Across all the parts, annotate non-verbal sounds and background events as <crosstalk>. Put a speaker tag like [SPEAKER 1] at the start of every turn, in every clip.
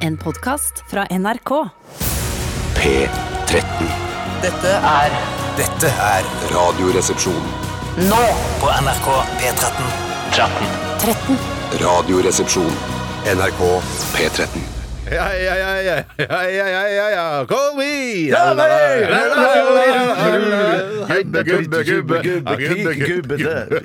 [SPEAKER 1] En podkast fra NRK.
[SPEAKER 2] P13.
[SPEAKER 3] Dette er
[SPEAKER 2] Dette er Radioresepsjon.
[SPEAKER 3] nå på NRK P13. 13.
[SPEAKER 2] Radioresepsjon. NRK P13.
[SPEAKER 4] Ja, ja, ja, ja, ja, ja, ja, ja, ja. Call me! Gubbe, gubbe, gubbe, gubbe, gubbe, gubbe, gubbe.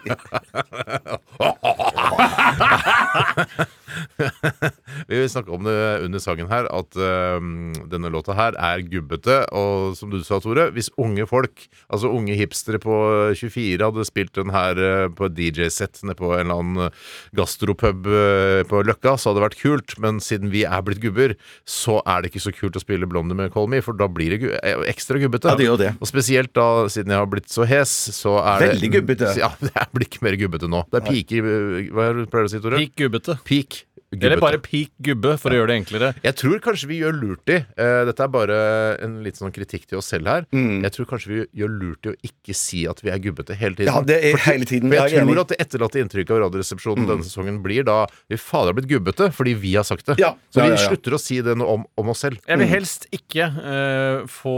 [SPEAKER 4] Vi vil snakke om det under sangen her, at ehm, denne låta her er gubbete. Og som du sa, Tore, hvis unge folk, altså unge hipstere på 24, hadde spilt den her eh, på et DJ-sett nede på en eller annen eh, gastropub eh, på Løkka, så hadde det vært kult. Men siden vi er blitt gubber, så er det ikke så kult å spille Blondie med Call Me, for da blir det gu eh, ekstra gubbete.
[SPEAKER 5] Ja, det gjør det.
[SPEAKER 4] Og spesielt da, siden jeg har blitt så hes, så er det
[SPEAKER 5] Veldig gubbete.
[SPEAKER 4] <laughs> Ja, det blir ikke mer gubbete nå. Det er piker eh, Hva er det du pleier å si, Tore?
[SPEAKER 6] Peak gubbete.
[SPEAKER 4] Peak.
[SPEAKER 6] Eller
[SPEAKER 4] gubbete.
[SPEAKER 6] bare peak gubbe, for å gjøre det enklere.
[SPEAKER 4] Jeg tror kanskje vi gjør lurt i eh, Dette er bare en litt sånn kritikk til oss selv her.
[SPEAKER 5] Mm.
[SPEAKER 4] Jeg tror kanskje vi gjør lurt i å ikke si at vi er gubbete hele tiden.
[SPEAKER 5] Ja, det er
[SPEAKER 4] For-
[SPEAKER 5] Liksom, hele tiden.
[SPEAKER 4] For
[SPEAKER 5] Ja,
[SPEAKER 4] jeg
[SPEAKER 5] jeg er enig. Mm.
[SPEAKER 4] tror at det etterlatte inntrykket av Radioresepsjonen denne sesongen blir da Vi fader har blitt gubbete fordi vi har sagt det.
[SPEAKER 5] Ja.
[SPEAKER 4] Så
[SPEAKER 5] Ja,
[SPEAKER 4] vi
[SPEAKER 5] ja, ja.
[SPEAKER 4] slutter å si det nå om, om oss selv. <laughs>
[SPEAKER 6] Jeg vil helst ikke eh, få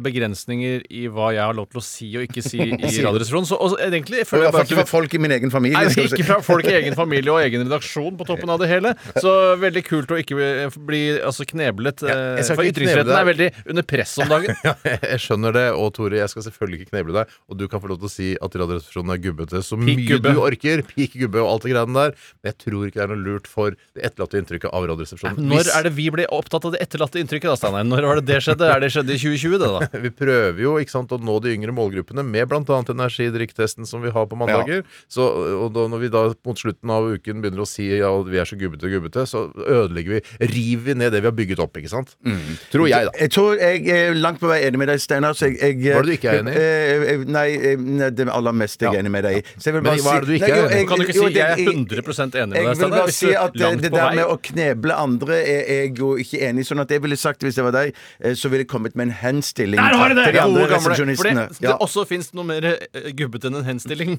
[SPEAKER 6] begrensninger i hva jeg har lov til å si og ikke si i Radioresepsjonen. Så og, egentlig føler
[SPEAKER 5] Iallfall
[SPEAKER 6] jeg bare
[SPEAKER 5] ikke fra
[SPEAKER 6] at du
[SPEAKER 5] folk i min egen familie. <laughs>
[SPEAKER 6] Nei,
[SPEAKER 5] skal du si.
[SPEAKER 6] ikke fra folk i egen familie og egen redaksjon på toppen av det hele. Så veldig kult å ikke bli- bli altså, kneblet.
[SPEAKER 4] Ja, jeg
[SPEAKER 6] eh,
[SPEAKER 4] skal
[SPEAKER 6] for
[SPEAKER 4] ikke kneble
[SPEAKER 6] ytringsfriheten er veldig under press om dagen.
[SPEAKER 4] Ja, jeg skjønner det, og Tore, jeg skal selvfølgelig ikke kneble deg. Og du kan få lov til å si at Radioresepsjonen er gubbete så mye
[SPEAKER 6] gubbe.
[SPEAKER 4] du orker. Pik gubbe og alt det greiene der. Men jeg tror ikke det er noe lurt for det etterlatte inntrykket av Radioresepsjonen.
[SPEAKER 6] Når er det vi ble opptatt av det etterlatte inntrykket, da, Steinar? Når var det det skjedde? Er det skjedde i 2020, det, da?
[SPEAKER 4] Vi prøver jo ikke sant, å nå de yngre målgruppene med bl.a. energidrikktesten som vi har på mandager. Så, og da, når vi da mot slutten av uken begynner å si ja, vi er så gubbete og gubbete, så ødelegger vi, river vi ned det vi har bygget opp, ikke sant? Mm, Tror jeg, da.
[SPEAKER 5] Jeg tror jeg er langt på vei enig med deg, Steinar. så jeg- jeg-
[SPEAKER 4] Hva er det du ikke er enig i?
[SPEAKER 5] Eh, eh, Nei, eh, nei, det aller meste jeg er enig med deg i. Så jeg vil
[SPEAKER 4] Men
[SPEAKER 5] bare
[SPEAKER 4] hva er
[SPEAKER 5] si-
[SPEAKER 4] det du ikke
[SPEAKER 5] Nei,
[SPEAKER 4] er
[SPEAKER 5] jo,
[SPEAKER 4] enig i?
[SPEAKER 5] jeg-
[SPEAKER 6] Kan du ikke
[SPEAKER 5] jo,
[SPEAKER 6] si jeg er
[SPEAKER 5] det-
[SPEAKER 6] 100 enig med
[SPEAKER 5] Jeg
[SPEAKER 6] deg,
[SPEAKER 5] vil
[SPEAKER 6] Steinar?
[SPEAKER 5] bare
[SPEAKER 6] Hvis
[SPEAKER 5] si
[SPEAKER 6] du
[SPEAKER 5] at eh,
[SPEAKER 6] langt
[SPEAKER 5] det
[SPEAKER 6] på
[SPEAKER 5] der
[SPEAKER 6] vei-
[SPEAKER 5] med å kneble andre er jeg jo ikke enig i. Sånn at jeg ville sagt, hvis det var deg, eh, så ville jeg kommet med en henstilling
[SPEAKER 6] Der har du det!
[SPEAKER 5] til de andre
[SPEAKER 6] Gode gamle. For det,
[SPEAKER 5] resepsjonistene.
[SPEAKER 6] det
[SPEAKER 5] Ja.
[SPEAKER 6] også fins noe mer eh, gubbete enn en henstilling.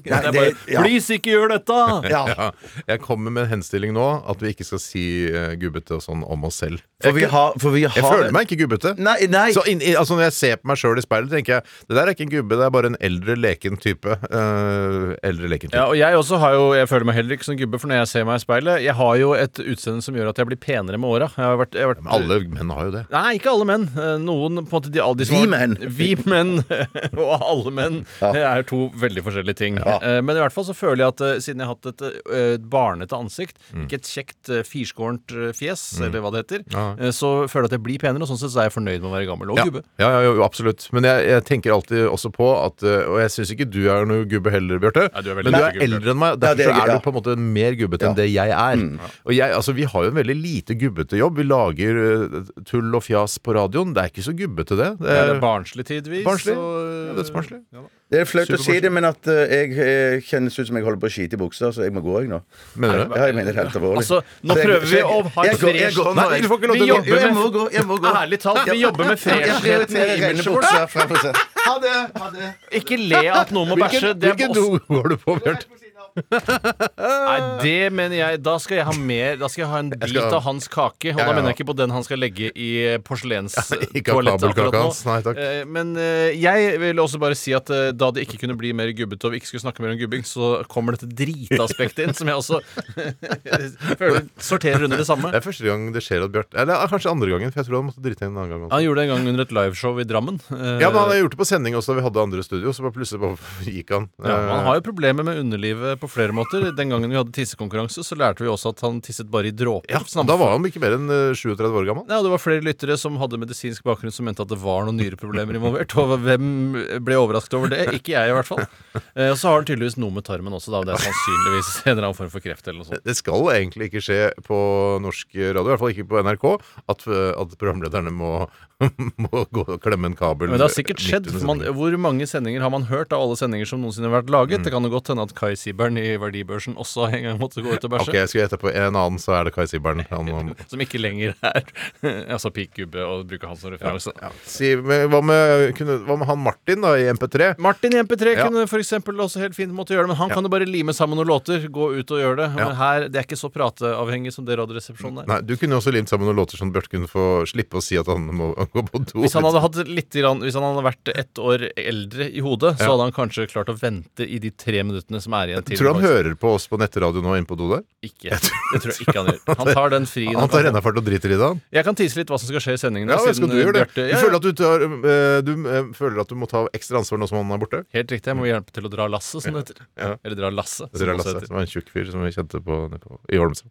[SPEAKER 5] Nei,
[SPEAKER 6] <laughs> det er bare
[SPEAKER 5] det- ja.
[SPEAKER 6] 'please, ikke gjør dette'!
[SPEAKER 5] Ja.
[SPEAKER 4] Ja, jeg kommer med en henstilling nå at vi ikke skal si eh, gubbete og sånn om oss selv.
[SPEAKER 5] For vi har, for vi har
[SPEAKER 4] Jeg føler meg ikke gubbete.
[SPEAKER 5] Nei, nei.
[SPEAKER 4] Så inn, i- altså når jeg ser på meg sjøl i speilet, tenker jeg det der er ikke en gubbe, det er bare en eldre leken type. Eh, eldre leken type.
[SPEAKER 6] Ja, og jeg også har jo, jeg føler meg heller ikke som gubbe, for når jeg ser meg i speilet Jeg har jo et utseende som gjør at jeg blir penere med åra. Jeg har vært, jeg har vært
[SPEAKER 4] Men alle menn har jo det.
[SPEAKER 6] Nei, ikke alle menn. Eh, Noen på en måte de, alle de som
[SPEAKER 5] Vi
[SPEAKER 6] har-
[SPEAKER 5] menn.
[SPEAKER 6] Vi menn <laughs> og alle menn Det er to veldig forskjellige ting. Eh, Men i hvert fall så føler jeg at eh, siden jeg har hatt et eh, barnete ansikt,
[SPEAKER 4] Mm.
[SPEAKER 6] ikke et kjekt eh, firskårent eh, fjes, eller hva det heter,
[SPEAKER 4] Ja.
[SPEAKER 6] eh, så føler jeg at jeg blir penere, og sånn sett så er jeg fornøyd med å være gammel og
[SPEAKER 4] Ja,
[SPEAKER 6] gubbe.
[SPEAKER 4] ja, ja, jo, absolutt. Men jeg, jeg tenker alltid også på at eh, Og jeg syns ikke du er noe gubbe heller, Bjarte.
[SPEAKER 6] Nei, du er veldig
[SPEAKER 4] Men du er
[SPEAKER 6] gubbe, Bjarte.
[SPEAKER 4] eldre enn meg.
[SPEAKER 5] Ja, det
[SPEAKER 4] Derfor
[SPEAKER 5] er
[SPEAKER 4] så
[SPEAKER 5] gøy,
[SPEAKER 4] er
[SPEAKER 5] ja.
[SPEAKER 4] du på en måte mer gubbete enn
[SPEAKER 5] Ja.
[SPEAKER 4] det jeg er. Og jeg, altså, vi har jo en veldig lite gubbete jobb. Vi lager eh, tull og fjas på radioen. Det er ikke så gubbete, det.
[SPEAKER 6] Det
[SPEAKER 4] det
[SPEAKER 6] er
[SPEAKER 4] er
[SPEAKER 6] barnslig tidvis.
[SPEAKER 4] Eh, Barnslig.
[SPEAKER 6] og-
[SPEAKER 4] Dødsbarnslig.
[SPEAKER 5] Det er flaut å si
[SPEAKER 4] Superforskjell.
[SPEAKER 5] det, men at eh, jeg eh, kjennes ut som jeg holder på å skite i buksa, så jeg må gå, jeg nå.
[SPEAKER 4] Mener du det?
[SPEAKER 5] Ja, jeg mener det helt alvorlig.
[SPEAKER 6] Altså, nå
[SPEAKER 5] Så jeg-
[SPEAKER 6] prøver
[SPEAKER 5] så
[SPEAKER 6] vi
[SPEAKER 5] jeg-
[SPEAKER 6] å ha
[SPEAKER 5] jeg
[SPEAKER 6] et
[SPEAKER 5] går- jeg
[SPEAKER 6] fresh
[SPEAKER 5] går nå, jeg.
[SPEAKER 4] du får ikke lov
[SPEAKER 6] Vi
[SPEAKER 4] til å gå.
[SPEAKER 6] jobber
[SPEAKER 5] Jo, jeg
[SPEAKER 6] med-
[SPEAKER 5] må gå, jeg må gå.
[SPEAKER 6] Ærlig talt, vi jobber med
[SPEAKER 5] Jeg
[SPEAKER 6] freshheten
[SPEAKER 5] prioriterer
[SPEAKER 6] i
[SPEAKER 5] rene
[SPEAKER 6] imaget vårt.
[SPEAKER 5] bukser fremfor seg. Ha det! Ha det.
[SPEAKER 6] eh, Ikke le at noen må bæsje. Det er
[SPEAKER 4] Hvilken
[SPEAKER 6] også-
[SPEAKER 4] do går du på, Bjarte?
[SPEAKER 6] Nei, det mener jeg Da skal jeg ha mer Da skal jeg ha en bit
[SPEAKER 4] skal-
[SPEAKER 6] av hans kake. Og
[SPEAKER 4] Ja, ja.
[SPEAKER 6] da mener jeg ikke på den han skal legge i
[SPEAKER 4] <laughs> ikke av
[SPEAKER 6] porselenstoalettet
[SPEAKER 4] kabelkaka
[SPEAKER 6] akkurat nå.
[SPEAKER 4] hans. Nei, takk.
[SPEAKER 6] Eh, Men eh, jeg vil også bare si at eh, da det ikke kunne bli mer gubbete, og vi ikke skulle snakke mer om gubbing, så kommer dette dritaspektet inn, som jeg også <laughs> føler sorterer under det
[SPEAKER 4] Det
[SPEAKER 6] samme.
[SPEAKER 4] er første gang det skjer at Bjarte Eller ja, kanskje andre gangen, for jeg tror han måtte drite inn en annen gang. Også.
[SPEAKER 6] Han gjorde det en gang under et liveshow i Drammen. Eh,
[SPEAKER 4] Ja, men han har gjort det på sending også da vi hadde andre studio, så bare <laughs> plutselig bare gikk han.
[SPEAKER 6] Ja, men han har jo problemer med underlivet på flere måter. Den gangen vi hadde tissekonkurranse, så lærte vi også at han tisset bare i dråper.
[SPEAKER 4] Eh, Ja,
[SPEAKER 6] Snabbt-
[SPEAKER 4] da var han ikke mer enn eh, 37 år gammel.
[SPEAKER 6] Nei, og Det var flere lyttere som hadde medisinsk bakgrunn som mente at det var noen nyreproblemer involvert. Og hvem ble overrasket over det? Ikke jeg, i hvert fall. Eh, Og så har han tydeligvis noe med tarmen også, da. og Det er sannsynligvis en eller annen form for kreft eller noe sånt.
[SPEAKER 4] Det skal egentlig ikke skje på norsk radio, i hvert fall ikke på NRK, at, eh, at programlederne må, <laughs> må gå og klemme en kabel.
[SPEAKER 6] Men det har sikkert
[SPEAKER 4] midt
[SPEAKER 6] skjedd.
[SPEAKER 4] under
[SPEAKER 6] For man,
[SPEAKER 4] sendingen.
[SPEAKER 6] hvor mange sendinger har man hørt av alle sendinger som noensinne har vært laget? Det kan jo godt hende at Kai Sibern Sibbern i verdibørsen også en gang måtte gå ut og bæsje.
[SPEAKER 4] Ok, jeg skal gjette på en annen, så er det Kai Sibern.
[SPEAKER 6] <laughs>
[SPEAKER 4] Han,
[SPEAKER 6] Som ikke lenger er <laughs> altså pikk gubbe og bruker han som referanse.
[SPEAKER 4] si, men hva, med, kunne, hva med han Martin da i MP3?
[SPEAKER 6] Martin i MP3
[SPEAKER 4] Ja.
[SPEAKER 6] kunne for eksempel også helt fint måtte gjøre det, men han kan jo bare lime sammen noen låter, gå ut og gjøre det.
[SPEAKER 4] Ja.
[SPEAKER 6] Men her, Det er ikke så prateavhengig som det Radioresepsjonen er.
[SPEAKER 4] Nei, Du kunne jo også limt sammen noen låter sånn at Bjarte kunne få slippe å si at han må <laughs> gå på do.
[SPEAKER 6] Hvis han hadde hatt litt, grann- hvis han hadde vært ett år eldre i hodet, så
[SPEAKER 4] Ja.
[SPEAKER 6] hadde han kanskje klart å vente i de tre minuttene som er igjen til
[SPEAKER 4] Tror du han
[SPEAKER 6] faktisk-
[SPEAKER 4] hører på oss på nettradio nå inne på do der?
[SPEAKER 6] Ikke. Det tror jeg ikke han gjør. Han tar den fri.
[SPEAKER 4] Han tar rennafart og driter i det, han?
[SPEAKER 6] Jeg kan tise litt hva som skal skje i sendingen.
[SPEAKER 4] Ja,
[SPEAKER 6] da,
[SPEAKER 4] skal du
[SPEAKER 6] siden,
[SPEAKER 4] gjøre det?
[SPEAKER 6] Bjarte-
[SPEAKER 4] Du
[SPEAKER 6] Ja, ja.
[SPEAKER 4] føler at du, tar, eh, du eh, føler at du må ta ekstra ansvar nå som han er borte?
[SPEAKER 6] Helt riktig. Jeg må hjelpe til å dra lasset, som det heter.
[SPEAKER 4] Ja.
[SPEAKER 6] Eller dra lasset.
[SPEAKER 4] Det er Lasse, som var en tjukk fyr som vi kjente på, på i Holmestrand.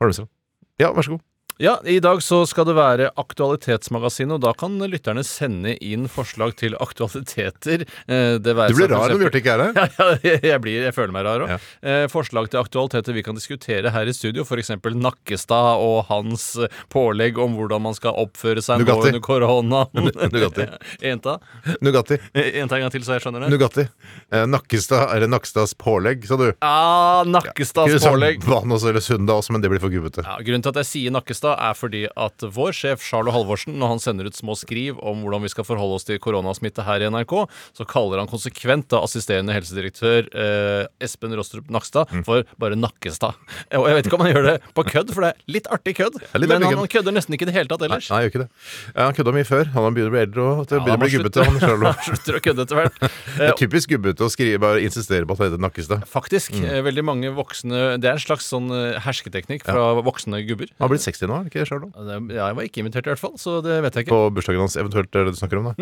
[SPEAKER 4] Holmestrand. Ja, vær så god.
[SPEAKER 6] Ja, I dag så skal det være Aktualitetsmagasinet, og da kan lytterne sende inn forslag til aktualiteter. Eh, Det
[SPEAKER 4] Du blir rar når
[SPEAKER 6] gjør
[SPEAKER 4] Bjarte ikke er her.
[SPEAKER 6] <laughs> ja, ja, jeg- jeg, blir, jeg føler meg rar òg.
[SPEAKER 4] Ja.
[SPEAKER 6] Eh, forslag til aktualiteter vi kan diskutere her i studio, f.eks. Nakkestad og hans eh, pålegg om hvordan man skal oppføre seg nå
[SPEAKER 4] Nugatti.
[SPEAKER 6] under korona.
[SPEAKER 4] <laughs> Nugatti.
[SPEAKER 6] <laughs> Jenta?
[SPEAKER 4] Nugatti.
[SPEAKER 6] Jenta en gang til, så jeg skjønner det.
[SPEAKER 4] Nugatti. Eh, Nakkestad, eller Nakstads pålegg, sa du.
[SPEAKER 6] Ah,
[SPEAKER 4] altså
[SPEAKER 6] Nakkestads pålegg.
[SPEAKER 4] Banos eller Sunda også, men det blir for gubbete.
[SPEAKER 6] Ja, grunnen til at jeg sier Nakkestad, er fordi at vår sjef Charlo Halvorsen, når han sender ut små skriv om hvordan vi skal forholde oss til koronasmitte her i NRK, så kaller han konsekvent da assisterende helsedirektør eh, Espen Rostrup Nakstad
[SPEAKER 4] Mm.
[SPEAKER 6] for bare Nakkestad. Og jeg vet ikke om han gjør det på kødd, for det er litt artig kødd,
[SPEAKER 4] litt
[SPEAKER 6] men
[SPEAKER 4] artig
[SPEAKER 6] han,
[SPEAKER 4] kødd.
[SPEAKER 6] han kødder nesten ikke i det hele tatt
[SPEAKER 4] Nei,
[SPEAKER 6] ellers.
[SPEAKER 4] nei, gjør ikke det. Ja, han kødda mye før. Han begynner å bli eldre og
[SPEAKER 6] Ja,
[SPEAKER 4] begynner å
[SPEAKER 6] må
[SPEAKER 4] bli gubbete.
[SPEAKER 6] slutte-
[SPEAKER 4] Han <laughs> Charlo.
[SPEAKER 6] <laughs> han slutter å kødde etter
[SPEAKER 4] <laughs>
[SPEAKER 6] hvert.
[SPEAKER 4] Det
[SPEAKER 6] Eh,
[SPEAKER 4] er typisk gubbete å skrive, bare insistere på at han heter Nakkestad.
[SPEAKER 6] Faktisk.
[SPEAKER 4] Mm.
[SPEAKER 6] eh, Veldig mange voksne Det er en slags sånn eh, hersketeknikk fra voksne gubber.
[SPEAKER 4] Han har blitt 60 nå, er det ikke det, Charlo?
[SPEAKER 6] Ja, det- Jeg var ikke invitert, i hvert fall, så det vet jeg ikke.
[SPEAKER 4] På bursdagen hans, eventuelt er det du <laughs> snakker om, da.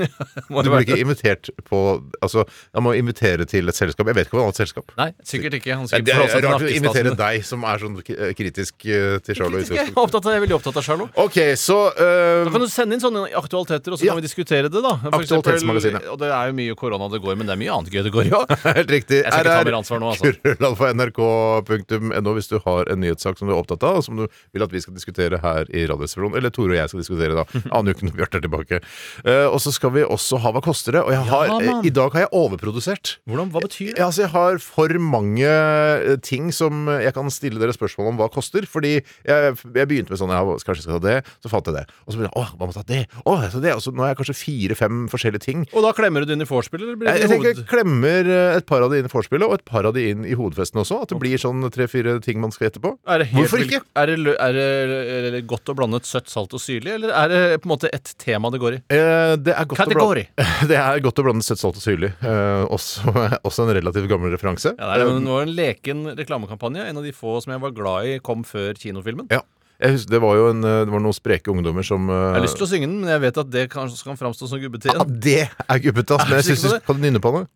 [SPEAKER 6] Må
[SPEAKER 4] Du
[SPEAKER 6] det
[SPEAKER 4] blir
[SPEAKER 6] være-
[SPEAKER 4] ikke invitert på Altså, han må invitere til et selskap. Jeg vet ikke om han har et selskap.
[SPEAKER 6] Nei, sikkert ikke. Han
[SPEAKER 4] Nei,
[SPEAKER 6] skal
[SPEAKER 4] Det
[SPEAKER 6] forholde
[SPEAKER 4] er
[SPEAKER 6] seg til
[SPEAKER 4] rart å invitere
[SPEAKER 6] nakkestasen.
[SPEAKER 4] deg, som er sånn k- eh, kritisk eh, til Charlo. i
[SPEAKER 6] Kritisk, Jeg er
[SPEAKER 4] utgangspunktet.
[SPEAKER 6] opptatt av, jeg er veldig opptatt av Charlo.
[SPEAKER 4] Ok, så eh,
[SPEAKER 6] Da kan du sende inn sånne aktualiteter, og så
[SPEAKER 4] Ja.
[SPEAKER 6] kan vi diskutere det, da. For
[SPEAKER 4] Aktualitetsmagasinet.
[SPEAKER 6] eksempel- Og det er jo mye korona det går, men det er mye annet gøy det går i òg.
[SPEAKER 4] <laughs> Helt riktig.
[SPEAKER 6] Jeg skal ikke ta mer ansvar nå, altså.
[SPEAKER 4] krøllalfa.nrk.no hvis du har en nyhetssak som du er opptatt av, og som du vil at vi skal diskutere her i Radioresepsjonen. Eller Tore og jeg skal diskutere,
[SPEAKER 6] <laughs>
[SPEAKER 4] da. Aner jo ikke når Bjarte er tilbake. Eh, og så skal vi også ha Hva koster det? Og jeg har,
[SPEAKER 6] Ja, mann.
[SPEAKER 4] eh, i dag har jeg overprodusert.
[SPEAKER 6] Hvordan, Hva betyr det?
[SPEAKER 4] Ja, altså jeg har for mange eh, ting som jeg kan stille dere spørsmål om hva koster. Fordi jeg, jeg begynte med sånn ja, Kanskje jeg skal ta det? Så fant jeg det. Og så begynte jeg åh, hva må jeg ta det? Åh, jeg tar det. Og så nå har jeg kanskje fire-fem forskjellige ting.
[SPEAKER 6] Og da klemmer du det inn i vorspiel, eller blir
[SPEAKER 4] Jeg,
[SPEAKER 6] det
[SPEAKER 4] jeg tenker jeg
[SPEAKER 6] hoved...
[SPEAKER 4] klemmer eh, et par av det inn i vorspielet, og et par av de inn i hodefesten også. At det blir sånn tre-fire ting man skal gjette på.
[SPEAKER 6] Er det helt
[SPEAKER 4] Hvorfor
[SPEAKER 6] vilt-
[SPEAKER 4] ikke?
[SPEAKER 6] Er det, lø- er det, er det godt og blandet søtt, salt og syrlig, eller er det på en måte et tema det går i?
[SPEAKER 4] Eh, det er godt å blande,
[SPEAKER 6] Kategori.
[SPEAKER 4] <laughs> det er godt å blande søtt, salt og syrlig. Eh, også, <laughs> også en relativt gammel referanse.
[SPEAKER 6] Ja, det, Um, er, men det var en leken reklamekampanje. En av de få som jeg var glad i kom før kinofilmen.
[SPEAKER 4] Eh, Ja. Jeg husker, det var jo en, eh, det var noen spreke ungdommer som eh,
[SPEAKER 6] Jeg har lyst til å synge den, men jeg vet at det kanskje kan framstå som gubbete
[SPEAKER 4] Ja,
[SPEAKER 6] igjen.
[SPEAKER 4] det er gubbete, ass. Men
[SPEAKER 6] Er
[SPEAKER 4] jeg
[SPEAKER 6] du
[SPEAKER 4] syns du
[SPEAKER 6] sikker på det?
[SPEAKER 4] skal nynne på det.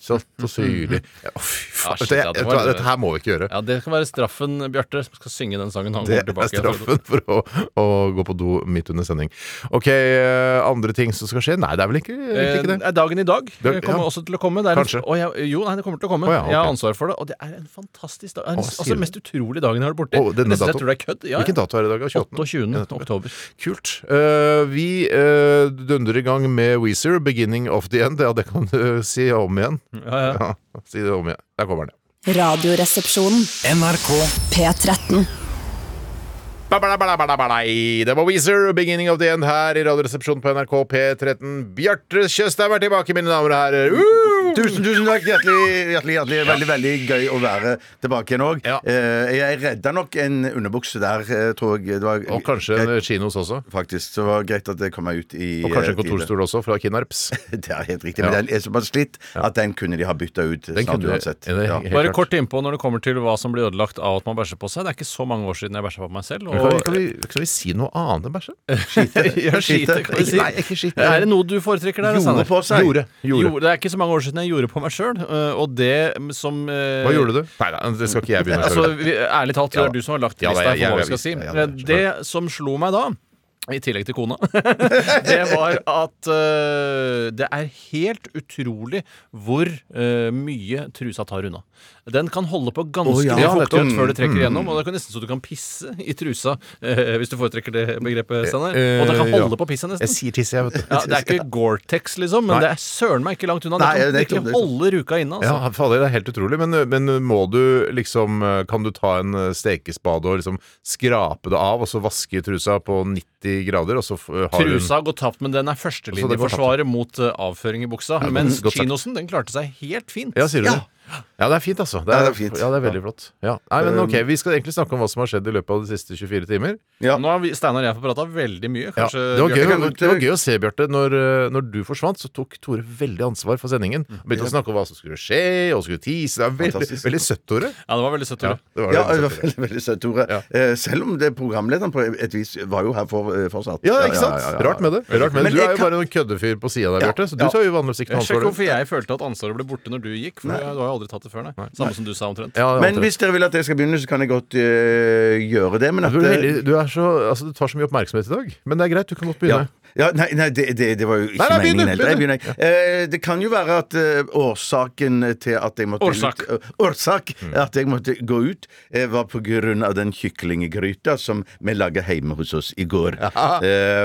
[SPEAKER 4] Satt og syrlig Ja, Å, fy
[SPEAKER 6] Ah,
[SPEAKER 4] faen.
[SPEAKER 6] shit,
[SPEAKER 4] Dette,
[SPEAKER 6] ja, det
[SPEAKER 4] vet du
[SPEAKER 6] var
[SPEAKER 4] hva,
[SPEAKER 6] det.
[SPEAKER 4] dette her må vi ikke gjøre.
[SPEAKER 6] Ja, Det kan være straffen Bjarte som skal synge den sangen. Han
[SPEAKER 4] Det
[SPEAKER 6] går
[SPEAKER 4] er
[SPEAKER 6] tilbake
[SPEAKER 4] straffen for å, å gå på do midt under sending. Ok, eh, andre ting som skal skje? Nei, det er vel ikke, egentlig
[SPEAKER 6] Eh,
[SPEAKER 4] ikke det.
[SPEAKER 6] er dagen i dag
[SPEAKER 4] Dag-
[SPEAKER 6] eh, kommer
[SPEAKER 4] ja.
[SPEAKER 6] også til å komme. Det er en-
[SPEAKER 4] Kanskje.
[SPEAKER 6] Å, ja, jo, nei, det kommer til å komme.
[SPEAKER 4] Å, ja, ok.
[SPEAKER 6] Jeg har ansvar for det. Og det er en fantastisk dag. Det er
[SPEAKER 4] Å,
[SPEAKER 6] Den
[SPEAKER 4] sier
[SPEAKER 6] altså,
[SPEAKER 4] du.
[SPEAKER 6] mest utrolige dagen jeg har vært borti.
[SPEAKER 4] Å, denne
[SPEAKER 6] Nesten jeg
[SPEAKER 4] dato.
[SPEAKER 6] tror det er kødd. Ja,
[SPEAKER 4] Hvilken
[SPEAKER 6] ja.
[SPEAKER 4] dato er det i dag?
[SPEAKER 6] 28. oktober.
[SPEAKER 4] Kult. Eh, vi eh, dundrer i gang med Weezer, 'Beginning of the End'. Ja, det kan du si om igjen.
[SPEAKER 6] Ja, ja.
[SPEAKER 4] Ja, si det om igjen. Der kommer den, ja.
[SPEAKER 1] Radioresepsjonen.
[SPEAKER 3] NRK
[SPEAKER 1] P13.
[SPEAKER 4] Ba-ba-da-ba-da-ba-da-ba-dei. Det var Weezer, 'Beginning of the End' her i Radioresepsjonen på NRK P13. Bjarte Tjøstheim er tilbake, mine damer og herrer. Uh!
[SPEAKER 5] Tusen, tusen takk. Hjertelig, hjertelig, hjertelig. Veldig veldig gøy å være tilbake igjen òg.
[SPEAKER 4] Ja.
[SPEAKER 5] Jeg redda nok en underbukse der, eh, tror jeg. Det var
[SPEAKER 4] Og kanskje en kinos også.
[SPEAKER 5] Faktisk, så det var greit at det kom meg ut i
[SPEAKER 4] Og kanskje en
[SPEAKER 5] eh, tide.
[SPEAKER 4] kontorstol også, fra Kinnarps.
[SPEAKER 5] <laughs> Det er helt riktig.
[SPEAKER 4] Ja.
[SPEAKER 5] Men den er såpass slitt at den kunne de ha bytta ut
[SPEAKER 4] Den
[SPEAKER 5] snart
[SPEAKER 4] kunne de-
[SPEAKER 5] uansett.
[SPEAKER 4] er det
[SPEAKER 5] Ja.
[SPEAKER 4] helt-
[SPEAKER 6] Bare
[SPEAKER 4] klart.
[SPEAKER 6] kort innpå når det kommer til hva som blir ødelagt av at man bæsjer på seg. Det er ikke så mange år siden jeg bæsja på meg selv.
[SPEAKER 4] Kan vi,
[SPEAKER 6] Og
[SPEAKER 4] kan, vi, kan vi si noe annet enn bæsje? <laughs>
[SPEAKER 6] Ja, skite, kan vi si.
[SPEAKER 4] Nei, ikke skite.
[SPEAKER 6] Eh, Er det noe du foretrekker der?
[SPEAKER 5] Gjorde
[SPEAKER 6] Sander?
[SPEAKER 5] på seg.
[SPEAKER 4] Gjorde.
[SPEAKER 6] Gjorde. Det er ikke så mange år siden jeg gjorde på meg sjøl, og det som eh,
[SPEAKER 4] Hva gjorde du? Nei, nei, det skal ikke jeg begynne å
[SPEAKER 6] Altså,
[SPEAKER 4] gjøre.
[SPEAKER 6] vi, ærlig talt, det
[SPEAKER 4] Ja
[SPEAKER 6] er
[SPEAKER 4] da.
[SPEAKER 6] du som har lagt
[SPEAKER 4] Ja da,
[SPEAKER 6] lista
[SPEAKER 4] jeg-
[SPEAKER 6] for
[SPEAKER 4] jeg-
[SPEAKER 6] hva vi skal si.
[SPEAKER 4] ja, ja, jeg
[SPEAKER 6] det som slo meg da i tillegg
[SPEAKER 4] <laughs>
[SPEAKER 6] til kona, <laughs> det var at eh, det er helt utrolig hvor eh, mye trusa tar unna. Den kan holde på ganske
[SPEAKER 5] Å,
[SPEAKER 6] mye
[SPEAKER 5] ja,
[SPEAKER 6] fuktighet
[SPEAKER 5] nettopp.
[SPEAKER 6] før det trekker
[SPEAKER 4] Mm.
[SPEAKER 6] igjennom, og det kan nesten så du kan pisse i trusa, eh, hvis du foretrekker det begrepet, Steinar.
[SPEAKER 4] Eh,
[SPEAKER 6] Og det kan
[SPEAKER 4] ja.
[SPEAKER 6] holde på pisset
[SPEAKER 4] Jeg
[SPEAKER 6] nesten.
[SPEAKER 4] sier tisse, jeg, vet du.
[SPEAKER 6] Ja, det er ikke Gore-Tex, liksom, men
[SPEAKER 4] Nei.
[SPEAKER 6] det er søren meg ikke langt unna. Det
[SPEAKER 5] Nei,
[SPEAKER 6] kan
[SPEAKER 5] nettopp,
[SPEAKER 6] virkelig
[SPEAKER 5] nettopp.
[SPEAKER 6] holde ruka inne. Altså.
[SPEAKER 4] Ja, fader, det er helt utrolig. Men, men må du liksom Kan du ta en eh, stekespade og liksom skrape det av, og så vaske trusa på 90 grader, og så f- har hun
[SPEAKER 6] Trusa har gått tapt, men den er
[SPEAKER 4] Så det går tapt.
[SPEAKER 6] førstelinjeforsvaret mot eh, avføring i buksa.
[SPEAKER 4] Ja,
[SPEAKER 6] Mens
[SPEAKER 4] godt sagt.
[SPEAKER 6] chinosen, den klarte seg helt fint.
[SPEAKER 4] Ja, sier du
[SPEAKER 5] Ja.
[SPEAKER 4] det? Ja, det er fint, altså. Det
[SPEAKER 5] Ja,
[SPEAKER 4] er,
[SPEAKER 5] det
[SPEAKER 4] ja,
[SPEAKER 5] er fint. Um,
[SPEAKER 4] det er veldig flott. Ja. Nei, men ok, Vi skal egentlig snakke om hva som har skjedd i løpet av de siste 24 timer.
[SPEAKER 5] Ja.
[SPEAKER 6] Nå har vi- Steinar og jeg fått prata veldig
[SPEAKER 4] Ja.
[SPEAKER 6] mye. Kanskje
[SPEAKER 4] Det, var
[SPEAKER 6] Bjarte kan
[SPEAKER 4] gøy,
[SPEAKER 6] gå-
[SPEAKER 4] det var gøy å se, Bjarte. Når, eh, når du forsvant, så tok Tore veldig ansvar for sendingen. Begynte å snakke om hva som skulle skje, og skulle tise. Det er veldig,
[SPEAKER 5] Mm. Fantastisk.
[SPEAKER 4] veldig søtt, Tore.
[SPEAKER 6] Ja, det var veldig søtt. Tore.
[SPEAKER 4] det var
[SPEAKER 5] Ja,
[SPEAKER 4] veldig
[SPEAKER 5] det var
[SPEAKER 4] søtt, Tore.
[SPEAKER 5] veldig, veldig søtt, Tore.
[SPEAKER 4] Ja.
[SPEAKER 5] Eh, Selv om det programlederen på et vis var jo her for, eh, fortsatt.
[SPEAKER 4] Ja, ikke sant? Rart med det. Rart med
[SPEAKER 5] Men
[SPEAKER 4] det. Du
[SPEAKER 5] jeg
[SPEAKER 4] er jo
[SPEAKER 5] kan-
[SPEAKER 4] bare en køddefyr på sida der,
[SPEAKER 5] Ja,
[SPEAKER 4] Bjarte, så du
[SPEAKER 5] ja.
[SPEAKER 4] tar jo vanligvis ikke noe ansvar.
[SPEAKER 6] Sjekk hvorfor jeg følte at ansvaret ble borte når du gikk. For du har jo aldri tatt det før, nei. Samme som du sa omtrent.
[SPEAKER 4] Ja, jeg
[SPEAKER 5] Men
[SPEAKER 4] antar det.
[SPEAKER 5] hvis dere vil at jeg skal begynne, så kan jeg godt eh, gjøre det. Men at
[SPEAKER 4] du, er
[SPEAKER 5] eh,
[SPEAKER 4] veldig, du, er så, altså, du tar så mye oppmerksomhet i dag, men det er greit. Du kan godt
[SPEAKER 5] ja.
[SPEAKER 4] begynne.
[SPEAKER 5] Ja, nei, nei det, det, det var jo ikke
[SPEAKER 4] Nei, nei,
[SPEAKER 5] meningen
[SPEAKER 4] begynn du,
[SPEAKER 5] heller. Jeg begynner. Eh, det kan jo være at eh, årsaken til at jeg måtte
[SPEAKER 6] Årsak.
[SPEAKER 5] ut- eh, årsak
[SPEAKER 4] Mm.
[SPEAKER 5] at jeg måtte gå ut, eh, var på grunn av den kyklinggryta som vi laga hjemme hos oss i går. Eh,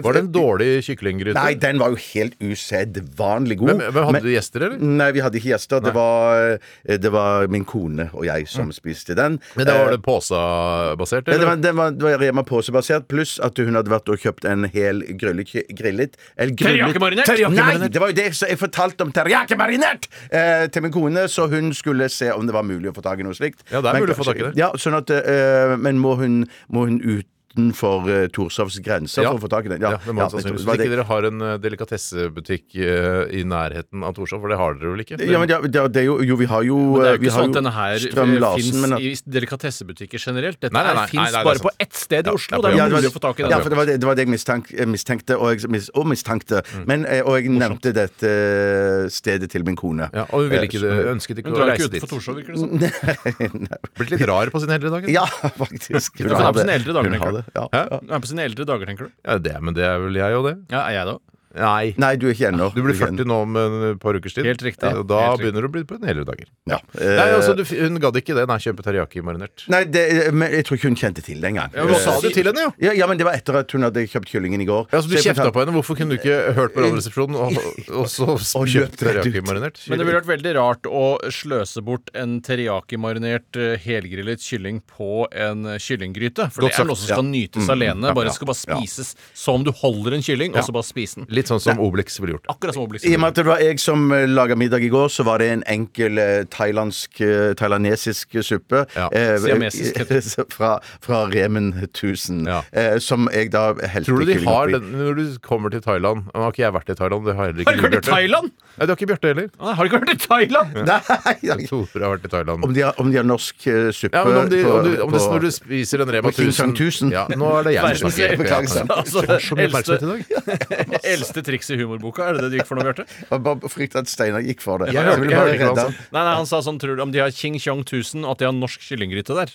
[SPEAKER 4] Var det en dårlig kyklinggryte?
[SPEAKER 5] Nei, den var jo helt usedvanlig god.
[SPEAKER 4] Men, men hadde du gjester, eller?
[SPEAKER 5] Nei, vi hadde ikke gjester. Det var, eh, det var min kone og jeg som spiste den.
[SPEAKER 4] Mm. Men da var
[SPEAKER 5] Eh,
[SPEAKER 4] det påsabasert?
[SPEAKER 5] ja, det
[SPEAKER 4] eller?
[SPEAKER 5] var, det var, det var Rema Påse-basert, pluss at hun hadde vært og kjøpt en hel grillet, grillet eller grillet-
[SPEAKER 6] Teriyaki-marinert?
[SPEAKER 5] Nei, det var jo det så jeg fortalte om teriyaki-marinert eh, til min kone, så hun skulle se om det var mulig å få tak i noe slikt.
[SPEAKER 4] Ja, det er
[SPEAKER 5] Men
[SPEAKER 4] mulig å få tak
[SPEAKER 5] kanskje-
[SPEAKER 4] i det.
[SPEAKER 5] Ja, sånn at, eh, men må hun, må hun utenfor eh, Torshovs grenser
[SPEAKER 4] Ja.
[SPEAKER 5] for å få tak i den?
[SPEAKER 4] Ja, det må man
[SPEAKER 5] jeg tror
[SPEAKER 4] sannsynligvis.
[SPEAKER 5] det
[SPEAKER 4] Hvis
[SPEAKER 5] var det.
[SPEAKER 4] ikke dere har en eh, delikatessebutikk eh, i nærheten av Torshov, for det har dere vel ikke?
[SPEAKER 5] Ja, men ja, det, det er jo, jo, vi har jo eh,
[SPEAKER 6] Det er jo
[SPEAKER 5] vi
[SPEAKER 6] ikke
[SPEAKER 5] har jo
[SPEAKER 6] sånn at denne her
[SPEAKER 5] Strøm
[SPEAKER 4] eh,
[SPEAKER 5] Larsen, men at-
[SPEAKER 6] fins i delikatessebutikker generelt. Dette
[SPEAKER 4] Nei, nei, nei, nei,
[SPEAKER 6] fins
[SPEAKER 4] nei, det er
[SPEAKER 6] bare
[SPEAKER 4] sant.
[SPEAKER 6] på ett sted i
[SPEAKER 4] Ja,
[SPEAKER 6] Oslo.
[SPEAKER 4] det er
[SPEAKER 5] Ja,
[SPEAKER 6] Det er
[SPEAKER 5] det var det,
[SPEAKER 6] mulig å få tak i
[SPEAKER 5] ja, for
[SPEAKER 6] det.
[SPEAKER 5] det var det, det, var det jeg mistank, eh, mistenkte, og, jeg, mis- og mistankte.
[SPEAKER 4] Mm.
[SPEAKER 5] Men, eh, og jeg nevnte dette eh, stedet til min kone.
[SPEAKER 4] Ja, og hun ville ikke, <laughs>
[SPEAKER 5] Eh, <laughs>
[SPEAKER 4] ønsket ikke
[SPEAKER 6] Hun
[SPEAKER 4] å
[SPEAKER 6] drar ikke
[SPEAKER 4] reise dit.
[SPEAKER 6] utenfor Torshov, virker det
[SPEAKER 5] Mm.
[SPEAKER 6] som.
[SPEAKER 4] Blitt litt rar på sine eldre dager.
[SPEAKER 5] Ja, faktisk.
[SPEAKER 6] Hun har på sine eldre dager,
[SPEAKER 5] Hun har
[SPEAKER 6] tenker
[SPEAKER 5] det, ja.
[SPEAKER 4] Hæ?
[SPEAKER 6] Hun er på sine eldre dager, tenker du?
[SPEAKER 4] Ja, det, men det er vel jeg og det.
[SPEAKER 6] Ja, er jeg da?
[SPEAKER 4] Nei.
[SPEAKER 5] Nei, du er ikke ennå.
[SPEAKER 4] Du blir
[SPEAKER 5] er ikke
[SPEAKER 4] 40 nå om et par ukers tid.
[SPEAKER 6] Helt riktig.
[SPEAKER 4] Og da
[SPEAKER 6] Helt riktig.
[SPEAKER 4] begynner du å bli på dine eldre dager.
[SPEAKER 5] ennå. Ja.
[SPEAKER 4] Nei,
[SPEAKER 5] Eh,
[SPEAKER 4] altså, du, Hun gadd ikke det. Nei, kjøpe teriyaki-marinert.
[SPEAKER 5] Nei, det, eh, men jeg tror ikke hun kjente til det engang.
[SPEAKER 6] Ja, men hva
[SPEAKER 4] Sa
[SPEAKER 6] sa
[SPEAKER 5] Eh,
[SPEAKER 4] du til henne, jo?
[SPEAKER 5] Ja, ja, men det var etter at hun hadde kjøpt kyllingen i går.
[SPEAKER 4] Ja, så Du
[SPEAKER 5] Så jeg
[SPEAKER 4] kjefta
[SPEAKER 5] fortalte-
[SPEAKER 4] på henne. Hvorfor kunne du ikke hørt
[SPEAKER 5] Eh,
[SPEAKER 4] på Radioresepsjonen og, og så
[SPEAKER 5] <laughs> løp
[SPEAKER 4] kjøpt
[SPEAKER 5] rett ut.
[SPEAKER 4] teriyaki-marinert?
[SPEAKER 6] Men det ville vært veldig rart å sløse bort en teriyaki-marinert eh, helgrillet kylling på en eh, kyllinggryte. For
[SPEAKER 4] Godt
[SPEAKER 6] det
[SPEAKER 4] sagt, Mm.
[SPEAKER 6] er noe som skal nytes alene. bare skal bare spises som du holder en kylling, og så bare spise den.
[SPEAKER 4] Litt sånn som Obelix ville gjort.
[SPEAKER 6] Akkurat som Obelix.
[SPEAKER 5] I og med at det var jeg som eh, laga middag i går, så var det en enkel eh, thailandsk, eh, thailandesisk suppe.
[SPEAKER 4] Ja,
[SPEAKER 5] eh,
[SPEAKER 6] siamesisk heter det.
[SPEAKER 5] <laughs> så fra, fra Remen 1000.
[SPEAKER 4] Ja.
[SPEAKER 5] eh, som jeg da helte
[SPEAKER 4] Tror du de
[SPEAKER 5] kylling
[SPEAKER 4] har
[SPEAKER 5] oppi.
[SPEAKER 4] den når du kommer til Thailand Nå har ikke jeg vært i Thailand. Det har heller ikke
[SPEAKER 6] Har du ikke vært i Thailand?
[SPEAKER 4] Nei, det har ikke Bjarte heller.
[SPEAKER 6] Nei, Ah, Har du ikke vært i Thailand?
[SPEAKER 5] <laughs> Nei, ja.
[SPEAKER 4] Tore har vært i Thailand.
[SPEAKER 5] om de har, om de har norsk eh, suppe
[SPEAKER 4] Ja, men om, de,
[SPEAKER 5] på-
[SPEAKER 4] om, du, om det,
[SPEAKER 5] på-
[SPEAKER 4] når du spiser en Rema
[SPEAKER 5] på King
[SPEAKER 4] 1000
[SPEAKER 5] Kong 1000.
[SPEAKER 4] Ja, nå er det jeg som
[SPEAKER 6] Verdens-
[SPEAKER 4] snakker.
[SPEAKER 5] Beklager,
[SPEAKER 4] Ja,
[SPEAKER 5] Sam.
[SPEAKER 6] Altså,
[SPEAKER 4] Det er så mye oppmerksomhet
[SPEAKER 6] eldste,
[SPEAKER 4] i dag.
[SPEAKER 6] <laughs> eldste triks i humorboka, er det det du gikk for nå, Bjarte?
[SPEAKER 5] Jeg bare frykter at Steinar gikk for det.
[SPEAKER 4] Jeg
[SPEAKER 5] Så
[SPEAKER 4] hørte-
[SPEAKER 5] ville
[SPEAKER 4] jeg
[SPEAKER 5] bare
[SPEAKER 4] hørte ikke hva
[SPEAKER 5] redde
[SPEAKER 4] han
[SPEAKER 5] han.
[SPEAKER 6] Nei, nei, han sa sånn, tror du om de har King Chong 1000, og at de har norsk kyllinggryte der?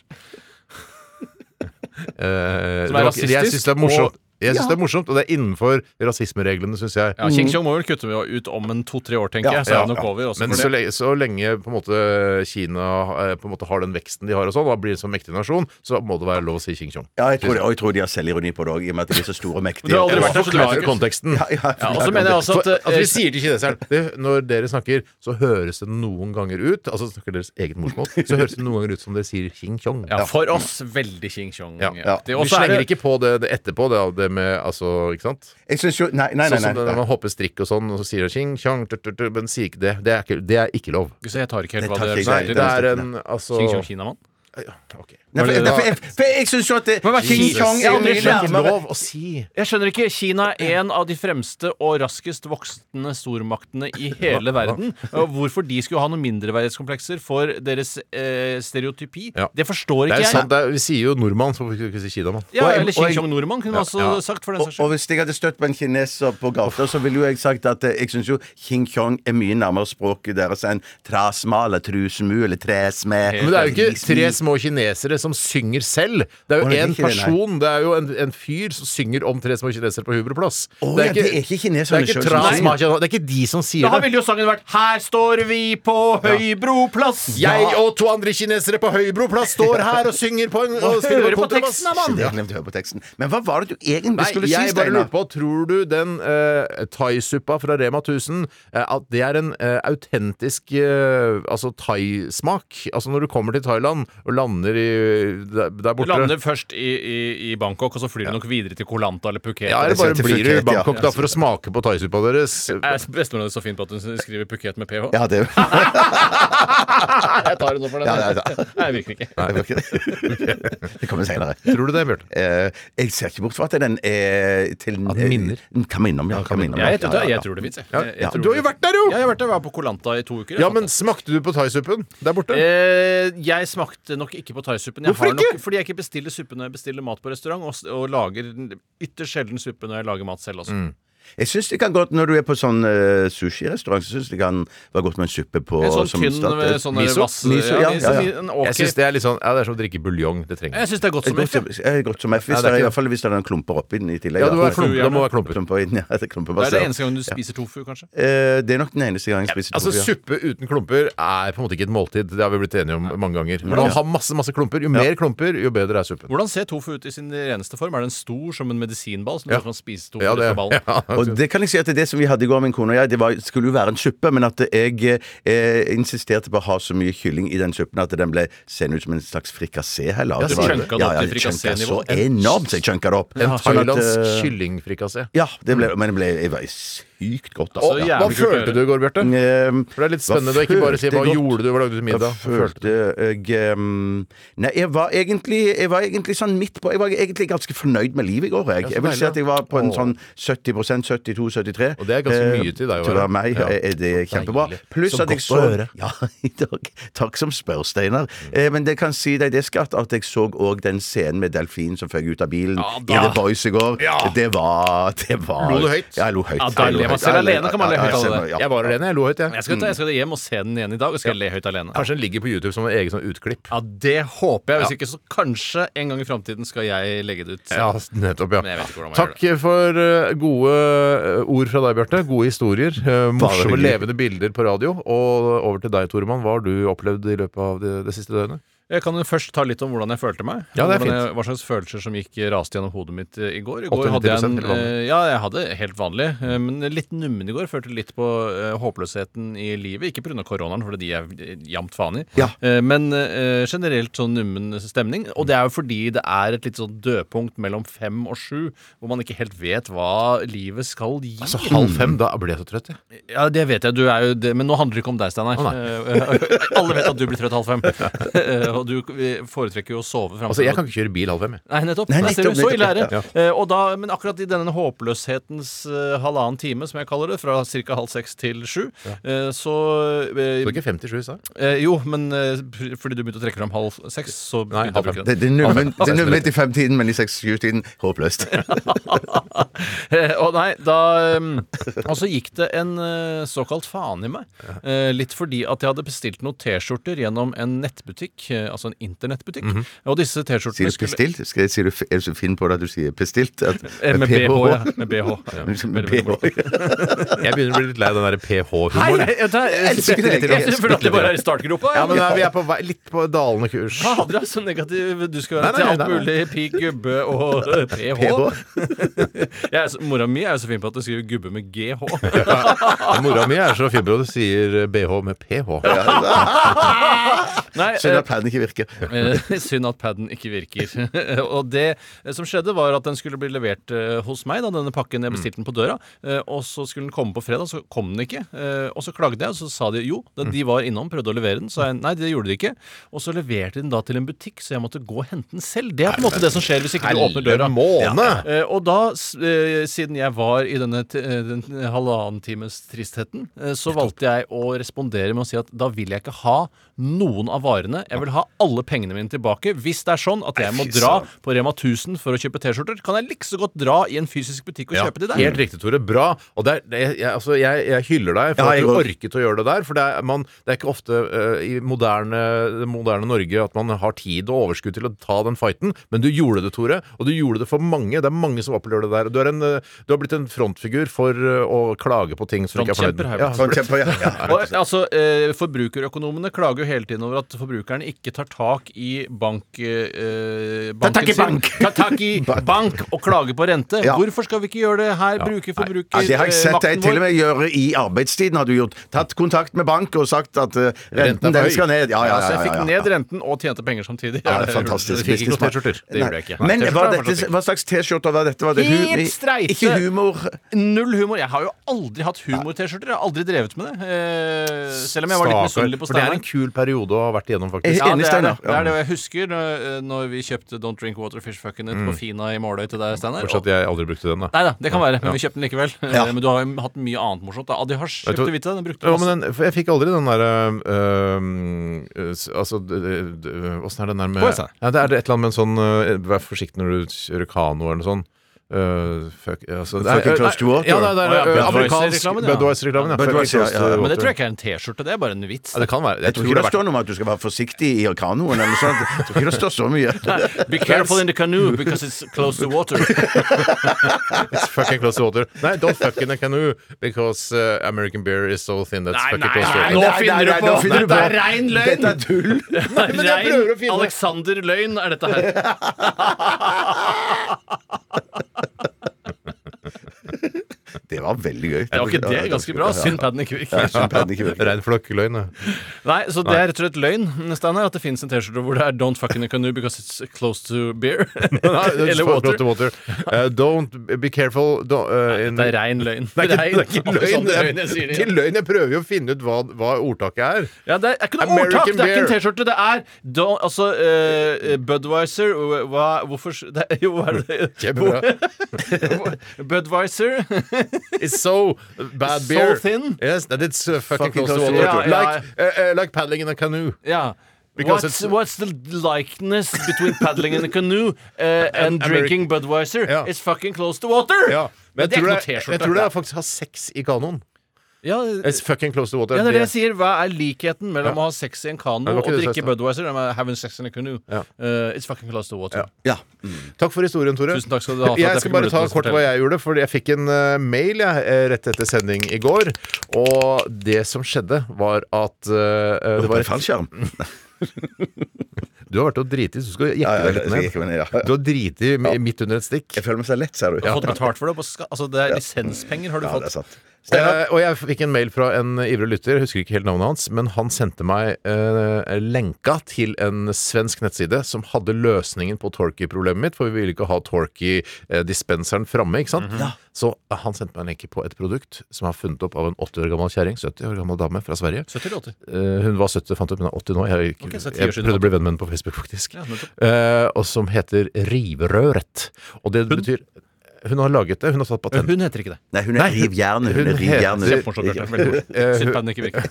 [SPEAKER 4] Eh,
[SPEAKER 6] Som er
[SPEAKER 4] det var ikke- Jeg syns det er
[SPEAKER 6] rasistisk,
[SPEAKER 4] morsomt.
[SPEAKER 6] og-
[SPEAKER 4] Jeg synes det er morsomt, og det er innenfor rasismereglene, syns jeg.
[SPEAKER 6] Ja, King Chong må vel kutte med ut om en to-tre år, tenker
[SPEAKER 5] Ja,
[SPEAKER 6] jeg. Så
[SPEAKER 4] Mm.
[SPEAKER 6] er det
[SPEAKER 4] ja,
[SPEAKER 6] nok
[SPEAKER 4] ja.
[SPEAKER 6] over. Også
[SPEAKER 4] Men
[SPEAKER 6] for
[SPEAKER 4] så
[SPEAKER 6] det.
[SPEAKER 4] lenge, så lenge på en måte Kina eh, på en måte har den veksten de har, og sånn, og blir en sånn mektig nasjon, så må det være lov å si King Chong.
[SPEAKER 5] Ja, jeg tror, det, og jeg tror de har selvironi på det òg, i og med at de er så store og
[SPEAKER 4] <laughs>
[SPEAKER 5] mektige.
[SPEAKER 6] Men du har aldri vært der, så du vet
[SPEAKER 4] Forklare
[SPEAKER 6] ikke.
[SPEAKER 4] konteksten.
[SPEAKER 5] Ja, ja,
[SPEAKER 6] Ja, og så mener jeg også at,
[SPEAKER 4] For, at
[SPEAKER 6] eh,
[SPEAKER 4] vi sier til kineserne det, Når dere snakker, så høres det noen ganger ut Altså snakker deres eget morsmål, så høres det noen ganger ut som dere sier King Chong.
[SPEAKER 6] ja, For oss veldig King Chong-aktig.
[SPEAKER 4] Ja.
[SPEAKER 6] Og
[SPEAKER 4] Vi
[SPEAKER 6] så er
[SPEAKER 4] slenger
[SPEAKER 6] det-
[SPEAKER 4] ikke på det, det etterpå, det, det med altså, ikke sant?
[SPEAKER 5] Jeg synes jo Nei, nei, nei.
[SPEAKER 4] sånn som det,
[SPEAKER 5] nei,
[SPEAKER 4] når man hopper strikk og sånn, og så sier det tjing, tjang, tut, tut, tut, men sier ikke det. Det er ikke, det er ikke lov.
[SPEAKER 6] Så jeg tar ikke
[SPEAKER 5] Nei,
[SPEAKER 6] helt hva
[SPEAKER 5] takk,
[SPEAKER 6] det
[SPEAKER 5] ikke.
[SPEAKER 4] Nei,
[SPEAKER 6] er.
[SPEAKER 4] det er en altså
[SPEAKER 6] King Chong Kinamann?
[SPEAKER 4] ok.
[SPEAKER 5] Nei, for,
[SPEAKER 6] Var det-
[SPEAKER 5] nei, for, jeg, for jeg syns jo at det,
[SPEAKER 6] Men hva er
[SPEAKER 5] King
[SPEAKER 6] Jesus?
[SPEAKER 5] Kong
[SPEAKER 6] Ja,
[SPEAKER 5] er
[SPEAKER 6] det
[SPEAKER 5] mye
[SPEAKER 6] er ikke
[SPEAKER 5] nærmere
[SPEAKER 4] lov å si.
[SPEAKER 6] Jeg skjønner ikke. Kina er en av de fremste og raskest voksende stormaktene i hele verden. Og Hvorfor de skulle ha noen mindreverdighetskomplekser for deres eh, stereotypi,
[SPEAKER 4] Ja.
[SPEAKER 6] det forstår
[SPEAKER 4] Det
[SPEAKER 6] ikke
[SPEAKER 4] er jo
[SPEAKER 6] jeg.
[SPEAKER 4] sant, det er, vi sier jo nordmann, så vi skal ikke si kinamann.
[SPEAKER 6] Ja,
[SPEAKER 5] Og jeg-
[SPEAKER 6] eller
[SPEAKER 5] og
[SPEAKER 6] Xing
[SPEAKER 5] jeg-
[SPEAKER 6] Chong Nordmann kunne man også
[SPEAKER 4] Ja.
[SPEAKER 6] sagt. for den
[SPEAKER 5] og,
[SPEAKER 6] saks
[SPEAKER 5] og
[SPEAKER 6] skyld.
[SPEAKER 5] hvis jeg hadde støtt på en kineser på gata, så ville jo jeg sagt at eh, jeg syns jo King Kong er mye nærmere språket deres enn trasma eller trusmu eller tresme.
[SPEAKER 4] Men det er jo ikke tre små kinesere som synger selv. Det er
[SPEAKER 5] Å,
[SPEAKER 4] jo
[SPEAKER 5] nei, det er
[SPEAKER 4] én
[SPEAKER 5] ikke det, nei.
[SPEAKER 4] person, det er jo en, en fyr som synger om tre små kinesere på Huberplass.
[SPEAKER 5] Å, ja, det er ikke
[SPEAKER 4] det er
[SPEAKER 5] kineserne
[SPEAKER 4] ikke
[SPEAKER 5] selv som
[SPEAKER 4] tra-
[SPEAKER 5] synger.
[SPEAKER 4] sma- det er ikke de som sier
[SPEAKER 6] Da
[SPEAKER 4] det.
[SPEAKER 6] ville jo sangen vært 'Her står vi på Høybroplass'.
[SPEAKER 4] Jeg og to andre kinesere på Høybroplass står her og synger på en og spiller
[SPEAKER 6] hører på
[SPEAKER 4] kontrabass.
[SPEAKER 6] teksten, da, mann!
[SPEAKER 5] Shit, Jeg har glemt å høre på teksten. Men hva var det du egentlig
[SPEAKER 4] Nei,
[SPEAKER 5] skulle si,
[SPEAKER 4] jeg bare lurer
[SPEAKER 5] Steinar?
[SPEAKER 4] på, tror du den eh, thaisuppa fra Rema 1000 eh, At det er en eh, autentisk eh, altså thaismak? Altså når du kommer til Thailand og lander i, der, der
[SPEAKER 6] Du
[SPEAKER 4] borte
[SPEAKER 6] lander først i, i, i Bangkok, og så flyr du nok videre til Koh Lanta eller Phuket.
[SPEAKER 4] Ja,
[SPEAKER 5] Jeg
[SPEAKER 4] eller
[SPEAKER 5] ser
[SPEAKER 4] bare
[SPEAKER 5] til
[SPEAKER 4] blir du i
[SPEAKER 5] Phuket, ja.
[SPEAKER 4] Bangkok da for å smake på thaisuppa deres?
[SPEAKER 6] Er Bestemora di så fin på at hun skriver Phuket med ph?
[SPEAKER 5] Ja, det er jo <laughs>
[SPEAKER 6] Jeg tar henne for den.
[SPEAKER 5] Ja, ja, ja.
[SPEAKER 6] <laughs> Nei, virkelig ikke.
[SPEAKER 5] Det var ikke det. Det kommer senere.
[SPEAKER 4] Tror du det, Bjarte?
[SPEAKER 5] Eh, jeg ser ikke bort fra at den er til Eh,
[SPEAKER 4] At den minner?
[SPEAKER 5] Den Kan minne om, ja. Kan minne om, ja.
[SPEAKER 6] Jeg, jeg,
[SPEAKER 5] Ja, ja, ja.
[SPEAKER 6] jeg tror det fins, jeg.
[SPEAKER 4] Ja.
[SPEAKER 6] jeg, jeg
[SPEAKER 5] Ja,
[SPEAKER 6] tror
[SPEAKER 4] Du har
[SPEAKER 6] det
[SPEAKER 4] jo vært der, jo!
[SPEAKER 6] Ja, jeg har vært der. Jeg var på Koh Lanta i to uker. jeg.
[SPEAKER 4] Ja, men smakte du på thaisuppen der borte?
[SPEAKER 6] Eh, jeg smakte nok ikke på thaisuppen. Jeg
[SPEAKER 4] Hvorfor
[SPEAKER 6] har nok-
[SPEAKER 4] ikke?
[SPEAKER 6] Fordi jeg ikke bestiller suppe når jeg bestiller mat på restaurant, og, s- og lager ytterst sjelden suppe når jeg lager mat selv også.
[SPEAKER 4] Mm.
[SPEAKER 5] Jeg syns det kan godt, når du er på sånn uh, sushirestaurant, så syns det kan være godt med en suppe på
[SPEAKER 6] En sånn
[SPEAKER 5] som
[SPEAKER 6] tynn
[SPEAKER 5] start-
[SPEAKER 6] med sånn
[SPEAKER 5] Miso?
[SPEAKER 6] vass
[SPEAKER 5] Miso, ja, ja, ja.
[SPEAKER 6] En ok-
[SPEAKER 4] Jeg syns det er litt sånn Ja, det er som å drikke buljong. Det trenger
[SPEAKER 6] Jeg
[SPEAKER 4] jeg.
[SPEAKER 6] syns det er godt som
[SPEAKER 5] Godt
[SPEAKER 6] F.
[SPEAKER 5] som, eh, godt som F, hvis
[SPEAKER 4] Nei, det er ikke
[SPEAKER 5] det er, i
[SPEAKER 4] det.
[SPEAKER 5] hvert fall hvis det er noen klumper oppi den i tillegg.
[SPEAKER 4] Ja,
[SPEAKER 5] da.
[SPEAKER 4] du er klump, det må være klumper.
[SPEAKER 5] Klumper inn, ja, det, er klumper
[SPEAKER 6] Det er det
[SPEAKER 5] basert.
[SPEAKER 6] eneste gangen du spiser tofu, kanskje.
[SPEAKER 5] Eh, det er nok den eneste gangen jeg spiser
[SPEAKER 4] Altså,
[SPEAKER 5] tofu, ja.
[SPEAKER 4] Suppe uten klumper er på en måte ikke et måltid. Det har vi blitt enige om mange ganger. Men å ha masse, masse klumper, Jo mer klumper, jo bedre er suppen.
[SPEAKER 6] Hvordan ser tofu ut i sin reneste form? Er den stor som en medisinball? Som
[SPEAKER 4] Ja.
[SPEAKER 6] du kan spise tofu
[SPEAKER 4] <laughs> Ja, det,
[SPEAKER 6] fra ballen?
[SPEAKER 4] ja.
[SPEAKER 5] Og det kan jeg si at det, er det som vi hadde i går, min kone og jeg, det var, skulle jo være en suppe, men at jeg eh, insisterte på å ha så mye kylling i den suppen at den ble seende ut som en slags frikassé heller.
[SPEAKER 6] Ja,
[SPEAKER 5] Det
[SPEAKER 6] så
[SPEAKER 5] var-
[SPEAKER 6] chunka det opp til
[SPEAKER 5] jeg chunka
[SPEAKER 6] frikassé-nivå.
[SPEAKER 5] Så enormt, så jeg chunka det opp.
[SPEAKER 4] En
[SPEAKER 5] Sånn at,
[SPEAKER 4] thailandsk
[SPEAKER 5] eh,
[SPEAKER 4] kyllingfrikassé.
[SPEAKER 5] Ja, det ble, men det ble jeg var sykt godt,
[SPEAKER 4] Og
[SPEAKER 5] altså.
[SPEAKER 6] jævlig
[SPEAKER 4] Hva
[SPEAKER 6] kult å
[SPEAKER 4] følte
[SPEAKER 6] høre.
[SPEAKER 4] du i går, Bjarte?
[SPEAKER 5] Ehm,
[SPEAKER 4] For det er litt
[SPEAKER 5] Hva
[SPEAKER 4] spennende å ikke bare si
[SPEAKER 5] følte
[SPEAKER 4] hva
[SPEAKER 5] jeg godt?
[SPEAKER 4] gjorde du, hva lagde du til
[SPEAKER 5] Da
[SPEAKER 4] middag? Hva følte du?
[SPEAKER 5] følte jeg ehm, Nei, jeg var, egentlig, jeg var egentlig sånn midt på Jeg var egentlig ganske fornøyd med livet i går. Jeg,
[SPEAKER 4] så
[SPEAKER 5] jeg vil si
[SPEAKER 4] deilig,
[SPEAKER 5] at jeg var på en
[SPEAKER 4] Åh.
[SPEAKER 5] sånn 70 72-73.
[SPEAKER 4] Og det er ganske mye til deg å
[SPEAKER 5] Eh, Til
[SPEAKER 4] være.
[SPEAKER 5] meg
[SPEAKER 4] Ja.
[SPEAKER 5] er det kjempebra.
[SPEAKER 4] Deilig.
[SPEAKER 5] Pluss
[SPEAKER 4] Så
[SPEAKER 5] at jeg
[SPEAKER 4] godt
[SPEAKER 5] så
[SPEAKER 4] å høre. Mm.
[SPEAKER 5] Ja, <laughs> takk, takk som spør, Steinar. Eh, men det kan si deg det, Skatt, at jeg så òg den scenen med delfinen som føk ut av bilen i The Boys i går. Det var Det var
[SPEAKER 4] Lo du høyt?
[SPEAKER 5] Ja, jeg lo høyt.
[SPEAKER 6] Ja, da
[SPEAKER 5] Jeg lo
[SPEAKER 6] ler man
[SPEAKER 5] høyt.
[SPEAKER 6] selv
[SPEAKER 5] Ja,
[SPEAKER 6] alene, kan man le
[SPEAKER 5] ja,
[SPEAKER 6] høyt
[SPEAKER 5] ja,
[SPEAKER 6] av
[SPEAKER 5] selv-
[SPEAKER 6] det.
[SPEAKER 5] ja.
[SPEAKER 4] Jeg var alene, jeg lo høyt, jeg.
[SPEAKER 6] Jeg skal, ta, jeg skal hjem og se den igjen i dag, og skal le høyt alene.
[SPEAKER 4] Kanskje den ligger på YouTube som en egen sånn utklipp.
[SPEAKER 6] Ja, det håper jeg. Hvis ikke, så kanskje en gang i framtiden skal jeg legge det ut.
[SPEAKER 4] Ja, nettopp,
[SPEAKER 6] Men jeg
[SPEAKER 4] ja.
[SPEAKER 6] vet ikke hvordan man
[SPEAKER 4] Takk for eh, gode eh, ord fra deg, Bjarte. Gode historier. eh, Morsomme,
[SPEAKER 5] hyggelig.
[SPEAKER 4] levende bilder på radio. Og over til deg, Toremann. Hva har du opplevd i løpet av det, det siste døgnet?
[SPEAKER 6] Jeg Eh, kan jo først ta litt om hvordan jeg følte meg.
[SPEAKER 4] Ja, det er
[SPEAKER 6] Hvordan
[SPEAKER 4] fint.
[SPEAKER 6] jeg, hva slags følelser som gikk raste gjennom hodet mitt eh, i går. I går
[SPEAKER 4] 98%
[SPEAKER 6] hadde jeg en,
[SPEAKER 4] helt vanlig.
[SPEAKER 6] eh, ja, jeg hadde helt vanlig, eh, men litt nummen i går. Følte litt på eh, håpløsheten i livet. Ikke pga. koronaen, for de er eh, jamt faen i,
[SPEAKER 5] Ja.
[SPEAKER 6] Eh, men eh, generelt sånn nummen stemning. Og det er jo fordi det er et litt sånn dødpunkt mellom fem og sju, hvor man ikke helt vet hva livet skal gi.
[SPEAKER 4] Altså halv fem, da ble jeg så trøtt, jeg.
[SPEAKER 6] Ja, det vet jeg. Du er jo det, men nå handler det ikke om deg, Steinar.
[SPEAKER 4] Å,
[SPEAKER 6] Eh, <laughs> alle vet at du blir trøtt halv fem. Eh, og du foretrekker jo å sove fram
[SPEAKER 4] Altså, jeg kan ikke kjøre bil halv fem, jeg.
[SPEAKER 6] Nei, nettopp.
[SPEAKER 5] Nei,
[SPEAKER 6] Nei, ser du,
[SPEAKER 5] nettopp,
[SPEAKER 6] så ille er det.
[SPEAKER 5] nettopp,
[SPEAKER 6] Eh, og da, men akkurat i denne håpløshetens eh, halvannen time, som jeg kaller det, fra ca. halv seks til sju, eh, så
[SPEAKER 4] Så
[SPEAKER 6] eh,
[SPEAKER 4] det ikke 57 i stad?
[SPEAKER 6] eh, Jo, men eh, pr- fordi du begynte å trekke fram halv seks, så
[SPEAKER 4] Nei, halv
[SPEAKER 6] begynte jeg å
[SPEAKER 4] fem.
[SPEAKER 6] bruke den.
[SPEAKER 5] Det, det er numment i femtiden, men i seks-sju-tiden håpløst.
[SPEAKER 6] <laughs> Eh, og nei, da um, Og så gikk det en eh, såkalt faen i meg. Eh, litt fordi at jeg hadde bestilt noen T-skjorter gjennom en nettbutikk, eh, altså en internettbutikk. Og disse
[SPEAKER 5] Mhm. Sier
[SPEAKER 6] T-skjortene
[SPEAKER 5] du bestilt? Skal jeg, sier du, er du så fin på det at du sier bestilt? At,
[SPEAKER 6] Eh, Med BH, ja. Med BH.
[SPEAKER 5] <laughs> Med BH. <laughs>
[SPEAKER 4] Jeg begynner å bli litt lei av den der
[SPEAKER 6] Nei,
[SPEAKER 4] ph-humoren.
[SPEAKER 6] jeg, jeg, jeg,
[SPEAKER 5] Jeg elsker det.
[SPEAKER 6] jeg føler at det bare er i startgropa. jeg.
[SPEAKER 4] Ja, men eh, vi er på vei, litt på dalende kurs.
[SPEAKER 5] eh,
[SPEAKER 6] Fader, altså, negativ. Du skal
[SPEAKER 4] Nei,
[SPEAKER 6] være
[SPEAKER 4] nei,
[SPEAKER 6] til alt
[SPEAKER 4] nei, nei.
[SPEAKER 6] mulig pik, gubbe
[SPEAKER 5] <laughs>
[SPEAKER 6] og eh, ph. <laughs> Jeg er så- Mora mi er jo så fin på at hun skriver gubbe med gh.
[SPEAKER 5] <laughs>
[SPEAKER 4] Ja, Mora mi er så fin på det, sier eh, bh med ph.
[SPEAKER 6] Nei,
[SPEAKER 5] Synd
[SPEAKER 6] eh,
[SPEAKER 5] at paden ikke virker.
[SPEAKER 6] Eh, Synd at paden ikke virker. <laughs> og det eh, som skjedde, var at den skulle bli levert eh, hos meg, da, denne pakken. Jeg bestilte den på døra, eh, og så skulle den komme på fredag, så kom den ikke. Eh, og så klagde jeg, og så sa de jo, den, de var innom, prøvde å levere den. Så jeg nei, det gjorde de ikke. Og så leverte de den da til en butikk, så jeg måtte gå og hente den selv. Det er på en måte det som skjer hvis ikke du åpner døra.
[SPEAKER 4] måne!
[SPEAKER 6] Eh, og da, s- eh, siden jeg var i denne t eh, den halvannen times tristheten, eh, så valgte jeg å respondere med å si at da vil jeg ikke ha noen av varene. Jeg vil ha alle pengene mine tilbake. Hvis det er sånn at jeg må
[SPEAKER 5] fy
[SPEAKER 6] dra
[SPEAKER 5] søren.
[SPEAKER 6] på Rema 1000 for å kjøpe T-skjorter, kan jeg like så godt dra i en fysisk butikk og
[SPEAKER 4] Ja,
[SPEAKER 6] kjøpe de der.
[SPEAKER 4] Helt riktig, Tore. Bra. Og det er, det, jeg, altså, jeg, jeg hyller deg for
[SPEAKER 5] Ja,
[SPEAKER 4] at
[SPEAKER 5] jeg
[SPEAKER 4] du
[SPEAKER 5] går.
[SPEAKER 4] orket å gjøre det der. For det er, man, det er ikke ofte eh, i moderne, det moderne Norge at man har tid og overskudd til å ta den fighten, men du gjorde det, Tore. Og du gjorde det for mange. Det er mange som opplever det der. Du er, en, eh, du har blitt en frontfigur for eh, å klage på ting som du ikke er fornøyd
[SPEAKER 6] Frontkjemper har jeg
[SPEAKER 4] med.
[SPEAKER 6] blitt.
[SPEAKER 4] Ja,
[SPEAKER 5] Sånn kjemper jeg. Ja.
[SPEAKER 6] Og, altså, eh, Forbrukerøkonomene klager jo hele tiden over at forbrukerne ikke tar tak i bank, eh, banken
[SPEAKER 5] tak i <laughs>
[SPEAKER 6] sin.
[SPEAKER 5] bank!
[SPEAKER 6] Tar tak i bank og klager på rente.
[SPEAKER 5] Ja.
[SPEAKER 6] Hvorfor skal vi ikke gjøre det her? Bruke
[SPEAKER 5] Ja, det har jeg sett deg
[SPEAKER 6] forbrukermakten
[SPEAKER 5] til og
[SPEAKER 6] vår?
[SPEAKER 5] med gjøre i arbeidstiden. Har du gjort. Tatt kontakt med bank og sagt at eh,
[SPEAKER 4] Renten er
[SPEAKER 5] renten
[SPEAKER 4] for høy.
[SPEAKER 5] den skal ned. Ja, ja,
[SPEAKER 6] Ja, så
[SPEAKER 5] ja,
[SPEAKER 6] jeg fikk
[SPEAKER 5] ja, ja.
[SPEAKER 6] ned renten og tjente penger samtidig.
[SPEAKER 5] Ja, <laughs> det er fantastisk.
[SPEAKER 4] Jeg fikk ikke noen
[SPEAKER 5] businessman.
[SPEAKER 4] T-skjorter. Det gjorde jeg
[SPEAKER 5] Nei.
[SPEAKER 4] ikke. T-skjorter er fortsatt
[SPEAKER 5] Men var dette, hva slags T-skjorter var dette? Var det
[SPEAKER 6] Helt
[SPEAKER 5] hu-
[SPEAKER 6] streite.
[SPEAKER 5] Ikke humor.
[SPEAKER 6] Null humor. Jeg har jo aldri hatt humor-T-skjorter. Jeg har aldri drevet med det. Eh, selv om jeg var litt
[SPEAKER 4] Stakkar.
[SPEAKER 6] misunnelig på
[SPEAKER 4] For det er
[SPEAKER 6] Steinar.
[SPEAKER 4] en kul periode å ha vært igjennom, faktisk.
[SPEAKER 6] Ja,
[SPEAKER 5] Enig,
[SPEAKER 6] det er det.
[SPEAKER 5] Steinar.
[SPEAKER 6] det er det. Og jeg husker når, eh, når vi kjøpte Don't Drink Water Fish Fucking It på Fina i Måløy til deg, Steinar.
[SPEAKER 4] Fortsatt jeg aldri brukte den, da.
[SPEAKER 6] Nei da, det kan være. Men vi kjøpte den likevel. Eh,
[SPEAKER 5] Ja.
[SPEAKER 6] Men du har jo hatt mye annet morsomt. da. Adi Hasj
[SPEAKER 4] Vet du-
[SPEAKER 6] kjøpte vi til deg. Den brukte
[SPEAKER 4] Ja,
[SPEAKER 6] vi
[SPEAKER 4] men
[SPEAKER 6] masse.
[SPEAKER 4] den, for jeg fikk aldri den derre Altså d- d- d- Åssen er den der med
[SPEAKER 6] På seg.
[SPEAKER 4] ja, Det er et eller annet med en sånn øh, Vær forsiktig når du kjører kano eller noe sånt. Øh, fuck, altså, det er-
[SPEAKER 5] Fucking close to water.
[SPEAKER 4] Ja, det er, det er,
[SPEAKER 6] Å, ja,
[SPEAKER 4] øh, amerikansk
[SPEAKER 6] Budweiser-reklamen, ja.
[SPEAKER 4] Budweiser-reklamen. Ja.
[SPEAKER 5] Budweiser,
[SPEAKER 4] Fucking close
[SPEAKER 5] ja,
[SPEAKER 4] to
[SPEAKER 5] ja, ja.
[SPEAKER 6] Men det
[SPEAKER 4] water.
[SPEAKER 6] tror jeg ikke er en T-skjorte, det er bare en vits.
[SPEAKER 4] ja, det kan være. Jeg
[SPEAKER 5] Jeg tror ikke det
[SPEAKER 4] vært-
[SPEAKER 5] står noe om at du skal være forsiktig i kanoen eller noe sånt. Jeg tror ikke det står så mye.
[SPEAKER 6] <laughs> Be careful in the canoe because it's close to water.
[SPEAKER 4] It's fucking close to water. Nei, don't fuck in a canoe because uh, American beer is so thin that's fucking close to water.
[SPEAKER 5] nå finner du på.
[SPEAKER 6] Dette er rein løgn!
[SPEAKER 5] Dette er <laughs> tull.
[SPEAKER 4] men jeg prøver å finne-
[SPEAKER 6] Alexander-løgn er dette her.
[SPEAKER 5] Det var veldig gøy.
[SPEAKER 6] Det var ikke det ganske bra. Synd padden ikke virker.
[SPEAKER 4] Rein flokkeløgn. ja.
[SPEAKER 6] Nei, så det er rett og slett løgn, Steinar, at det fins en T-skjorte hvor det er 'Don't fuck in a canoe because it's close to beer'.
[SPEAKER 4] <laughs> Nei,
[SPEAKER 6] <laughs> Eller water.
[SPEAKER 4] close to water. Uh, don't be careful don't, uh, in
[SPEAKER 6] Det er rein løgn.
[SPEAKER 4] Det er ikke,
[SPEAKER 6] <laughs>
[SPEAKER 4] det er ikke løgn. Det er,
[SPEAKER 6] Alexander-løgn, jeg
[SPEAKER 4] det
[SPEAKER 6] sier
[SPEAKER 4] er
[SPEAKER 6] det
[SPEAKER 4] ikke
[SPEAKER 6] igjen.
[SPEAKER 4] løgn. Jeg prøver jo å finne ut hva, hva ordtaket er.
[SPEAKER 6] Ja, det er, er ikke noe
[SPEAKER 4] American
[SPEAKER 6] ordtak! Det er ikke
[SPEAKER 4] beer.
[SPEAKER 6] en T-skjorte. Det er don't, altså eh, Budweiser hva, Hvorfor s- det er, Jo, hva er det
[SPEAKER 4] Kjempebra.
[SPEAKER 6] Hvor- Budweiser. <laughs>
[SPEAKER 4] It's so bad
[SPEAKER 6] So
[SPEAKER 4] beer.
[SPEAKER 6] thin.
[SPEAKER 4] Yes, that it's uh, fucking,
[SPEAKER 5] Fucking
[SPEAKER 4] close to water.
[SPEAKER 5] close to
[SPEAKER 6] water.
[SPEAKER 4] Like, uh, uh, like paddling in a canoe.
[SPEAKER 6] Ja.
[SPEAKER 4] Because
[SPEAKER 6] What's,
[SPEAKER 4] it's-
[SPEAKER 6] what's the likeness between paddling in a canoe eh, and
[SPEAKER 4] Ameri-
[SPEAKER 6] drinking Budweiser?
[SPEAKER 4] Ja.
[SPEAKER 6] It's fucking close to water!
[SPEAKER 4] Ja.
[SPEAKER 6] Men
[SPEAKER 4] Men
[SPEAKER 6] det
[SPEAKER 4] jeg
[SPEAKER 6] er
[SPEAKER 4] tror
[SPEAKER 6] ikke noe
[SPEAKER 4] jeg, jeg tror
[SPEAKER 6] T-skjorte.
[SPEAKER 4] jeg faktisk har sex i kanoen.
[SPEAKER 6] Ja,
[SPEAKER 4] It's fucking close to water.
[SPEAKER 6] ja, det er det jeg
[SPEAKER 4] Det-
[SPEAKER 6] sier. Hva er likheten mellom å ha sex i en kano
[SPEAKER 4] det var
[SPEAKER 6] og
[SPEAKER 4] ikke det jeg
[SPEAKER 6] drikke
[SPEAKER 4] sa.
[SPEAKER 6] Budweiser? I'm having sex in a canoe.
[SPEAKER 4] Ja.
[SPEAKER 6] Eh, it's fucking close to water.
[SPEAKER 5] Ja.
[SPEAKER 4] Takk for historien, Tore.
[SPEAKER 6] Tusen takk skal du ha for at jeg
[SPEAKER 4] jeg skal
[SPEAKER 6] fikk
[SPEAKER 4] bare
[SPEAKER 6] muligheten
[SPEAKER 4] ta
[SPEAKER 6] til å
[SPEAKER 4] kort hva jeg gjorde, for jeg fikk en eh, mail jeg, eh, rett etter sending i går. Og det som skjedde, var at eh, det
[SPEAKER 5] Det var
[SPEAKER 4] var
[SPEAKER 5] en fallskjerm.
[SPEAKER 4] Du har vært og driti, så du skal jekke
[SPEAKER 5] Ja, ja,
[SPEAKER 4] deg
[SPEAKER 5] jeg skal
[SPEAKER 4] litt
[SPEAKER 5] jekke meg
[SPEAKER 4] ned.
[SPEAKER 5] ned, ja.
[SPEAKER 4] Du har driti mi- midt under et stikk.
[SPEAKER 5] Jeg føler meg så lett, ser du.
[SPEAKER 6] Du har fått betalt for det. på ska- Altså, det er lisenspenger har du
[SPEAKER 5] Ja, det
[SPEAKER 6] fått.
[SPEAKER 5] er sant.
[SPEAKER 4] Eh, og jeg fikk en mail fra en ivrig lytter, jeg husker ikke helt navnet hans, men han sendte meg eh, lenka til en svensk nettside som hadde løsningen på Torky-problemet mitt, for vi ville ikke ha Torky-dispenseren framme, ikke sant?
[SPEAKER 6] Mhm.
[SPEAKER 4] Så eh, han sendte meg en lenke på et produkt som er funnet opp av en 80 år gammel kjerring, 70 år gammel dame fra Sverige.
[SPEAKER 6] 70 eller 80?
[SPEAKER 4] Eh, hun var 70, fant ut, men er 80 nå. Jeg, har ikke-
[SPEAKER 6] Ok, så det er ti år
[SPEAKER 4] jeg
[SPEAKER 6] siden
[SPEAKER 4] prøvde å bli venn med henne på Facebook, faktisk. Eh, og som heter rivrødrett. Og det betyr Hun har laget det, hun har tatt patent.
[SPEAKER 6] Hun heter ikke det.
[SPEAKER 5] Nei, hun er
[SPEAKER 4] Nei,
[SPEAKER 5] riv gjerne. Hun
[SPEAKER 4] hun
[SPEAKER 5] er riv gjerne.
[SPEAKER 4] heter-
[SPEAKER 6] Morsomt, Bjarte. Veldig bra.
[SPEAKER 4] Eh,
[SPEAKER 6] Synd padden ikke virker.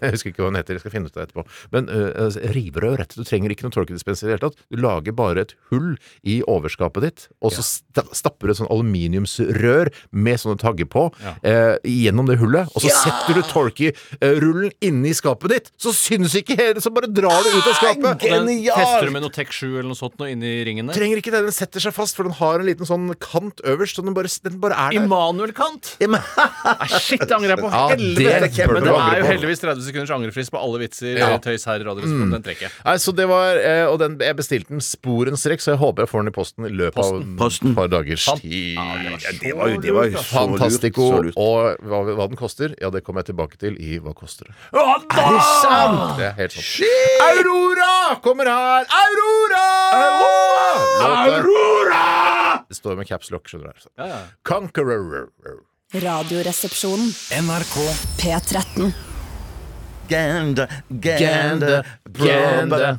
[SPEAKER 4] jeg husker ikke hva hun heter, jeg skal finne ut det etterpå. Men uh, rivrødrett. Du trenger ikke noen tolkedispenser i det hele tatt. Du lager bare et hull i overskapet ditt, og så sta stapper du et sånn aluminiumsrør med sånne tagger på eh, gjennom det hullet, og så setter du Torky-rullen inni skapet ditt, så syns ikke hele, så bare drar du ut av skapet.
[SPEAKER 6] Men
[SPEAKER 5] Genialt!
[SPEAKER 6] Tester du med noe Tech 7 eller noe sånt nå inni ringen der?
[SPEAKER 4] Trenger ikke det, den setter seg fast, for den har en liten sånn kant øverst, så den bare, den bare er der.
[SPEAKER 6] Immanuel Kant! Nei, shit, det angrer jeg på.
[SPEAKER 4] Ja,
[SPEAKER 6] Helvete!
[SPEAKER 4] det burde
[SPEAKER 6] Men
[SPEAKER 4] du
[SPEAKER 6] det
[SPEAKER 4] angre
[SPEAKER 6] er jo
[SPEAKER 4] på.
[SPEAKER 6] heldigvis 30 sekunders angrefrist på alle vitser
[SPEAKER 4] Ja. Mm.
[SPEAKER 6] og tøys her i Radioresepsjonen. Den trekker jeg.
[SPEAKER 4] Nei, så det var, eh, og den, Jeg bestilte den sporenstreks, så jeg håper jeg får den i posten i løpet av
[SPEAKER 5] Posten.
[SPEAKER 4] et par dagers
[SPEAKER 6] Fan-
[SPEAKER 4] tid.
[SPEAKER 5] Ja, det var jo, det var jo så lurt.
[SPEAKER 4] Fantastico.
[SPEAKER 5] så lurt.
[SPEAKER 4] Og hva, hva den koster, ja, det kommer jeg tilbake til i Hva koster det?
[SPEAKER 6] Er det sant?
[SPEAKER 4] Det er helt sant. Aurora kommer her! Aurora! Låta- Det står med caps lock, skjønner du.
[SPEAKER 6] Ja, ja.
[SPEAKER 4] Conqueror.
[SPEAKER 1] Radioresepsjonen.
[SPEAKER 3] NRK
[SPEAKER 1] P13.
[SPEAKER 5] Gander, gander,
[SPEAKER 4] Gander.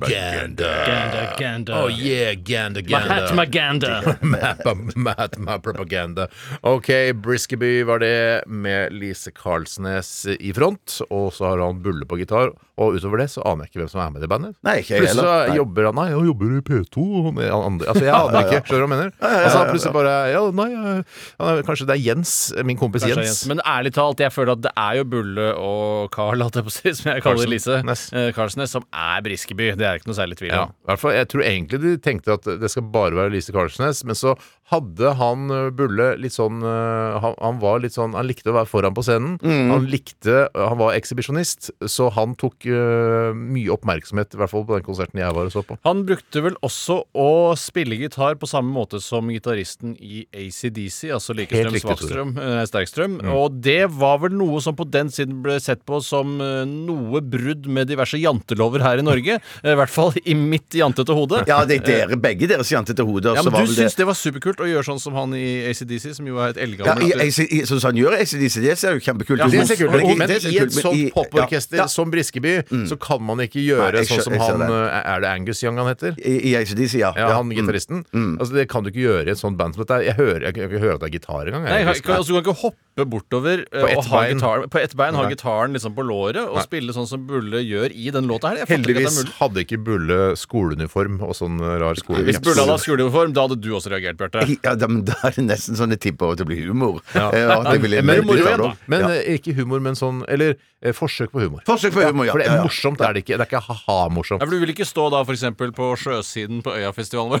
[SPEAKER 6] Gander, gander.
[SPEAKER 4] Oh yeah, gander, gander.
[SPEAKER 6] Mahatma Gander.
[SPEAKER 4] Mappa- Mahatma propaganda. OK, Briskeby var det med Lise Karlsnes i front. Og så har han Bulle på gitar. Og utover det så aner jeg ikke hvem som er med i bandet.
[SPEAKER 5] Nei, ikke jeg
[SPEAKER 4] Plutselig
[SPEAKER 5] heller.
[SPEAKER 4] så
[SPEAKER 5] Nei.
[SPEAKER 4] jobber han Nei, han jobber i P2. og han er andre. Altså, jeg aner ikke. Skjønner du hva jeg mener? Altså, han plutselig bare Ja, nei, jeg- han er, kanskje det er Jens. Min kompis
[SPEAKER 6] Kanskje det er
[SPEAKER 4] Jens.
[SPEAKER 6] Jens. Men ærlig talt, jeg føler at det er jo Bulle og Carl, holdt jeg på å si, som jeg kaller
[SPEAKER 4] Karlsen.
[SPEAKER 6] Lise,
[SPEAKER 4] Ness.
[SPEAKER 6] eh, Karlsnes, som er Briskeby. Det er ikke noe særlig tvil
[SPEAKER 4] Ja,
[SPEAKER 6] om.
[SPEAKER 4] i hvert fall, Jeg tror egentlig de tenkte at det skal bare være Lise Karlsnes, men så hadde han ø, Bulle litt sånn ø, Han, han var litt sånn Han likte å være foran på scenen.
[SPEAKER 5] Mm.
[SPEAKER 4] Han likte eh, Han var ekshibisjonist, så han tok ø, mye oppmerksomhet, i hvert fall på den konserten jeg var og så på.
[SPEAKER 6] Han brukte vel også å spille gitar på samme måte som gitaristen i ACDC, altså Likestrøm
[SPEAKER 4] riktig, Tore.
[SPEAKER 6] Svakstrøm, eh, Sterkstrøm.
[SPEAKER 5] Mm.
[SPEAKER 6] Og det var vel noe som på den siden ble sett på som eh, noe brudd med diverse jantelover her i
[SPEAKER 5] <laughs>
[SPEAKER 6] Norge. Eh, I hvert fall i mitt jantete hode.
[SPEAKER 5] Ja, det er dere, begge deres jantete hoder.
[SPEAKER 6] Ja,
[SPEAKER 5] så
[SPEAKER 6] men
[SPEAKER 5] var
[SPEAKER 6] Du
[SPEAKER 5] vel det-
[SPEAKER 6] syns det var superkult å gjøre sånn som han i ACDC, som jo er et
[SPEAKER 5] Ja,
[SPEAKER 6] eldgammelt
[SPEAKER 5] i,
[SPEAKER 6] eh,
[SPEAKER 5] AC- i, sånn som han gjør ACDC, det ser jo kjempekult
[SPEAKER 6] Ja,
[SPEAKER 5] ut.
[SPEAKER 6] det ser kult ut,
[SPEAKER 5] Og-
[SPEAKER 4] Men
[SPEAKER 5] det ser
[SPEAKER 4] i et
[SPEAKER 5] kult, men
[SPEAKER 4] sånt
[SPEAKER 5] i-
[SPEAKER 4] poporkester
[SPEAKER 5] ja, Mm.
[SPEAKER 4] som Briskeby, så kan man ikke
[SPEAKER 5] Nei,
[SPEAKER 4] gjøre
[SPEAKER 5] jeg skjø-
[SPEAKER 4] sånn som
[SPEAKER 5] jeg skjønner
[SPEAKER 4] han
[SPEAKER 5] det.
[SPEAKER 4] ø, Er det Angus Young han heter?
[SPEAKER 5] ja, I, I ACDC, ja.
[SPEAKER 4] Ja, han
[SPEAKER 5] Mm.
[SPEAKER 4] gitaristen. Altså, det kan du ikke gjøre i et sånt band som dette. Jeg hører, jeg, kan ikke høre at det er gitar engang. jeg.
[SPEAKER 6] Nei, kan, kan, altså, du kan ikke hoppe bortover eh,
[SPEAKER 4] ett
[SPEAKER 6] og ha
[SPEAKER 4] bein.
[SPEAKER 6] gitaren, på ett bein ha
[SPEAKER 4] Nei.
[SPEAKER 6] gitaren liksom på låret og spille sånn som Bulle gjør i den låta her. Jeg fatter ikke at det er
[SPEAKER 4] Heldigvis
[SPEAKER 6] mulig.
[SPEAKER 4] hadde ikke Bulle skoleuniform og sånn rar
[SPEAKER 6] Hvis
[SPEAKER 4] skoleuniform.
[SPEAKER 6] Bulle hadde hatt skoleuniform, da hadde du også reagert, Bjarte.
[SPEAKER 5] Mm. Ja, da, men da er det nesten sånn jeg tipper over til å bli humor. Eh, og at jeg ville-
[SPEAKER 4] Men,
[SPEAKER 5] ville
[SPEAKER 4] moro
[SPEAKER 5] blitt
[SPEAKER 4] igjen,
[SPEAKER 5] <laughs>
[SPEAKER 4] da.
[SPEAKER 5] avlov.
[SPEAKER 4] Men
[SPEAKER 5] ja.
[SPEAKER 4] eh, ikke humor, men sånn Eller eh, forsøk på humor.
[SPEAKER 5] Forsøk på humor, ja.
[SPEAKER 4] For det
[SPEAKER 5] Ja,
[SPEAKER 4] er
[SPEAKER 5] ja.
[SPEAKER 4] morsomt, er det ikke. Det er ikke
[SPEAKER 6] Ja,
[SPEAKER 4] ha-ha-morsomt.
[SPEAKER 6] for Du vil ikke stå da for eksempel på sjøsiden på Øyafestivalen
[SPEAKER 5] <laughs>
[SPEAKER 6] vår.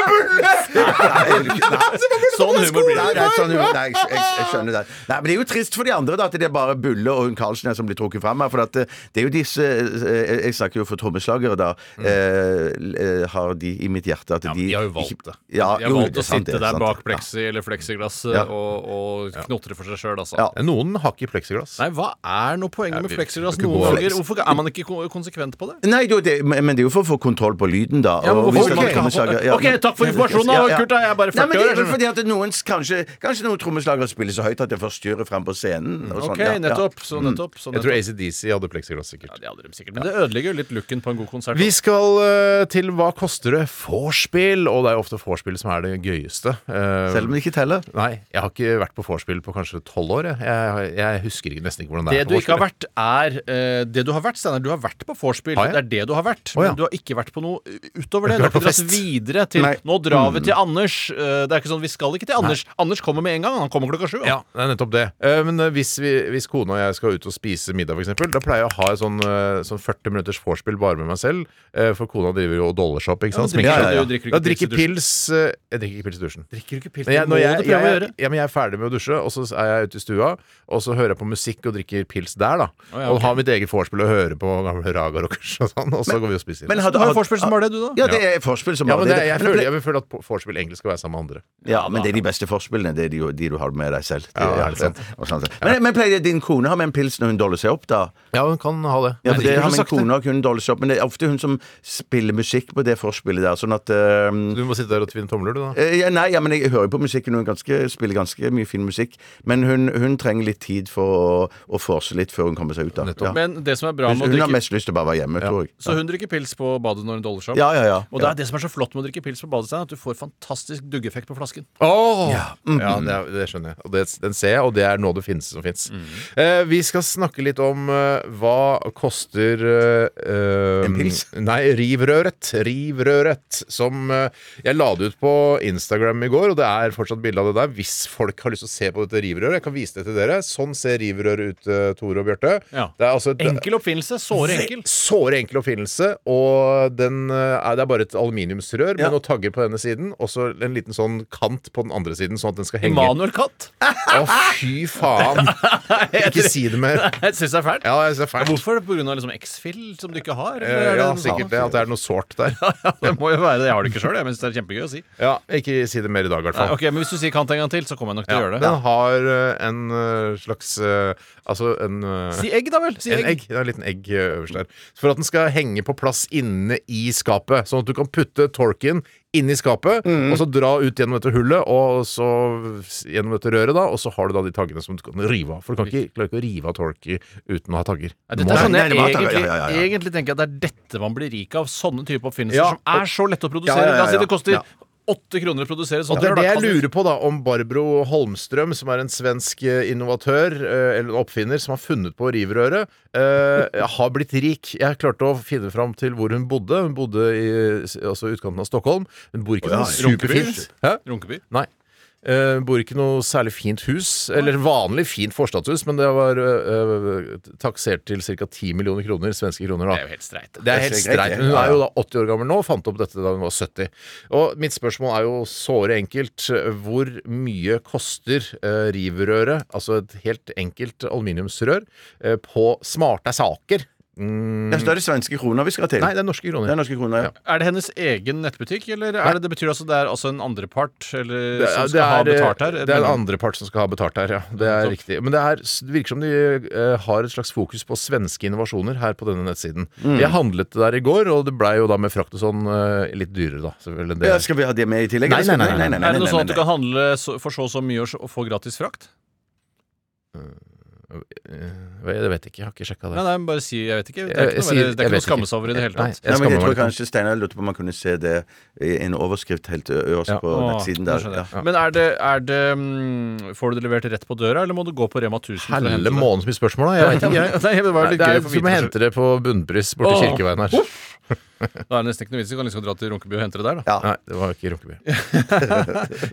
[SPEAKER 5] Nei, jeg vil ikke- nei.
[SPEAKER 6] Sånn humor blir
[SPEAKER 5] Nei,
[SPEAKER 6] det.
[SPEAKER 5] nei, sånn humor. Nei, jeg, jeg, jeg skjønner det. Nei, men det er jo trist for de andre, da, at det er bare Bulle og hun Karlsen her som blir trukket fram her. For at eh, det er jo disse eh, Jeg snakker jo for trommeslagere, da. eh, eh, har de i mitt hjerte at de
[SPEAKER 4] Mm. men de har jo valgt det.
[SPEAKER 5] Ja,
[SPEAKER 6] Jeg
[SPEAKER 5] jo,
[SPEAKER 6] valgte
[SPEAKER 5] det er
[SPEAKER 6] å
[SPEAKER 5] sant, det
[SPEAKER 6] sitte
[SPEAKER 5] er
[SPEAKER 6] der
[SPEAKER 5] sant.
[SPEAKER 6] bak pleksi eller pleksiglass eh,
[SPEAKER 5] Ja.
[SPEAKER 6] og, og knotre for seg sjøl, altså.
[SPEAKER 5] Ja.
[SPEAKER 4] Noen har ikke pleksiglass.
[SPEAKER 6] Nei, hva er nå poenget med
[SPEAKER 4] vi-
[SPEAKER 6] pleksiglass
[SPEAKER 4] vi kan
[SPEAKER 6] noen
[SPEAKER 4] gå-
[SPEAKER 6] ganger? Hvorfor er man ikke ko- konsekvent på det?
[SPEAKER 5] Nei, det er jo det, men men det er jo for å få kontroll på lyden, da.
[SPEAKER 6] Ja, men
[SPEAKER 5] og
[SPEAKER 6] hvorfor
[SPEAKER 5] hvis
[SPEAKER 6] skal
[SPEAKER 5] det er
[SPEAKER 6] man ikke ha
[SPEAKER 5] trommeslager-
[SPEAKER 6] for- Ok, takk for
[SPEAKER 5] men-
[SPEAKER 6] informasjonen, da, Kurt, da, jeg er bare
[SPEAKER 5] Nei, men
[SPEAKER 6] 40 år,
[SPEAKER 5] det er vel
[SPEAKER 6] jeg
[SPEAKER 5] fordi at noen, kanskje, kanskje noen trommeslagere spiller så høyt at det forstyrrer frem på scenen. Og
[SPEAKER 6] Ok,
[SPEAKER 5] sånn, ja, ja.
[SPEAKER 6] nettopp. Så nettopp. Så
[SPEAKER 4] Jeg tror
[SPEAKER 6] nettopp.
[SPEAKER 4] ACDC hadde pleksiglass,
[SPEAKER 6] Ja,
[SPEAKER 4] sikkert.
[SPEAKER 6] det hadde de sikkert. Men det ødelegger jo litt looken på en god konsert.
[SPEAKER 4] Vi skal eh, til Hva koster det? vorspiel. Og det er jo ofte vorspiel som er det gøyeste. Eh,
[SPEAKER 5] Selv om det ikke teller.
[SPEAKER 4] Nei, jeg har ikke vært på vorspiel på kanskje tolv år. Jeg. Jeg, jeg husker ikke, nesten ikke hvordan det,
[SPEAKER 6] Det
[SPEAKER 4] er. på
[SPEAKER 6] du ikke har
[SPEAKER 4] vorspiel.
[SPEAKER 6] vært, er eh, Det du har vært, Steinar, du har vært på vorspiel.
[SPEAKER 4] Har jeg?
[SPEAKER 6] Det er det du har vært.
[SPEAKER 4] Å, ja.
[SPEAKER 6] Men du har ikke vært på noe utover
[SPEAKER 4] Jeg
[SPEAKER 6] det. Du
[SPEAKER 4] har ikke
[SPEAKER 6] har ikke
[SPEAKER 4] vært på
[SPEAKER 6] dratt
[SPEAKER 4] fest. Mm.
[SPEAKER 6] videre til
[SPEAKER 5] Nei.
[SPEAKER 6] Nå drar vi til Anders. Eh, det er ikke sånn, Vi skal ikke til Anders. Anders kommer med en gang. Han kommer klokka sju. han.
[SPEAKER 4] Ja, det er nettopp det. Eh, Men eh, hvis, vi, hvis kona og jeg skal ut og spise middag, f.eks., da pleier jeg å ha et sånn, eh, sånn 40 minutters vorspiel bare med meg selv. eh, For kona driver jo og dollashop, ikke sant?
[SPEAKER 6] men drikker
[SPEAKER 4] Sminker seg.
[SPEAKER 6] du- du drikker ikke
[SPEAKER 4] Da drikker
[SPEAKER 6] pils i
[SPEAKER 4] pils eh, Jeg drikker ikke pils i dusjen.
[SPEAKER 6] Drikker du ikke pils?
[SPEAKER 4] Men
[SPEAKER 6] Det
[SPEAKER 4] jeg,
[SPEAKER 6] må
[SPEAKER 4] når jeg,
[SPEAKER 6] du
[SPEAKER 4] jeg,
[SPEAKER 6] prøve å
[SPEAKER 4] jeg,
[SPEAKER 6] gjøre.
[SPEAKER 4] ja, men jeg er ferdig med å dusje, og så er jeg ute i stua, og så hører jeg på musikk og drikker pils der, da.
[SPEAKER 6] ja, ok.
[SPEAKER 4] Og har mitt eget vorspiel og hører på gamle Raga Rockers og sånn, og så går vi og spiser.
[SPEAKER 5] Men
[SPEAKER 4] ja,
[SPEAKER 5] hadde-
[SPEAKER 6] Det var jo vorspiel som var det, du, da.
[SPEAKER 5] Ja, det er forspill som
[SPEAKER 4] men
[SPEAKER 5] bare
[SPEAKER 4] det, jeg,
[SPEAKER 5] Men det
[SPEAKER 4] føler,
[SPEAKER 5] ble-
[SPEAKER 4] jeg vil føle at vorspiel egentlig skal være sammen med andre.
[SPEAKER 5] Ja, men det er de beste forspillene. Det er de, jo- de du har med deg selv.
[SPEAKER 4] Ja, det er
[SPEAKER 5] og
[SPEAKER 4] sant.
[SPEAKER 5] og sånn. Men, men pleier din kone å ha med en pils når hun doller seg opp, da?
[SPEAKER 4] Ja, hun kan ha det.
[SPEAKER 5] Ja, for det har min
[SPEAKER 4] sagt
[SPEAKER 5] kone og hun doller seg opp, men det er ofte hun som spiller musikk på det forspillet der, sånn at eh,
[SPEAKER 4] Du må sitte der og tvinne tomler, du, da.
[SPEAKER 5] Eh, Ja, nei, ja, men jeg hører jo på musikken. Hun er ganske, spiller ganske mye fin musikk. Men hun, hun trenger litt tid for å, å forse litt før hun kommer seg ut. Da. Ja.
[SPEAKER 6] Men det som er bra
[SPEAKER 5] Hun,
[SPEAKER 6] med å
[SPEAKER 5] hun har
[SPEAKER 6] drikke
[SPEAKER 5] mest lyst til å bare være hjemme, tror jeg.
[SPEAKER 6] Så hun drikker pils på badet når hun doller seg opp.
[SPEAKER 5] Ja, ja, ja.
[SPEAKER 6] Og det er det som er så flott med å drikke pils på badet, Steinar, at du får fantastisk duggeffekt på flasken.
[SPEAKER 4] Åh! Ja, det, er- det skjønner jeg. Og det, den ser jeg, og det er noe det finnes som fins. Eh, vi skal snakke litt om eh, hva koster eh,
[SPEAKER 5] En pils?
[SPEAKER 4] Nei, rivrøret. Rivrøret. Som eh, jeg la det ut på Instagram i går, og det er fortsatt bilde av det der. Hvis folk har lyst til å se på dette rivrøret, jeg kan vise det til dere. Sånn ser rivrøret ut, eh, Tore og Bjarte.
[SPEAKER 6] Ja.
[SPEAKER 4] Det er altså et
[SPEAKER 6] Enkel oppfinnelse. Såre enkel.
[SPEAKER 4] Såre enkel oppfinnelse, og den, eh, er- det er bare et aluminiumsrør med noen tagger på denne siden, og så en liten sånn kant på den andre siden, sånn at den skal henge. Å,
[SPEAKER 6] Immanuel Katt.
[SPEAKER 4] fy
[SPEAKER 6] <laughs>
[SPEAKER 4] faen! Ikke si det mer.
[SPEAKER 6] Jeg syns det er fælt.
[SPEAKER 4] Ja, det er
[SPEAKER 6] Ja,
[SPEAKER 4] fælt.
[SPEAKER 6] Hvorfor? Pga. Liksom X-Fill som du ikke har? eller
[SPEAKER 4] Eh,
[SPEAKER 6] er
[SPEAKER 4] Ja,
[SPEAKER 6] det-
[SPEAKER 4] sikkert det. At det er noe sårt der.
[SPEAKER 6] <laughs> Ja, det må jo være det. Jeg har det ikke sjøl, men det er kjempegøy å si.
[SPEAKER 4] Ja, ikke si det mer i dag, i hvert
[SPEAKER 6] Nei,
[SPEAKER 4] fall.
[SPEAKER 6] ok, Men hvis du sier Kant en gang til, så kommer jeg nok til å
[SPEAKER 4] Ja,
[SPEAKER 6] gjøre det.
[SPEAKER 4] den har eh, en eh, slags eh, Altså en eh,
[SPEAKER 6] Si egg, da vel. Si
[SPEAKER 4] en egg. Det er en liten egg eh, øverst der. For at den skal henge på plass inne i skapet. Sånn at du kan putte torken inni skapet,
[SPEAKER 6] Mm.
[SPEAKER 4] og så dra ut gjennom dette hullet, og så s- gjennom dette røret, da, og så har du da de taggene som du kan rive av. For du kan ikke, klarer ikke å rive av Torky uten å ha tagger.
[SPEAKER 6] Nei,
[SPEAKER 4] Du
[SPEAKER 6] dette
[SPEAKER 4] må-
[SPEAKER 6] er sånn
[SPEAKER 5] Nei,
[SPEAKER 6] jeg
[SPEAKER 5] nei, det var- ja,
[SPEAKER 6] egentlig,
[SPEAKER 5] ja, ja, ja.
[SPEAKER 6] egentlig tenker jeg at det er dette man blir rik av. Sånne type oppfinnelser
[SPEAKER 4] Ja,
[SPEAKER 6] som er så lette å produsere.
[SPEAKER 5] Ja, ja, ja,
[SPEAKER 6] La oss si det
[SPEAKER 5] ja.
[SPEAKER 6] koster
[SPEAKER 5] Ja.
[SPEAKER 6] åtte kroner å produsere. sånn
[SPEAKER 4] Og det er det jeg lurer på, da, om Barbro Holmstrøm, som er en svensk eh, innovatør, eh, eller en oppfinner, som har funnet på rivrøret, eh, <laughs> har blitt rik. Jeg klarte å finne fram til hvor hun bodde. Hun bodde i s- altså utkanten av Stockholm. Hun bor ikke
[SPEAKER 5] Å,
[SPEAKER 4] noe
[SPEAKER 5] ja, ja.
[SPEAKER 4] superfint. Hæ?
[SPEAKER 6] Runkeby.
[SPEAKER 4] Nei. Eh, bor ikke noe særlig fint hus, eller vanlig fint forstadshus, men det var eh, eh, taksert til ca. 10 millioner kroner, svenske kroner. da.
[SPEAKER 6] Det er jo helt streit.
[SPEAKER 4] Det er helt
[SPEAKER 5] Det ser greit
[SPEAKER 4] streit.
[SPEAKER 5] ut.
[SPEAKER 4] men Hun
[SPEAKER 5] Ja,
[SPEAKER 4] er
[SPEAKER 5] ja.
[SPEAKER 4] jo da 80 år gammel nå, og fant opp dette da hun var 70. Og mitt spørsmål er jo såre enkelt. Hvor mye koster eh, rivrøret, altså et helt enkelt aluminiumsrør, eh, på smarte saker? Mm,
[SPEAKER 5] Det er større svenske kroner vi skal til.
[SPEAKER 4] nei, det er norske
[SPEAKER 5] det er
[SPEAKER 4] kroner.
[SPEAKER 5] norske kroner, ja.
[SPEAKER 6] Er det hennes egen nettbutikk, eller er det, det betyr altså det er altså en andrepart eller,
[SPEAKER 4] Det
[SPEAKER 6] som
[SPEAKER 4] er,
[SPEAKER 6] skal
[SPEAKER 4] det
[SPEAKER 6] ha
[SPEAKER 4] er, eh,
[SPEAKER 6] betalt her?
[SPEAKER 4] det er en andrepart som skal ha betalt her, ja. Det er
[SPEAKER 6] Nettopp.
[SPEAKER 4] riktig. Men det, er, det virker som de eh, har et slags fokus på svenske innovasjoner her på denne nettsiden. Jeg handlet det der i går, og det blei jo da med frakt og sånn eh, litt dyrere, da. Selvfølgelig. Det,
[SPEAKER 5] ja. Skal vi ha det med i tillegg?
[SPEAKER 4] Nei,
[SPEAKER 5] eller skal-
[SPEAKER 4] nei, nei, nei,
[SPEAKER 6] Er det noe
[SPEAKER 5] nei,
[SPEAKER 6] sånn at du
[SPEAKER 5] nei.
[SPEAKER 6] kan handle så, for så og så mye og så- og få gratis frakt?
[SPEAKER 4] det vet jeg ikke, jeg har ikke sjekka det.
[SPEAKER 6] Nei, nei, men bare si jeg vet ikke.
[SPEAKER 4] Jeg-
[SPEAKER 6] Det er
[SPEAKER 4] jeg
[SPEAKER 6] ikke
[SPEAKER 4] sier- Eh,
[SPEAKER 6] noe, det er
[SPEAKER 4] jeg
[SPEAKER 6] ikke noe
[SPEAKER 4] vet
[SPEAKER 6] å skamme seg over i det
[SPEAKER 4] ikke.
[SPEAKER 6] hele
[SPEAKER 4] Nei,
[SPEAKER 6] tatt.
[SPEAKER 4] jeg
[SPEAKER 5] Nei, men jeg
[SPEAKER 4] skammer
[SPEAKER 5] tror
[SPEAKER 4] meg
[SPEAKER 5] kanskje Steinar lurte på om han kunne se det i en overskrift helt øverst
[SPEAKER 4] Ja.
[SPEAKER 5] på
[SPEAKER 6] Åh,
[SPEAKER 5] nettsiden
[SPEAKER 6] nå
[SPEAKER 5] der.
[SPEAKER 6] skjønner
[SPEAKER 5] Ja.
[SPEAKER 6] jeg. Men er det, er det mm, Får du det levert rett på døra, eller må du gå på Rema 1000? for å hente
[SPEAKER 4] Helle
[SPEAKER 6] det?
[SPEAKER 4] måneden så mye spørsmål, da. Jeg vet ikke, jeg.
[SPEAKER 6] Nei, det var litt
[SPEAKER 4] Det
[SPEAKER 6] gøy
[SPEAKER 4] er,
[SPEAKER 6] å få
[SPEAKER 4] vi må
[SPEAKER 6] vite.
[SPEAKER 4] hente det på bunnpris borte
[SPEAKER 6] Åh.
[SPEAKER 4] kirkeveien her.
[SPEAKER 6] Da er det nesten ikke noe vits i. Du kan liksom dra til Runkeby og hente det der, da.
[SPEAKER 5] Ja.
[SPEAKER 4] Nei, det var ikke Runkeby.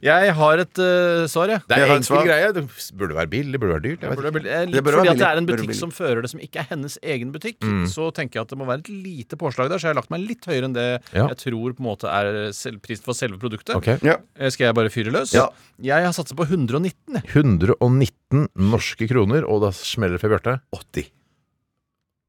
[SPEAKER 6] Jeg har et eh, svar, jeg.
[SPEAKER 4] Det
[SPEAKER 5] Jeg
[SPEAKER 4] er
[SPEAKER 5] har et
[SPEAKER 4] enkel
[SPEAKER 5] svar.
[SPEAKER 4] greie. Det burde være billig, det burde være dyrt. Jeg vet
[SPEAKER 6] Burde
[SPEAKER 4] ikke.
[SPEAKER 6] det bli- eh,
[SPEAKER 5] Det
[SPEAKER 6] litt
[SPEAKER 5] burde
[SPEAKER 6] fordi
[SPEAKER 5] være
[SPEAKER 6] at det
[SPEAKER 5] billig.
[SPEAKER 6] er en
[SPEAKER 5] Burde
[SPEAKER 6] butikk
[SPEAKER 5] billig.
[SPEAKER 6] som fører det, som ikke er hennes egen butikk.
[SPEAKER 4] Mm.
[SPEAKER 6] Så tenker jeg at det må være et lite påslag der, så jeg har lagt meg litt høyere enn det
[SPEAKER 4] Ja.
[SPEAKER 6] jeg tror på en måte er eh, selv, prisen for selve produktet.
[SPEAKER 4] Ok.
[SPEAKER 5] Ja.
[SPEAKER 6] Eh, Skal jeg bare fyre løs?
[SPEAKER 5] Ja.
[SPEAKER 6] Jeg har satset på 119. jeg.
[SPEAKER 4] 119 norske kroner, og da smeller det for Bjarte.
[SPEAKER 5] 80.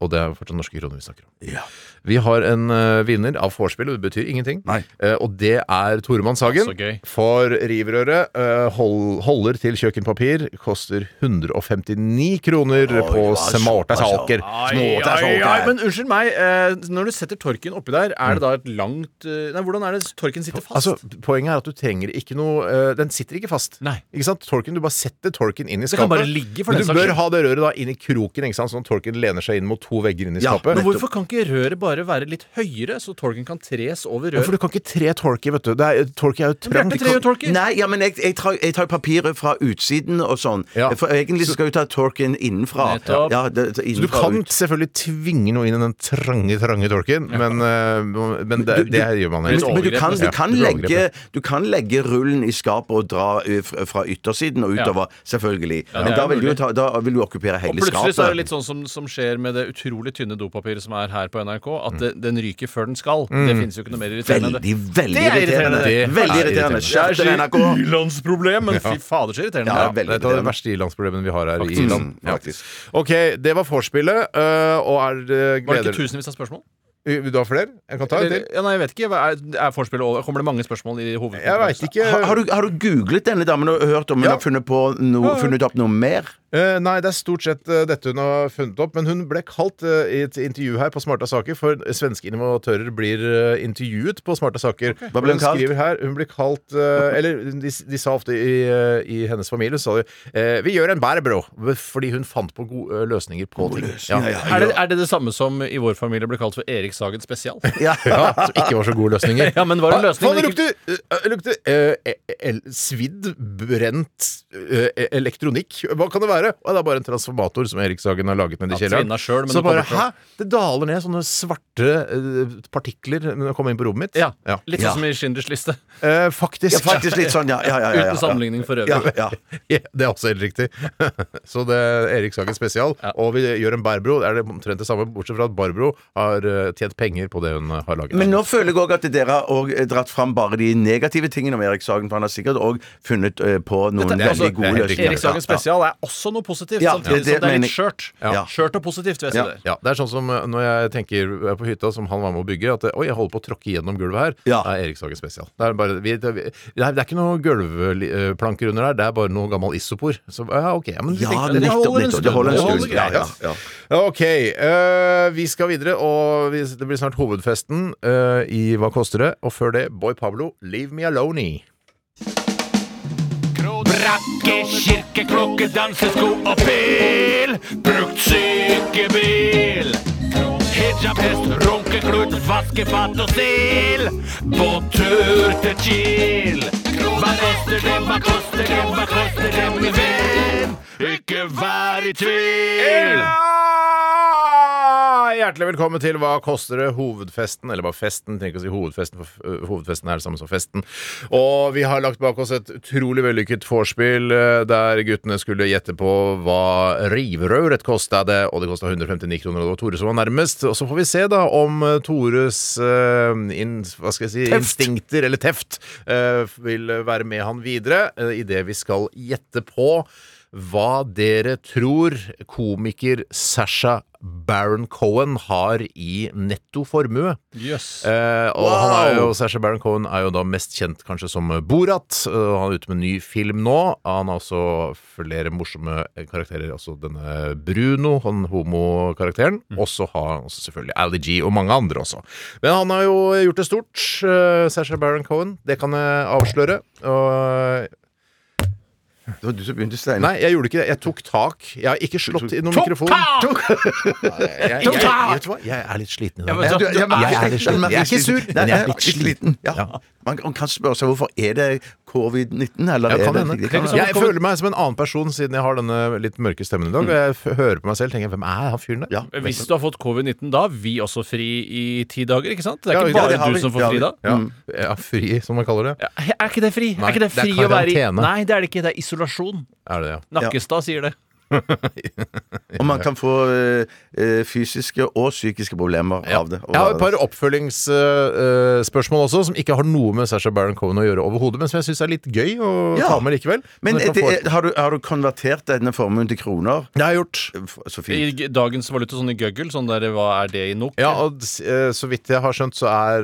[SPEAKER 4] Og det er jo fortsatt norske kroner vi snakker om.
[SPEAKER 5] Ja.
[SPEAKER 4] Vi har en eh, vinner av vorspiel, og det betyr ingenting.
[SPEAKER 5] Nei.
[SPEAKER 4] Eh, og det er Toremann Sagen.
[SPEAKER 6] Så gøy.
[SPEAKER 4] For rivrøret eh, hold, holder til kjøkkenpapir koster 159 kroner
[SPEAKER 5] Oi,
[SPEAKER 4] på
[SPEAKER 5] hva er
[SPEAKER 4] smarta
[SPEAKER 5] såpass, ja.
[SPEAKER 4] saker. sånn
[SPEAKER 5] Små, det er så
[SPEAKER 6] ai,
[SPEAKER 5] gøy.
[SPEAKER 6] men unnskyld meg. eh, Når du setter torken oppi der, er det da et langt eh, Nei, hvordan er det torken sitter fast?
[SPEAKER 4] Altså, poenget er at du trenger ikke noe eh, Den sitter ikke fast.
[SPEAKER 6] Nei.
[SPEAKER 4] Ikke sant? Torken, Du bare setter torken inn i
[SPEAKER 6] kan
[SPEAKER 4] skapet.
[SPEAKER 6] bare ligge for
[SPEAKER 4] men
[SPEAKER 6] den
[SPEAKER 4] du
[SPEAKER 6] saks
[SPEAKER 4] bør
[SPEAKER 6] skyld.
[SPEAKER 4] ha det røret da inn i kroken, ikke sant? sånn at torken lener seg inn mot to vegger inn i
[SPEAKER 5] Ja,
[SPEAKER 4] skapet.
[SPEAKER 6] men hvorfor kan ikke røret bare være litt høyere, så torken kan tres over
[SPEAKER 4] Ja, for
[SPEAKER 6] røret?
[SPEAKER 4] du kan ikke tre torky, vet du. Det er, torky er jo
[SPEAKER 6] Bjarte
[SPEAKER 4] trangt.
[SPEAKER 6] tre jo torker.
[SPEAKER 5] Nei, ja, men jeg, jeg, tar, jeg tar papiret fra utsiden og sånn.
[SPEAKER 4] Ja.
[SPEAKER 5] For egentlig så skal du ta torken innenfra.
[SPEAKER 6] Nettopp.
[SPEAKER 5] Ja, det, det,
[SPEAKER 4] Du
[SPEAKER 5] innenfra
[SPEAKER 4] kan
[SPEAKER 5] ut.
[SPEAKER 4] selvfølgelig tvinge noe inn i den trange, trange torken, men, eh, men det, det gjør man
[SPEAKER 5] Men,
[SPEAKER 4] helt
[SPEAKER 5] men du, kan, du,
[SPEAKER 4] altså. Ja,
[SPEAKER 5] kan
[SPEAKER 4] blir
[SPEAKER 5] legge,
[SPEAKER 4] overgrepet.
[SPEAKER 5] du kan legge rullen i skapet og dra ø, fra fra yttersiden og utover, selvfølgelig. Men
[SPEAKER 6] er
[SPEAKER 5] da vil, du,
[SPEAKER 6] mulig.
[SPEAKER 5] ta, da vil du okkupere
[SPEAKER 6] Og
[SPEAKER 5] hele
[SPEAKER 6] plutselig
[SPEAKER 5] skapet.
[SPEAKER 6] så er det litt sånn som, som skjer med det utrolig tynne dopapiret som er her på NRK, at det, den ryker før den skal. Det finnes jo ikke noe mer irriterende enn det.
[SPEAKER 5] Veldig, veldig
[SPEAKER 6] Det er
[SPEAKER 5] irriterende.
[SPEAKER 6] irriterende.
[SPEAKER 4] Det
[SPEAKER 5] Veldig
[SPEAKER 4] er
[SPEAKER 5] irriterende.
[SPEAKER 4] irriterende.
[SPEAKER 5] Skjerp
[SPEAKER 6] Det
[SPEAKER 5] deg,
[SPEAKER 6] er
[SPEAKER 5] NRK.
[SPEAKER 6] så i-landsproblem, men fy fader, så irriterende.
[SPEAKER 5] Ja,
[SPEAKER 4] Det er
[SPEAKER 6] det er.
[SPEAKER 5] veldig
[SPEAKER 4] et av de
[SPEAKER 5] irriterende.
[SPEAKER 4] verste i-landsproblemene vi har her i
[SPEAKER 5] Faktisk.
[SPEAKER 4] Irland.
[SPEAKER 5] Mm, faktisk.
[SPEAKER 4] Ok, det var vorspielet, øh, og er det
[SPEAKER 6] Var det
[SPEAKER 4] gleder
[SPEAKER 6] ikke tusenvis av spørsmål?
[SPEAKER 4] Vil du ha flere? Jeg kan ta et til.
[SPEAKER 6] Eller- Ja, nei, jeg vet ikke. Hva Er, er forspillet over? Kommer det mange spørsmål i hovedkonkurransen?
[SPEAKER 4] Jeg veit ikke.
[SPEAKER 5] Har, har, du, har du googlet denne damen og hørt om hun
[SPEAKER 4] Ja.
[SPEAKER 5] har funnet, på noe, funnet opp noe mer?
[SPEAKER 4] Eh, nei, det er stort sett eh, dette hun har funnet opp. Men hun ble kalt eh, i et intervju her på Smarta saker, for svenske innovatører blir eh, intervjuet på Smarta saker.
[SPEAKER 5] Hva ble hun kalt?
[SPEAKER 4] skriver her, hun blir kalt eh, Eller de, de sa ofte i, eh, i hennes familie sa de, eh, 'Vi gjør en bærbro', fordi hun fant på gode eh, løsninger på ting.
[SPEAKER 5] løsninger, ja.
[SPEAKER 6] Er det, er det det samme som i vår familie ble kalt for Erik
[SPEAKER 4] <laughs>
[SPEAKER 6] Sagen spesial?
[SPEAKER 5] Ja.
[SPEAKER 4] Ja, som ikke var så gode løsninger.
[SPEAKER 6] Ja, men var det en løsning,
[SPEAKER 4] Faen, det
[SPEAKER 6] men
[SPEAKER 4] lukter, eh, lukter eh, el, svidd, brent eh, elektronikk. Hva kan det være? Og det er bare en transformator som Erik Sagen har laget nede i
[SPEAKER 6] Ja,
[SPEAKER 4] kjelleren.
[SPEAKER 6] tvinna selv, men
[SPEAKER 4] så
[SPEAKER 6] det
[SPEAKER 4] bare, hæ?
[SPEAKER 6] kommer
[SPEAKER 4] Det daler ned sånne svarte eh, partikler når jeg kommer inn på rommet mitt.
[SPEAKER 6] Ja.
[SPEAKER 4] Ja.
[SPEAKER 6] Litt
[SPEAKER 5] Ja.
[SPEAKER 6] sånn som i Schindlers liste.
[SPEAKER 4] Eh, faktisk.
[SPEAKER 5] ja, faktisk litt sånn, ja. ja, ja, ja, ja.
[SPEAKER 6] Uten sammenligning for øvrig.
[SPEAKER 5] Ja, ja.
[SPEAKER 4] <laughs> Ja, det er også helt riktig. <laughs> så det er Erik Sagen spesial.
[SPEAKER 6] Ja.
[SPEAKER 4] Og vi gjør en Barbro. Det er det omtrent det samme, bortsett fra at Barbro har eh, tjent penger på det hun eh, har laget.
[SPEAKER 5] Men nå føler jeg òg at dere har også dratt fram bare de negative tingene om Erik Sagen. For han har sikkert òg funnet eh, på noen
[SPEAKER 6] Dette- altså,
[SPEAKER 5] veldig gode
[SPEAKER 4] det er helt riktig.
[SPEAKER 5] løsninger.
[SPEAKER 6] Erik Sagen spesial er også noe positivt,
[SPEAKER 5] Ja,
[SPEAKER 6] samtidig
[SPEAKER 5] det- det
[SPEAKER 6] som det er
[SPEAKER 5] mener
[SPEAKER 6] litt
[SPEAKER 5] jeg.
[SPEAKER 6] skjørt.
[SPEAKER 5] Ja.
[SPEAKER 6] Skjørt og positivt, vil jeg si
[SPEAKER 5] Ja.
[SPEAKER 6] der.
[SPEAKER 4] Ja, Det er sånn som eh, når jeg tenker eh, på hytta som han var med å bygge, at eh, oi, jeg holder på å tråkke gjennom gulvet her.
[SPEAKER 5] Ja.
[SPEAKER 4] Det er Erikshagen spesial. Det er, bare, vi, det, vi, det er, det er ikke noen gulvplanker under der, det er bare noe gammel isopor. Så ja, ok, ja, men
[SPEAKER 5] Ja,
[SPEAKER 4] tenker-
[SPEAKER 5] nettopp, nettopp. Det holder en stund.
[SPEAKER 4] greit.
[SPEAKER 5] Ja, ja,
[SPEAKER 4] Ok, eh, vi skal videre, og vi, det blir snart hovedfesten eh, i Hva koster det? Og før det, Boy Pablo, Leave Me Alone.
[SPEAKER 7] Brakke, kirke, klokke, dansesko og pil. Brukt sykebil. Hijab, hest, runkeklut, vaskefat og stil. Båttur til Kiel. Hva koster det, hva koster det, hva koster det, min venn? Ikke vær i tvil.
[SPEAKER 4] Ja! Hjertelig velkommen til Hva koster det? Hovedfesten, eller bare festen. Trenger ikke å si hovedfesten, for øh, hovedfesten er det samme som festen. Og vi har lagt bak oss et utrolig vellykket vorspiel øh, der guttene skulle gjette på hva rivrøret kosta det, og det kosta 159 kroner, og det var Tore som var nærmest. Og så får vi se, da, om øh, Tores øh, inn, hva skal jeg si, instinkter, eller teft, øh, vil være med han videre øh, i det vi skal gjette på hva dere tror komiker Sasha Baron Cohen har i netto formue.
[SPEAKER 6] Jøss.
[SPEAKER 4] Eh, og han er jo, Sasha Baron Cohen er jo da mest kjent kanskje som Borat. eh, og han er ute med en ny film nå. Han har også flere morsomme karakterer. Altså denne Bruno, han homokarakteren. Og så har han også selvfølgelig Ali G og mange andre også. Men han har jo gjort det stort, eh, Sasha Baron Cohen. Det kan jeg avsløre. Og eh,
[SPEAKER 5] Det var du som begynte, Stein.
[SPEAKER 4] Nei, jeg gjorde ikke det. Jeg tok tak. Jeg har ikke slått i noen mikrofon. Jeg, jeg, jeg, vet du hva? jeg er litt sliten i dag.
[SPEAKER 5] Ja, du- jeg merker-
[SPEAKER 4] Jeg er litt sliten.
[SPEAKER 5] merker
[SPEAKER 4] Jeg er ikke sur, men jeg er litt sliten.
[SPEAKER 5] Ja. Man, man kan spørre seg hvorfor er det covid-19, eller
[SPEAKER 4] Ja,
[SPEAKER 5] er
[SPEAKER 4] kan
[SPEAKER 5] det-
[SPEAKER 4] hende.
[SPEAKER 5] det kan
[SPEAKER 4] Jeg føler meg som en annen person siden jeg har denne litt mørke stemmen i dag. Og jeg f- hører på meg selv tenker jeg, hvem er han fyren der?
[SPEAKER 5] Ja.
[SPEAKER 6] Hvis du har fått covid-19, da har vi også fri i ti dager, ikke sant? Det er
[SPEAKER 4] Ja,
[SPEAKER 6] ikke
[SPEAKER 4] ja,
[SPEAKER 6] bare
[SPEAKER 5] det har
[SPEAKER 6] du
[SPEAKER 5] vi.
[SPEAKER 6] som får
[SPEAKER 5] Det har
[SPEAKER 6] fri
[SPEAKER 5] vi.
[SPEAKER 6] da.
[SPEAKER 4] Ja. Eh, ja, fri, som man kaller det.
[SPEAKER 6] Ja, Er ikke det fri?
[SPEAKER 4] Nei,
[SPEAKER 6] er ikke det
[SPEAKER 4] det er
[SPEAKER 6] fri å være i?
[SPEAKER 4] karantene.
[SPEAKER 6] Nei, det er det ikke. Det er isolasjon.
[SPEAKER 4] Er det, ja.
[SPEAKER 6] Nakkestad sier det.
[SPEAKER 5] Og man kan få eh, eh, fysiske og psykiske problemer av det.
[SPEAKER 4] Jeg har et par oppfølgingsspørsmål eh, også, som ikke har noe med Sasha Baron Cohen å gjøre overhodet, men som jeg syns er litt gøy å
[SPEAKER 5] Ja.
[SPEAKER 4] ta med likevel.
[SPEAKER 5] Men
[SPEAKER 4] Så dere
[SPEAKER 5] er
[SPEAKER 4] kan få-
[SPEAKER 5] det, har, du, har du konvertert denne formuen til kroner? Eh,
[SPEAKER 4] det har jeg gjort.
[SPEAKER 5] Så
[SPEAKER 6] I
[SPEAKER 5] fint.
[SPEAKER 6] g- dagens valuta, sånn i gøggel, sånn der hva er det i nok?
[SPEAKER 4] Ja, og s- eh, så vidt jeg har skjønt, så er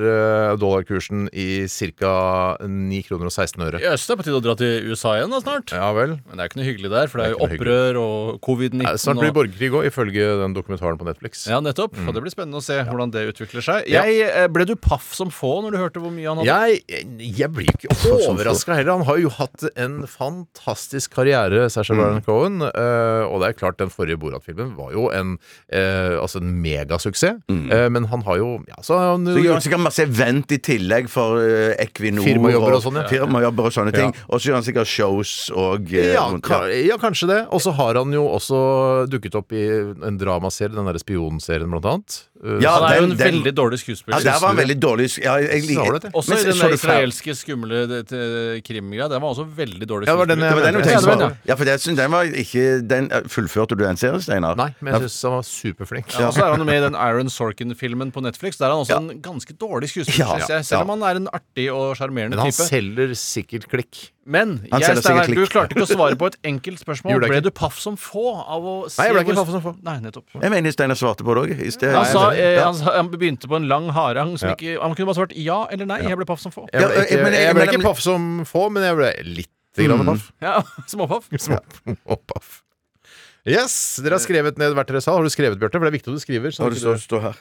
[SPEAKER 4] eh, dollarkursen i ca. 9 kroner og 16 øre.
[SPEAKER 6] Jøss, det er på tide å dra til USA igjen da snart.
[SPEAKER 4] Ja vel.
[SPEAKER 6] Men det er ikke noe hyggelig der, for det er jo
[SPEAKER 4] Det er ikke noe
[SPEAKER 6] opprør og covid-19
[SPEAKER 4] Ja, Snart blir det
[SPEAKER 6] og
[SPEAKER 4] borgerkrig òg, ifølge den dokumentaren på Netflix.
[SPEAKER 6] ja, nettopp. Og det blir spennende å se hvordan det utvikler seg.
[SPEAKER 4] Ja.
[SPEAKER 6] Jeg, eh, ble du paff som få når du hørte hvor mye han hadde?
[SPEAKER 4] Jeg, jeg blir jo ikke overraska heller. Han har jo hatt en fantastisk karriere, Sasha
[SPEAKER 5] Mm.
[SPEAKER 4] Baron Cohen. eh, og det er klart, den forrige Borat-filmen var jo en, eh, altså en megasuksess. Eh, men han har jo ja, så har han,
[SPEAKER 5] Mm. Så gjør han sikkert masse event i tillegg for eh, Equinor
[SPEAKER 4] Firmajobber og sånn, ja.
[SPEAKER 5] firmajobber og sånne ting. Og så gjør han sikkert shows og eh,
[SPEAKER 4] Ja,
[SPEAKER 5] rundt-
[SPEAKER 4] ka- ja, kanskje det. Og så har han jo også dukket opp i en dramaserie, den derre spionserien, blant annet. Eh,
[SPEAKER 5] Ja,
[SPEAKER 6] Han er jo
[SPEAKER 5] den-
[SPEAKER 6] en
[SPEAKER 5] den-
[SPEAKER 6] veldig
[SPEAKER 5] Ja,
[SPEAKER 6] dårlig skuespiller.
[SPEAKER 5] der var han veldig dårlig ja, jeg,
[SPEAKER 4] Så har du det.
[SPEAKER 6] Også
[SPEAKER 5] Men
[SPEAKER 6] i den
[SPEAKER 5] så du Fab-
[SPEAKER 6] israelske skumle det- det- krimgreia. Den var også veldig dårlig
[SPEAKER 4] Ja, det var den
[SPEAKER 5] Det var den du tenkte
[SPEAKER 4] Ja, det
[SPEAKER 5] på?
[SPEAKER 4] var
[SPEAKER 5] Ja, for jeg synes den var ikke den, eh, Fullførte du den serien, Steinar?
[SPEAKER 4] Nei, men jeg syns han var superflink.
[SPEAKER 6] Ja, og så er han med i den Aaron Sorkin-filmen på Netflix. Der er han også
[SPEAKER 5] Ja.
[SPEAKER 6] en ganske dårlig skuespiller,
[SPEAKER 5] Ja,
[SPEAKER 6] synes jeg. Selv om
[SPEAKER 5] ja.
[SPEAKER 6] han er en artig og sjarmerende
[SPEAKER 4] Men han
[SPEAKER 6] type.
[SPEAKER 4] selger sikkert klikk.
[SPEAKER 6] Men
[SPEAKER 5] Han
[SPEAKER 6] jeg,
[SPEAKER 5] selger
[SPEAKER 6] Steinar,
[SPEAKER 5] sikkert
[SPEAKER 6] du
[SPEAKER 5] litt.
[SPEAKER 6] klarte ikke å svare på et enkelt spørgsmål.
[SPEAKER 4] Gjorde jeg
[SPEAKER 6] Ble
[SPEAKER 4] ikke.
[SPEAKER 6] du paff som få av å se
[SPEAKER 4] Nei, jeg ble ikke
[SPEAKER 6] hvor-
[SPEAKER 4] paff som få.
[SPEAKER 6] Nei, nettopp.
[SPEAKER 5] Jeg mener Steinar svarte på det òg.
[SPEAKER 6] Han, sa, eh,
[SPEAKER 5] ja.
[SPEAKER 6] han, sa- han begynte på en lang harang som ikke Han kunne bare svart ja eller nei. Jeg ble paff som få.
[SPEAKER 4] Jeg ble
[SPEAKER 5] Ja, eh,
[SPEAKER 4] ikke,
[SPEAKER 5] men jeg-
[SPEAKER 4] jeg ble
[SPEAKER 5] men- Mm.
[SPEAKER 4] ikke paff som få, men jeg ble litt grann paff.
[SPEAKER 6] Ja, <laughs> Småpaff.
[SPEAKER 4] <laughs> Og paff. Yes! Dere har skrevet ned hvert deres sal. Har du skrevet, Bjarte? For det er viktig at du skriver. sånn
[SPEAKER 5] Og
[SPEAKER 4] at
[SPEAKER 5] det
[SPEAKER 4] ikke
[SPEAKER 5] står, Mm.
[SPEAKER 4] du-
[SPEAKER 5] står her.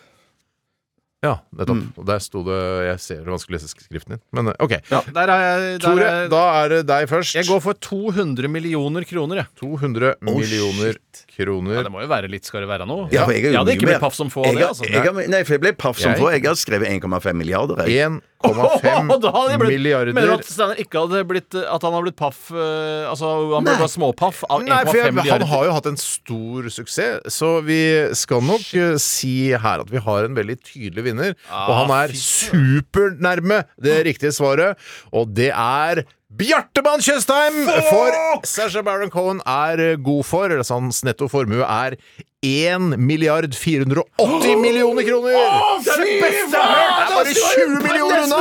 [SPEAKER 4] Ja, nettopp. Og der sto det Jeg ser det vanskelig å lese skriften din. Men eh, OK.
[SPEAKER 6] Ja, der er, jeg- der
[SPEAKER 4] Tore,
[SPEAKER 6] er,
[SPEAKER 4] da er det deg først.
[SPEAKER 6] jeg går for 200 millioner kroner, jeg.
[SPEAKER 4] 200 millioner
[SPEAKER 6] Ja,
[SPEAKER 4] kroner.
[SPEAKER 6] det må jo være litt skal det være noe.
[SPEAKER 5] Ja, for jeg er jo
[SPEAKER 6] jeg hadde
[SPEAKER 5] mye
[SPEAKER 6] ikke blitt
[SPEAKER 5] mer.
[SPEAKER 6] paff som få av
[SPEAKER 5] Jeg
[SPEAKER 6] det,
[SPEAKER 5] har,
[SPEAKER 6] altså.
[SPEAKER 5] jeg
[SPEAKER 6] <laughs>
[SPEAKER 5] har, nei, for jeg ble paff som
[SPEAKER 4] Jeg-
[SPEAKER 5] få. Jeg har skrevet 1,5 milliarder. Jeg.
[SPEAKER 6] <laughs>
[SPEAKER 4] 1,5
[SPEAKER 6] Og da hadde jeg blitt, Mener du
[SPEAKER 4] milliarder.
[SPEAKER 6] at Steinar ikke hadde blitt At han har blitt paff eh, Altså han ble
[SPEAKER 5] Nei.
[SPEAKER 6] bare småpaff av
[SPEAKER 4] Nei, for
[SPEAKER 6] 1,5
[SPEAKER 4] jeg, han
[SPEAKER 6] milliarder?
[SPEAKER 4] har jo hatt en stor suksess, så vi skal nok eh, si her at vi har en veldig tydelig vinner. og
[SPEAKER 6] Ah,
[SPEAKER 4] han er supernærme det riktige svaret, og det er Bjartemann Tjøstheim! For Sasha Baron Cohen er eh, god for, eller altså hans netto formue er 1 milliard
[SPEAKER 6] <gasps>
[SPEAKER 4] 480 millioner kroner! det er det beste jeg har hørt! altså, Det er bare 20 millioner unna!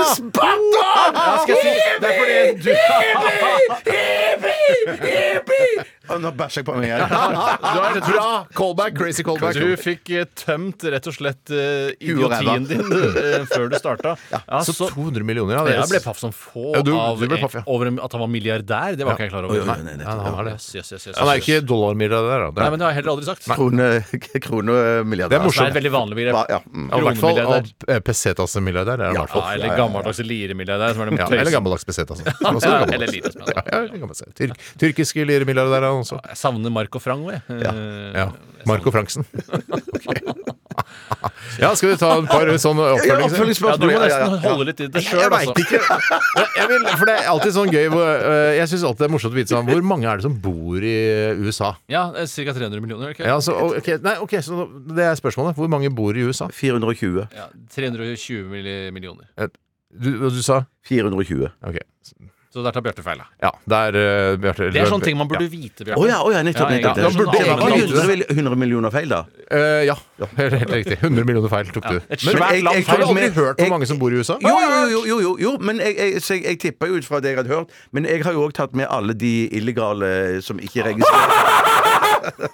[SPEAKER 6] Ja, skal jeg si, det er fordi du
[SPEAKER 5] Og nå bæsjer jeg på meg
[SPEAKER 4] Ja,
[SPEAKER 5] igjen.
[SPEAKER 4] Du har et bra callback, crazy callback.
[SPEAKER 6] Du fikk eh, tømt rett og slett eh,
[SPEAKER 5] Huet og ræva.
[SPEAKER 6] idiotien din eh, før du
[SPEAKER 5] <laughs>
[SPEAKER 6] starta. Ja,
[SPEAKER 4] Så 200 millioner, ja.
[SPEAKER 6] altså- jeg
[SPEAKER 4] det
[SPEAKER 6] ble
[SPEAKER 4] er-
[SPEAKER 6] paff som få
[SPEAKER 4] Ja, du-
[SPEAKER 6] av
[SPEAKER 4] du ble paff, ja.
[SPEAKER 6] over en- at han var milliardær. Det var ikke jeg klar
[SPEAKER 5] Oi,
[SPEAKER 6] over.
[SPEAKER 5] oi, nei, nettopp.
[SPEAKER 6] han var det. Yes, yes, yes, yes,
[SPEAKER 4] Han er
[SPEAKER 6] yes.
[SPEAKER 4] ikke dollarmilliardær, da. Det
[SPEAKER 6] Nei,
[SPEAKER 4] er-
[SPEAKER 6] men det har jeg heller aldri sagt. Det
[SPEAKER 5] Krone, krone milliard.
[SPEAKER 4] Det er morsomt.
[SPEAKER 6] er et veldig vanlig begrep.
[SPEAKER 5] Ba- Ja. mm.
[SPEAKER 4] Ja, I hvert fall
[SPEAKER 6] Kronemilliardær.
[SPEAKER 4] av, eh, pesetas-milliardær. er han i
[SPEAKER 6] Ja,
[SPEAKER 4] hvert fall.
[SPEAKER 6] eller gammeldags liremilliardær. Som er den
[SPEAKER 4] Ja, eller
[SPEAKER 6] tøysen.
[SPEAKER 4] gammeldags pesetas.
[SPEAKER 6] <laughs>
[SPEAKER 4] Også
[SPEAKER 6] Ja,
[SPEAKER 4] gammeldags.
[SPEAKER 6] eller lite som er
[SPEAKER 4] Ja, ja, eller gammeldags. Tyrk, tyrkiske liremilliardærer er han også.
[SPEAKER 6] Jeg savner Marco Frango, jeg. Eh,
[SPEAKER 4] Ja. Marco Franksen. <laughs> ja, skal vi ta et par sånne oppfølgingsspørsmål?
[SPEAKER 6] <laughs> Ja, du må
[SPEAKER 5] Ja, ja, ja.
[SPEAKER 6] nesten holde litt i det sjøl,
[SPEAKER 4] Jeg veit
[SPEAKER 6] altså.
[SPEAKER 4] ikke. Jeg vil, for det er alltid sånn gøy hvor, eh, Jeg syns alltid det er morsomt å vite sånn Hvor mange er det som bor i eh, USA?
[SPEAKER 6] Ja, Ca. 300 millioner. ikke?
[SPEAKER 4] Ja, så, ok, nei, ok, så Det er spørsmålet. Hvor mange bor i USA?
[SPEAKER 5] 420.
[SPEAKER 6] Ja, 320 milli- millioner.
[SPEAKER 4] Du, du sa
[SPEAKER 5] 420.
[SPEAKER 4] Ok.
[SPEAKER 6] Så der tar Bjarte feil. da.
[SPEAKER 4] Ja, der uh, Bjarte
[SPEAKER 6] Det er sånne ting man burde vite. Bjarte.
[SPEAKER 5] Å ja, å ja, nettopp.
[SPEAKER 6] Ja, ja,
[SPEAKER 5] nettopp.
[SPEAKER 6] ja.
[SPEAKER 5] Det
[SPEAKER 6] Man burde
[SPEAKER 5] var
[SPEAKER 6] egentlig
[SPEAKER 5] 100, vil- 100 millioner feil, da.
[SPEAKER 4] Eh, ja, <laughs> helt, helt riktig. 100 millioner feil tok du.
[SPEAKER 6] Et
[SPEAKER 4] Men
[SPEAKER 6] svært
[SPEAKER 4] jeg,
[SPEAKER 6] land
[SPEAKER 4] jeg,
[SPEAKER 6] feil.
[SPEAKER 4] har aldri
[SPEAKER 5] Men-
[SPEAKER 4] hørt hvor
[SPEAKER 5] jeg-
[SPEAKER 4] mange som bor i USA.
[SPEAKER 5] Jo, jo, jo, jo, jo, jo. men jeg, jeg, så jeg, jeg tippa jo ut fra det jeg hadde hørt. Men jeg har jo òg tatt med alle de illegale som ikke er registrert.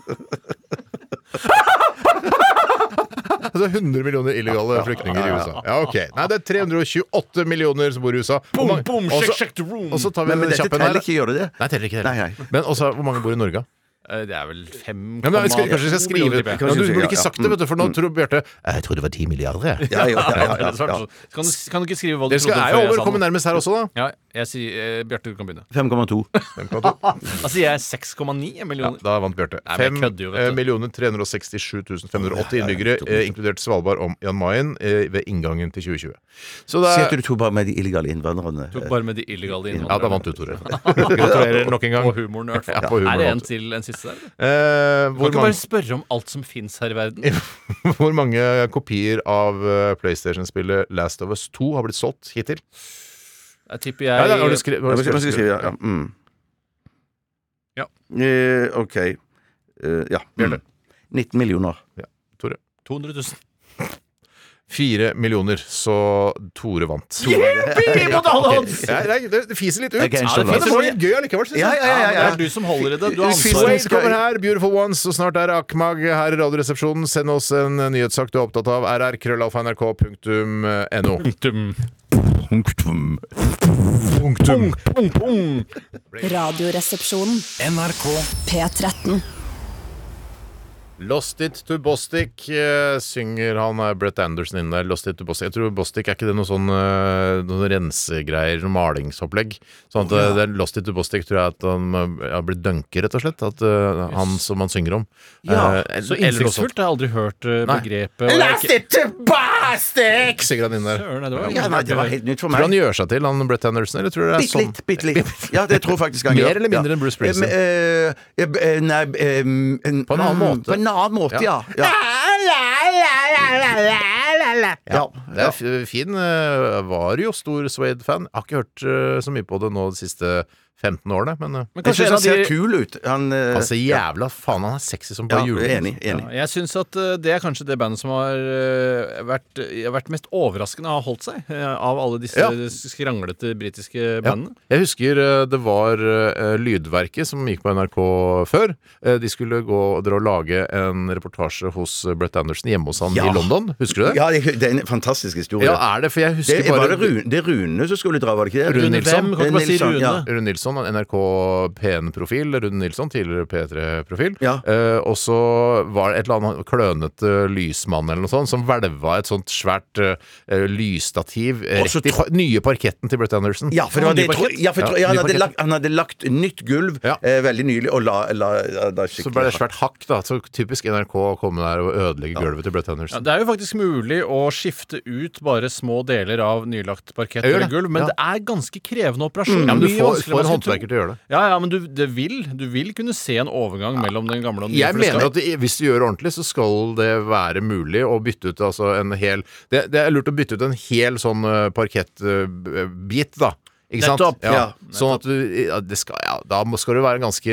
[SPEAKER 4] Altså 100 millioner illegale flyktninger i USA. Ja, ok. Nei, det er 328 millioner som bor i USA. Hvor mange-
[SPEAKER 6] boom,
[SPEAKER 4] og så-
[SPEAKER 6] shake, shake the room.
[SPEAKER 4] Og så tar vi
[SPEAKER 5] Men,
[SPEAKER 4] den
[SPEAKER 5] men dette
[SPEAKER 4] kjappen
[SPEAKER 5] teller
[SPEAKER 4] her.
[SPEAKER 5] ikke, gjør det det?
[SPEAKER 4] Nei, teller ikke det.
[SPEAKER 5] Nei, nei.
[SPEAKER 4] Men også, hvor mange bor i Norge?
[SPEAKER 6] Eh, Det er vel 5,
[SPEAKER 4] Ja, men jeg skal, kanskje jeg skal skrive
[SPEAKER 6] millioner,
[SPEAKER 4] ut.
[SPEAKER 6] tipper
[SPEAKER 4] Ja,
[SPEAKER 6] jeg.
[SPEAKER 4] du burde ikke
[SPEAKER 5] Ja,
[SPEAKER 4] sagt det, vet du, for nå tror Bjarte Jeg tror det var 10 milliarder, jeg.
[SPEAKER 5] Ja, jo, ja, ja,
[SPEAKER 6] Ja, det er
[SPEAKER 5] ja,
[SPEAKER 6] svart,
[SPEAKER 5] ja.
[SPEAKER 6] så. Kan, du, kan du ikke skrive hva du
[SPEAKER 4] Dere skal,
[SPEAKER 6] trodde
[SPEAKER 4] er jo
[SPEAKER 6] før jeg
[SPEAKER 4] over
[SPEAKER 6] sa
[SPEAKER 4] å komme
[SPEAKER 6] noe?
[SPEAKER 4] nærmest her også, da.
[SPEAKER 6] Ja, jeg sier eh, Bjarte, du kan begynne.
[SPEAKER 5] 5,2.
[SPEAKER 6] Da sier Altså, jeg 6,9
[SPEAKER 4] Ja,
[SPEAKER 6] millioner.
[SPEAKER 4] da vant Bjarte. eh, 5
[SPEAKER 6] Nei, men jeg kødder jo, vet du.
[SPEAKER 4] 367 580 innbyggere, eh, inkludert Svalbard og Jan Mayen, eh, ved inngangen til 2020. Så det
[SPEAKER 5] Si at
[SPEAKER 4] er
[SPEAKER 5] du tok bare med de illegale innvandrerne.
[SPEAKER 6] Tok bare med de illegale
[SPEAKER 4] Ja, da
[SPEAKER 6] innvandrerne.
[SPEAKER 4] vant du,
[SPEAKER 6] <laughs>
[SPEAKER 4] Tore. Gratulerer nok en gang.
[SPEAKER 6] Og humoren, i hvert fall.
[SPEAKER 4] Ja, på humoren,
[SPEAKER 6] er det en
[SPEAKER 4] altså.
[SPEAKER 6] til en siste der? eller?
[SPEAKER 4] Eh,
[SPEAKER 6] Kan
[SPEAKER 4] hvor,
[SPEAKER 6] ikke
[SPEAKER 4] mange,
[SPEAKER 6] bare spørre om alt som fins her i verden?
[SPEAKER 4] <laughs> hvor mange kopier av eh, PlayStation-spillet Last of Us 2 har blitt solgt hittil?
[SPEAKER 6] Jeg tipper
[SPEAKER 4] Ja, da har du
[SPEAKER 6] jeg
[SPEAKER 4] skrevet- har
[SPEAKER 5] Ja, men
[SPEAKER 4] du
[SPEAKER 5] skal- men skal jeg skrive,
[SPEAKER 4] skrevet-
[SPEAKER 5] ja. ja. Mm.
[SPEAKER 6] Ja.
[SPEAKER 5] Eh, OK. Eh, ja. Mm. 19 millioner.
[SPEAKER 4] Tore.
[SPEAKER 6] 200
[SPEAKER 4] <laughs>
[SPEAKER 6] 000.
[SPEAKER 4] Fire millioner, så Tore vant.
[SPEAKER 6] Jippi, mot alle
[SPEAKER 4] Ok.
[SPEAKER 6] odds!
[SPEAKER 4] Ja, nei, det, det fiser litt ut.
[SPEAKER 5] Jeg kan
[SPEAKER 4] Ja, det,
[SPEAKER 5] skjønne
[SPEAKER 4] fiser,
[SPEAKER 6] det.
[SPEAKER 4] men det var litt gøy allikevel, syns jeg.
[SPEAKER 5] Ja, ja, ja,
[SPEAKER 6] Ja,
[SPEAKER 5] ja,
[SPEAKER 6] men det
[SPEAKER 5] ja.
[SPEAKER 6] er du som holder i det. Du
[SPEAKER 5] Fy-
[SPEAKER 6] har ansvaret.
[SPEAKER 5] Sway.
[SPEAKER 4] Suede kommer her, Beautiful Ones, og snart er det Akmag her i Radioresepsjonen. Send oss en nyhetssak du er opptatt av. rr.krøllalfa.nrk.no. Punktum.
[SPEAKER 1] Radioresepsjonen.
[SPEAKER 3] NRK
[SPEAKER 1] P13.
[SPEAKER 4] Lost it to Bostic eh, synger han eh, Brett Anderson inne der. Lost it to Bostic. Jeg tror Bostic er ikke det noe sånn eh, noen rensegreier, noe malingsopplegg. Sånn at eh, det er Lost it to Bostic tror jeg at han eh, har blitt dunket, rett og slett. At eh, han som han synger om.
[SPEAKER 5] Ja,
[SPEAKER 4] eh,
[SPEAKER 6] Så
[SPEAKER 4] eller noe sånt.
[SPEAKER 6] innsiktsfullt. Jeg har aldri hørt eh,
[SPEAKER 4] Nei.
[SPEAKER 6] begrepet. og jeg er ikke-
[SPEAKER 4] Ikke synger han inn der.
[SPEAKER 6] Søren, nei, det var
[SPEAKER 5] Ja, nei, det var helt nytt for
[SPEAKER 4] Tror du han
[SPEAKER 5] meg.
[SPEAKER 4] gjør seg til, han Brett Anderson, eller tror du det er
[SPEAKER 5] Bitte
[SPEAKER 4] sånn?
[SPEAKER 5] litt, bitte litt.
[SPEAKER 6] <laughs>
[SPEAKER 5] Ja, det tror jeg faktisk han
[SPEAKER 4] Mer
[SPEAKER 5] gjør.
[SPEAKER 4] eller mindre
[SPEAKER 5] Ja.
[SPEAKER 4] enn Bruce Springsteen?
[SPEAKER 5] Eh, eh, eh, nei eh, en,
[SPEAKER 4] På en annen
[SPEAKER 5] mm,
[SPEAKER 4] måte.
[SPEAKER 5] På en annen måte, ja. ja. Ja.
[SPEAKER 4] Det er f- fin. eh, Var jo stor Swade-fan. Har ikke hørt eh, så mye på det nå de siste 15 årene, men eh,
[SPEAKER 6] Men
[SPEAKER 5] Jeg
[SPEAKER 6] kanskje
[SPEAKER 5] syns
[SPEAKER 6] en
[SPEAKER 5] han
[SPEAKER 6] av
[SPEAKER 5] ser
[SPEAKER 6] de
[SPEAKER 5] kul ut. Han eh,
[SPEAKER 4] han ser jævla faen, han er sexy som
[SPEAKER 5] ja,
[SPEAKER 4] bare julen.
[SPEAKER 5] Enig. enig.
[SPEAKER 6] ja, Jeg syns at eh, det er kanskje det bandet som har eh, vært, eh, vært mest overraskende har holdt seg, eh, av alle disse
[SPEAKER 4] Ja.
[SPEAKER 6] skranglete britiske
[SPEAKER 4] Ja.
[SPEAKER 6] bandene.
[SPEAKER 4] Jeg husker eh, det var eh, Lydverket som gikk på NRK før. Eh, De skulle gå og dra og lage en reportasje hos eh, Brett Anderson hjemme hos han
[SPEAKER 5] Ja.
[SPEAKER 4] i London. Husker du det?
[SPEAKER 5] Ja, det det er en fantastisk historie.
[SPEAKER 4] Ja, er det? For jeg husker
[SPEAKER 5] det, var
[SPEAKER 4] bare
[SPEAKER 5] det, Rune, det er Rune som skulle dra, var det ikke det?
[SPEAKER 4] Rune Nilsson.
[SPEAKER 6] Hvem? Kan ikke bare si
[SPEAKER 5] Nilsson,
[SPEAKER 6] Rune.
[SPEAKER 5] ja.
[SPEAKER 4] Rune Nilsson, en NRK P1-profil. Rune Nilsson, tidligere P3-profil.
[SPEAKER 5] Ja.
[SPEAKER 4] Eh, og så var det et eller annet klønete lysmann eller noe sånt som hvelva et sånt svært eh, lysstativ eh,
[SPEAKER 5] Og så
[SPEAKER 4] rett i pa nye parketten til Brett Anderson.
[SPEAKER 5] Ja, for, det var
[SPEAKER 4] Ny
[SPEAKER 5] det, jeg tror-
[SPEAKER 4] parkett.
[SPEAKER 5] ja, for jeg
[SPEAKER 4] Ja,
[SPEAKER 5] tror- ja, han,
[SPEAKER 4] ny
[SPEAKER 5] hadde
[SPEAKER 4] parkett.
[SPEAKER 5] lagt, han hadde lagt nytt gulv
[SPEAKER 4] Ja.
[SPEAKER 5] eh, veldig nylig, og la, la, la, la
[SPEAKER 4] Så ble det
[SPEAKER 5] skikkelig
[SPEAKER 4] et svært hakk, da. Så typisk NRK å komme der og ødelegge gulvet til Brett
[SPEAKER 6] Ja,
[SPEAKER 4] Anderson.
[SPEAKER 6] det er jo faktisk mulig å skifte ut bare små deler av nylagt parkett
[SPEAKER 4] Jeg gjør
[SPEAKER 6] eller
[SPEAKER 4] det.
[SPEAKER 6] gulv, men
[SPEAKER 4] Ja. Mm.
[SPEAKER 6] det er ganske krevende operasjon.
[SPEAKER 4] Ja, men du
[SPEAKER 6] Mye
[SPEAKER 4] får,
[SPEAKER 6] vanskeligere altså,
[SPEAKER 4] får
[SPEAKER 6] enn
[SPEAKER 4] en
[SPEAKER 6] man skulle
[SPEAKER 4] håndverker til å gjøre det.
[SPEAKER 6] tro. Ja, ja, men du, det vil, du vil kunne se en overgang mellom den gamle og den nye.
[SPEAKER 4] Jeg
[SPEAKER 6] for det skal-
[SPEAKER 4] mener at det- hvis du gjør det ordentlig, så skal det være mulig å bytte ut altså en hel det, det er lurt å bytte ut en hel sånn eh, parkettbit, da. Ikke sant?
[SPEAKER 5] Nettopp, ja.
[SPEAKER 4] Sånn at du ja, det skal, ja, Da må- skal du være ganske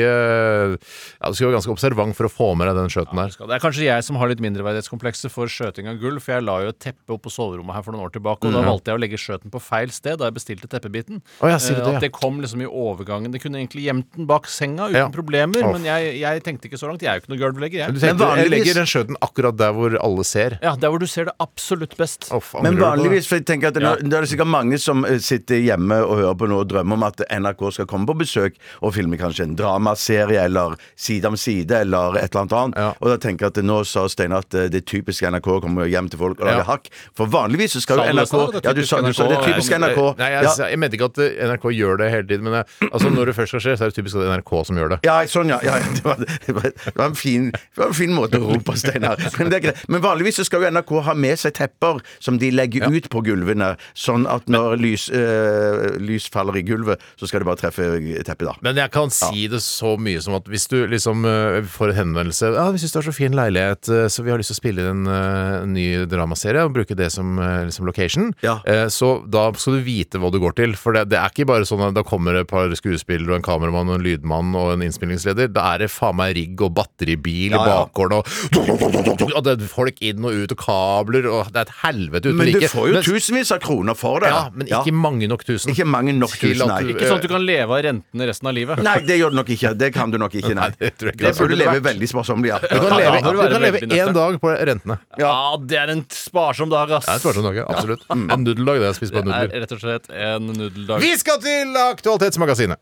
[SPEAKER 4] Ja, du skal være ganske observant for å få med deg den skjøten der.
[SPEAKER 6] Det er kanskje jeg som har litt mindreverdighetskomplekser for skjøting av gull, for jeg la jo et teppe opp på soverommet her for noen år tilbake, og da valgte jeg å legge skjøten på feil sted da jeg bestilte teppebiten.
[SPEAKER 4] Mm. Å, ja, sier du
[SPEAKER 6] Eh,
[SPEAKER 4] det, ja.
[SPEAKER 6] At det kom liksom i overgangen. Det kunne egentlig gjemt den bak senga uten
[SPEAKER 4] Ja.
[SPEAKER 6] problemer,
[SPEAKER 4] Å.
[SPEAKER 6] men jeg, jeg tenkte ikke så langt. Jeg er jo ikke noen gulvlegger,
[SPEAKER 4] Du
[SPEAKER 6] jeg.
[SPEAKER 4] tenker,
[SPEAKER 5] vanligvis-
[SPEAKER 4] jeg legger den skjøten akkurat der hvor alle ser.
[SPEAKER 6] Ja, der hvor du ser det absolutt best.
[SPEAKER 4] Å, faen,
[SPEAKER 5] Men
[SPEAKER 4] angrer du på det?
[SPEAKER 5] vanligvis, for jeg tenker at nå, nå er det sikkert mange som eh, sitter hjemme og hører på noe og drømmer om at NRK skal komme på besøk og filme kanskje en dramaserie eller Side om side eller et eller annet annet.
[SPEAKER 4] Ja.
[SPEAKER 5] Og da tenker jeg at nå sa Steinar at eh, det er typisk NRK å komme hjem til folk og
[SPEAKER 4] Ja.
[SPEAKER 5] lage hakk. For vanligvis så skal
[SPEAKER 6] Sa
[SPEAKER 5] jo
[SPEAKER 6] du
[SPEAKER 5] NRK
[SPEAKER 6] det, sa du? Det er
[SPEAKER 5] Ja, du
[SPEAKER 6] typisk
[SPEAKER 5] sa du sa det er
[SPEAKER 6] NRK,
[SPEAKER 5] typisk NRK.
[SPEAKER 4] Nei, jeg,
[SPEAKER 5] Ja.
[SPEAKER 4] sa- jeg mente ikke at eh, NRK gjør det hele tiden, men jeg, altså, når det først skal skje, så er det typisk at det er NRK som gjør det.
[SPEAKER 5] Ja, sånn, ja. <laughs> ja ja. det, var, det, var, det, var en fin, det var en fin måte å rope,
[SPEAKER 4] <laughs>
[SPEAKER 5] Steinar. Men, det er greit. Men vanligvis så skal jo NRK ha med seg tepper som de legger ut på gulvene, sånn at når lys, eh, lys faller i gulvet, så skal det bare treffe teppet, da.
[SPEAKER 4] Men jeg kan si det så mye som at hvis du liksom eh, får en henvendelse Ja, vi syns du har så fin leilighet, eh, så vi har lyst til å spille inn eh, en ny dramaserie og bruke det som eh, liksom location.
[SPEAKER 5] Ja.
[SPEAKER 4] Eh, Så da skal du vite hva du går til. For det, det er ikke bare sånn at da kommer det et par skuespillere og en kameramann og en lydmann og en innspillingsleder. Da er det faen meg rigg og batteribil i
[SPEAKER 5] ja.
[SPEAKER 4] bakgården og Og det er folk inn og ut og kabler og Det er et helvete uten
[SPEAKER 5] Men du
[SPEAKER 4] like.
[SPEAKER 5] får jo
[SPEAKER 4] Men-
[SPEAKER 5] tusenvis av kroner for det.
[SPEAKER 4] Ja, men ikke mange nok tusen.
[SPEAKER 5] Ikke mange nok
[SPEAKER 4] Til
[SPEAKER 5] tusen,
[SPEAKER 4] at du-
[SPEAKER 5] nei.
[SPEAKER 6] Ikke sånn at du kan leve av rentene resten av livet.
[SPEAKER 5] Nei, det gjør du nok ikke. Det kan du nok ikke, nei.
[SPEAKER 4] <laughs> Nei, det tror jeg ikke
[SPEAKER 5] Det
[SPEAKER 4] det
[SPEAKER 5] burde
[SPEAKER 4] burde
[SPEAKER 5] du leve
[SPEAKER 4] vært.
[SPEAKER 5] veldig sparsommelig, ja.
[SPEAKER 4] Du kan
[SPEAKER 6] Ja,
[SPEAKER 4] leve,
[SPEAKER 6] da må du
[SPEAKER 4] du
[SPEAKER 6] være
[SPEAKER 4] kan leve
[SPEAKER 6] veldig nøktern.
[SPEAKER 4] én dag på rentene.
[SPEAKER 6] Ja, Ah, det er en sparsom dag, ass.
[SPEAKER 4] Det er et spørsmål, Norge, absolutt. En nudeldag, Mm. det er å spise bare
[SPEAKER 6] Det er
[SPEAKER 4] nudler.
[SPEAKER 6] rett og slett en nudeldag.
[SPEAKER 4] Vi skal til Aktualitetsmagasinet.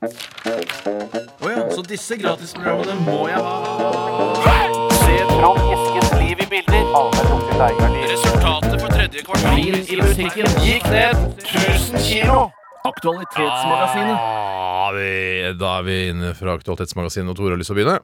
[SPEAKER 6] Så disse gratisprogrammene må jeg ha. Resultatet på tredje kvartal i musikken gikk ned 1000 kilo. Aktualitetsmagasinet.
[SPEAKER 4] Da er vi inne fra Aktualitetsmagasinet, og Tore har lyst til å begynne.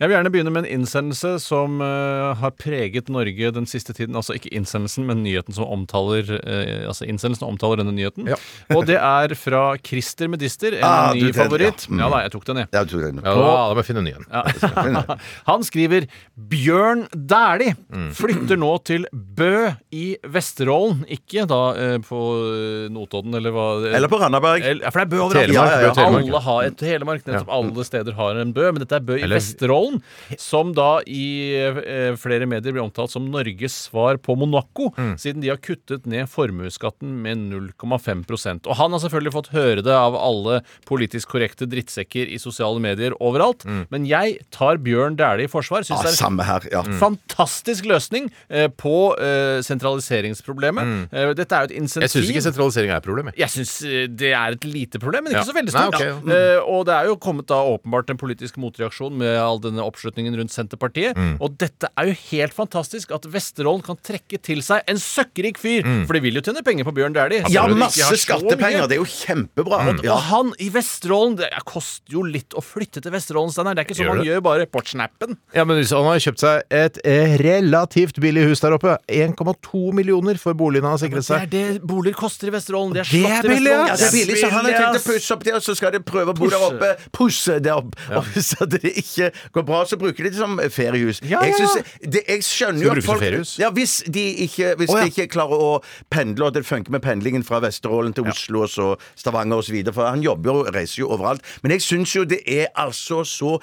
[SPEAKER 6] Jeg vil gjerne begynne med en innsendelse som eh, har preget Norge den siste tiden. Altså ikke innsendelsen, men nyheten som omtaler eh, Altså innsendelsen omtaler denne nyheten.
[SPEAKER 4] Ja.
[SPEAKER 6] <laughs> og det er fra Christer Medister, en
[SPEAKER 5] Ah, du, den,
[SPEAKER 6] ny
[SPEAKER 5] ja.
[SPEAKER 6] favoritt.
[SPEAKER 5] Mm.
[SPEAKER 6] Ja da, jeg tok den, jeg.
[SPEAKER 5] Ja, du tror det.
[SPEAKER 4] Ja, da må jeg finne en ny en.
[SPEAKER 6] Ja. <laughs> Han skriver Bjørn Dæhlie
[SPEAKER 5] Mm.
[SPEAKER 6] flytter nå til Bø i Vesterålen. Ikke da eh, på eh, Notodden eller hva
[SPEAKER 5] Eller på Randaberg.
[SPEAKER 6] El- ja, For det er Bø overalt.
[SPEAKER 4] Telemark,
[SPEAKER 5] Ja, ja, ja.
[SPEAKER 4] Bø, Telemark.
[SPEAKER 6] Alle har et Telemark. Nettopp alle steder har en Bø, men dette er Bø i
[SPEAKER 4] Eller-
[SPEAKER 6] Vesterålen. Som da i eh, flere medier blir omtalt som Norges svar på Monaco,
[SPEAKER 4] Mm.
[SPEAKER 6] siden de har kuttet ned formuesskatten med 0,5 Og han har selvfølgelig fått høre det av alle politisk korrekte drittsekker i sosiale medier overalt,
[SPEAKER 4] Mm.
[SPEAKER 6] men jeg tar Bjørn Dæhlie i forsvar. Synes
[SPEAKER 5] Ja,
[SPEAKER 6] det er
[SPEAKER 5] samme her, ja.
[SPEAKER 4] Mm.
[SPEAKER 6] Fantastisk løsning eh, på eh, sentraliseringsproblemet. Eh, dette er jo et insentiv
[SPEAKER 4] Mm. Jeg syns ikke sentralisering er et problem. jeg.
[SPEAKER 6] jeg syns det er et lite problem, men ikke
[SPEAKER 4] Ja.
[SPEAKER 6] så veldig
[SPEAKER 4] Nei,
[SPEAKER 6] stort.
[SPEAKER 4] ok,
[SPEAKER 6] Ja.
[SPEAKER 4] ja.
[SPEAKER 5] Mm.
[SPEAKER 6] Eh, og det er jo kommet da åpenbart en politisk motreaksjon med all denne oppslutningen rundt Senterpartiet.
[SPEAKER 5] Mm.
[SPEAKER 6] Og dette er jo helt fantastisk at Vesterålen kan trekke til seg en søkkrik fyr! For de vil jo tjene penger på Bjørn Dæhlie.
[SPEAKER 5] Mm. Ja,
[SPEAKER 6] selv om de ikke har
[SPEAKER 5] masse
[SPEAKER 6] så mye.
[SPEAKER 5] skattepenger. Det er jo kjempebra.
[SPEAKER 4] Mm.
[SPEAKER 5] Ja.
[SPEAKER 6] Og han i Vesterålen Det koster jo litt å flytte til Vesterålen, Steinar. Det er ikke sånn
[SPEAKER 4] Gjør
[SPEAKER 6] man
[SPEAKER 4] det?
[SPEAKER 6] gjør bare på snappen.
[SPEAKER 4] Ja, men hvis Han har kjøpt seg et eh, relativt billig hus der oppe. 1,2 millioner for boligen han har sikret
[SPEAKER 6] Det
[SPEAKER 4] seg.
[SPEAKER 6] er det boliger koster i Vesterålen. Det er
[SPEAKER 4] Det er
[SPEAKER 6] slott i
[SPEAKER 4] billig,
[SPEAKER 6] Vesterålen.
[SPEAKER 5] Ja, det er billig, så han har
[SPEAKER 6] billig,
[SPEAKER 5] tenkt å
[SPEAKER 6] Altså, ass.
[SPEAKER 5] pusse opp det, og så skal de prøve å bo der oppe. Pusse det opp. Og hvis det ikke går bra, så bruker de det som feriehus.
[SPEAKER 6] Ja,
[SPEAKER 5] Jeg,
[SPEAKER 6] ja.
[SPEAKER 5] synes, det, jeg skjønner
[SPEAKER 4] Skal
[SPEAKER 5] jo
[SPEAKER 4] du bruke
[SPEAKER 5] at
[SPEAKER 4] det som
[SPEAKER 5] folk
[SPEAKER 4] feriehus?
[SPEAKER 5] ja, Hvis, de ikke, hvis
[SPEAKER 4] ja.
[SPEAKER 5] de ikke klarer å pendle, og det funker med pendlingen fra Vesterålen til Oslo og så Stavanger og så videre, for han jobber jo og reiser jo overalt. Men jeg syns jo det er altså så